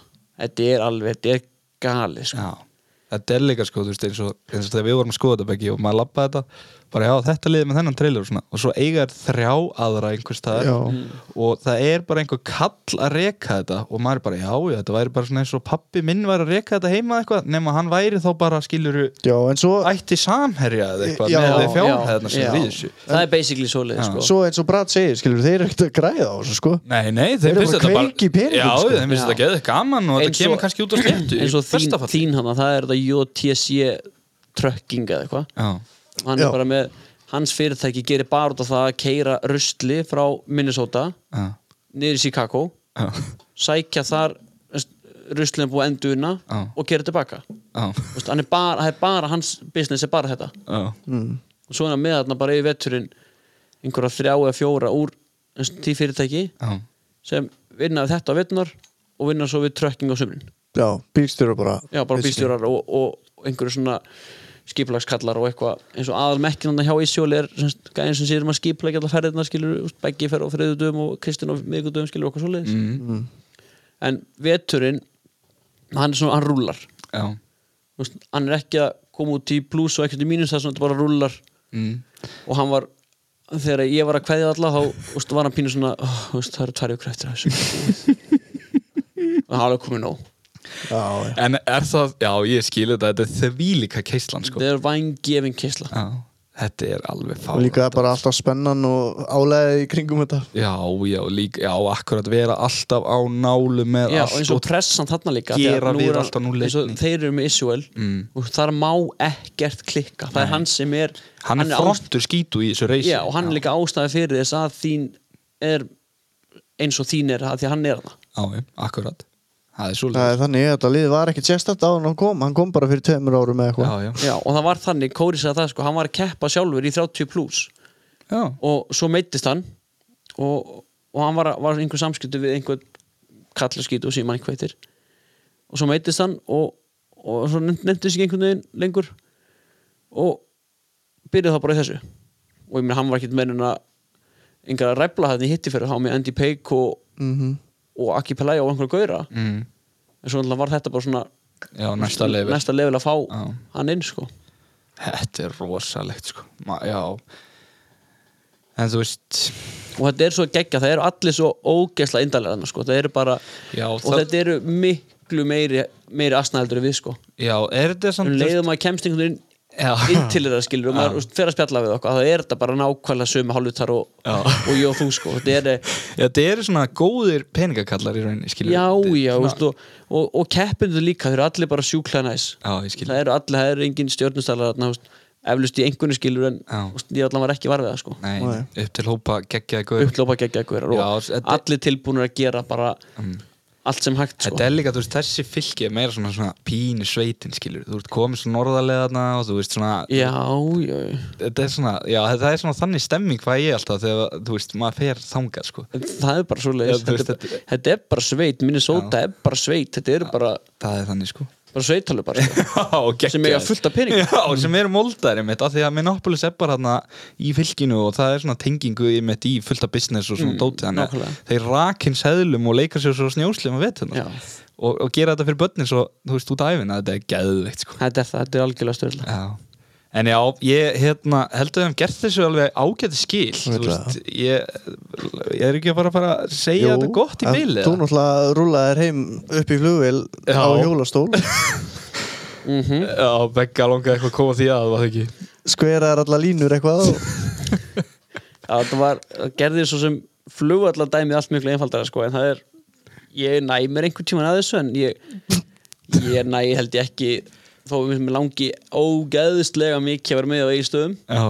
C: þetta er alveg, þetta er galið sko.
B: Já, þetta er líka sko, þú veist, eins og, eins og þegar við vorum að skoða þetta beggi og maður lappaði þetta bara já, þetta liði með þennan trailer og svona og svo eiga þær þrjá aðra einhvers staðar
A: Já.
C: Mm.
B: og það er bara einhver kall að reka þetta og maður er bara, já, já, þetta væri bara svona eins og pappi minn væri að reka þetta heima eitthvað nema hann væri þá bara, skiluru,
A: já en svo
B: ætti samherja eða eitthvað
A: Já,
B: með
A: já,
B: þeir fjárhæðna sem
C: já.
B: er í þessu
C: það er basically svoleið sko.
A: svo eins og Brad segir skilur þeir eru ekkert að græða á þessu sko
B: Nei, nei,
A: Þeir
B: þeir
A: eru
B: finnst
A: bara
B: þetta bara
A: kveik í peningum,
B: Já,
A: sko.
B: þeim finnst
C: Já.
B: þetta geðið gaman og
C: Eins
B: þetta
C: og-
B: kemur kannski út á skemmtu
C: eins og
B: í
C: þín,
B: besta falli.
C: þín hana, það er þetta JTC trucking eða eitthvað
B: Já,
C: hann
A: Já.
C: er bara með, hans fyrirtæki gerir bara út af það að keira rusli frá Minnesota
B: já,
C: niður í Chicago
B: já,
C: sækja þar ruslin búið að endurna
B: Já.
C: og gera tilbaka
B: já,
C: Vist, hann er bara, það er bara, hans business er bara þetta
B: já.
A: Mm.
C: og svo er hann með þarna bara yfir veturinn einhverja þrjá eða fjóra úr þú veist, því fyrirtæki
B: já.
C: sem vinna við þetta á vetunar og vinna svo við trucking á sumrin
A: já bílstjóra bara
C: Já, bara bílstjórar og, og einhverju svona skipulagskallar og eitthvað eins og aðalmekkin hann hjá Ísjóli er gæðin sem sér um að skipulagi allar ferðirna skilur Beggi fer á þriðudum og Kristinn á miðgudum skilur okkur svoleiðis
B: Mm.
C: en veturinn, hann er svona, hann rúlar
B: já.
C: Þú veist, hann er ekki að koma út í pluss og ekkert í mínus það er svona, þetta bara rúlar
B: Mm.
C: og hann var, þegar ég var að kveðja alla þá þú veist, var hann pínu svona "Ó, þú veist, það eru tvær ykkur eftir af þessu og hann er alveg komið nóg
A: já, já.
B: En er það, já ég skilu þetta Þetta er þvílíka keislan sko
C: það er vængefin kisla
B: já, Þetta er alveg fá
A: og líka bara alltaf spennan og álega í kringum þetta
B: Já, já, líka, já, akkurat vera alltaf á nálu með
C: Já, og
B: allt
C: eins og pressan þarna líka
B: Gera
C: þegar nú
B: við
C: er hann-
B: allt á núll
C: eins og
B: einni.
C: Þeir eru með Isuel
B: Mm.
C: og þar má ekkert klikka Það er hann sem er
B: Hann er
C: ást-
B: frontur skítu í þessu reysi
C: Já, og hann er líka ástæði fyrir þess að þín er eins og þín er að því að hann er það
B: Já, já, akkurat Það er svo
A: það er þannig að þetta lið var ekkert sérstætt á hann hann kom hann kom bara fyrir tveimur árum eða
B: Já,
A: eitthvað
B: já,
C: Já, og það var þannig, Kóri sagði það sko, hann var að keppa sjálfur í 30 plus
B: já,
C: og svo meittist hann og, og hann var, var einhver samskipti við einhver kallaskýtu og síma einhver heitir og svo meittist hann og, og svo nefndist ekki einhvern veginn lengur og byrjaði það bara í þessu og ég meina hann var ekkert meira en að einhver að ræfla þetta í hitti fyrir þá með Andy Peik og,
A: Mhm.
C: og Aki Pelaya og einhverja gauðra
B: mm.
C: en svo náttúrulega var þetta bara svona
B: já næsta leifir
C: næsta level að fá
B: Já.
C: hann inn sko
B: Þetta er rosalegt sko Ma, Já En þú veist
C: og þetta er svo geggja, það eru allir svo ógeðsla indalega þarna sko, það eru bara
B: Já,
C: og
B: það-
C: þetta eru miklu meiri meiri asnaðeldur við sko
B: Já, er þetta samt
C: um leiðum að kemst einhvern
B: Já.
C: veginn inn til þeirra skilur og maður úst, fer að spjalla við okkur, það er þetta bara nákvæmlega sömu hálfutar og,
B: Já.
C: og ég og þú sko þetta er,
B: Já, þetta eru svona góðir peningakallar í rauninni skilur
C: já,
B: Þetta er
C: já,
B: svona-
C: úst, og, og, og keppindu líka, þeir eru allir bara sjúklega næs
B: Já, ég skil
C: það eru allir, það eru engin stjórnustælar þarna, úst, eflust í einhvern skilur en
B: Já.
C: úst, ég allan var ekki varfið það sko
B: Nei, nei, upp til hópa geggjaði gaur
C: upplópa geggja
B: Já,
C: og
B: þetta- Mm.
C: allir tilbúinir að gera bara allt sem hægt sko.
B: Þetta er líka, þú veist, þessi fylki er meira svona, svona pínu sveitin, skilur Þú ert komin svona norðarlega þarna og þú veist svona
C: já, já, já
B: Þetta er svona, já, þetta er svona þannig stemming hvað ég alltaf þegar, þú veist, maður fer þangað, sko
C: það er bara svo
B: Já,
C: leiðis
B: þú veist,
C: þetta, er bara- þetta er bara sveit, Minnesota er bara sveit þetta eru bara,
B: Það er þannig, sko
C: bara sveitalur bara sko.
B: Já,
C: Sem eiga fullt af peningum.
B: Já, sem eru moldari mitt af því að Minneapolis er bara þarna í fylkinu og það er svona tengingu í mitt í fullt af business og svona dóti þannig að
C: Mm, nákvæmlega.
B: þeir rakinn seðlum og leika sér svo snjóslim að veturna sko.
C: Já.
B: og, og gera þetta fyrir börnin svo, þú veist, út af æfina þetta er geðveikt, sko
C: þetta er það, þetta er algjörlega stöðla
B: Já En já, ég hérna, heldur að þeim gert þessu alveg ágæti skil Þú
A: veit
B: veist, ég, ég er ekki bara að fara að segja þetta gott í
A: en
B: bíli
A: Þú náttúrulega rúlaðir heim upp í flugvél
B: Já.
A: á hjólastól
B: Já, Begga langaði eitthvað að koma því að, var það ekki
A: skveraðir alla línur eitthvað og
C: það var, það gerði svo sem flugvallar dæmið allt miklu einfaldara sko, en það er, ég næ mér einhvern tíman að þessu en ég ég næ held ég ekki þó við mér langi ógeðustlega mikið að vera með á eigi stöðum
B: Já,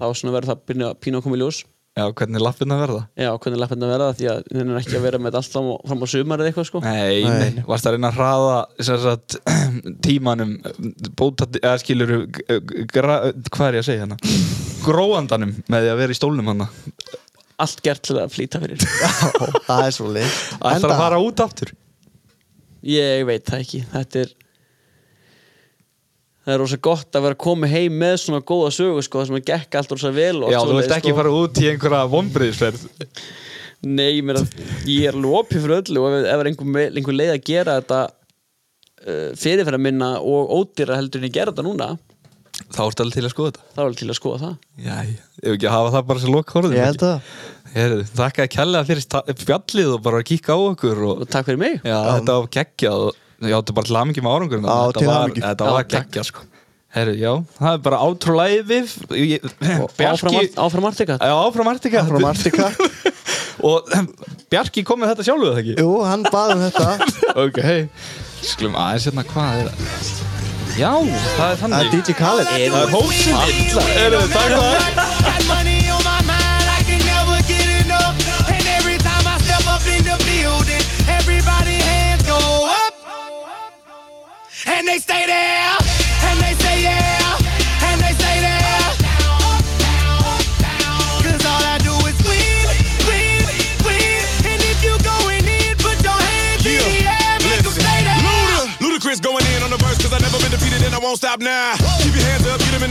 C: þá svona verður það pínu, pínu að koma í ljós
B: já hvernig er lappirnar verða?
C: já, hvernig lappirna verða því að henni er ekki að vera með þetta allt fram á- fram á sumar eða eitthvað sko
B: Nei,
A: Nei.
B: nei, varst að reyna að hraða sem sagt, tímanum bóta, eða skilur hvað er ég að segja hérna gróandanum með því að vera í stólnum hana
C: allt gert til að flýta fyrir
A: það er svo leið
B: ætlar að fara út aftur
C: ég veit það ekki þetta er það er rosa gott að vera komið heim með svona góða sögu sko þar sem að gekk allt rosa vel
B: Já,
C: og allt
B: þú
C: svoleiðis,
B: veist ekki
C: sko.
B: fara út í einhverja vonbriðisferð
C: Nei, mér að ég er lópið fyrir öllu og ef ef er einhver, me- einhver leið að gera þetta uh, fyrirfæra minna og ódýra heldur en ég gera þetta núna
B: Þá ertu alveg til að skoða þetta
C: þá er alveg til að skoða það
B: Já, ef ekki að hafa það bara sem loka horfðum
A: Ég held það
B: Heru, Þakka að kella fyrir sta- fjallið og bara að kíkka á okkur og,
C: og takk fyrir mig
B: Já, þetta var geggjað og ég átti bara til hamingi með árangur
A: Já, til hamingju.
B: Þetta
C: Já,
B: var
C: takk.
B: geggjað sko Herru, já, það er bara átrúlæðið
C: og áfram, Ar- áfram Artika
B: Já, áfram Artika
A: frá Martika
B: Og Bjarki kom með þetta sjálfuð ekki
A: Jú, hann bað um þetta
B: Ok, hei Skulum aðeins hérna hvað er Já, það er
A: Það
B: þannig
A: er DJ Khaled
B: Það er hósinn Herru, takk það
D: Got money on my mind, I can never get enough. And every time I step up in the building, everybody hands go up. And they stay there, and they stay there, and they stay there. Cause all I do is win, win, win. And if you going in, put your hands in the air, make 'em stay there.
E: Luda. Ludacris going in on the verse cause I never been defeated and I won't stop now. Keep your hands up, get them in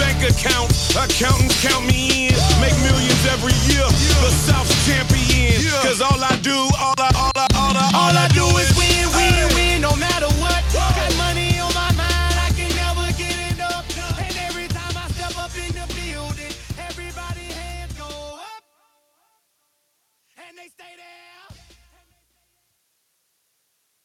E: bank accounts, accountants count me in. Make millions every year,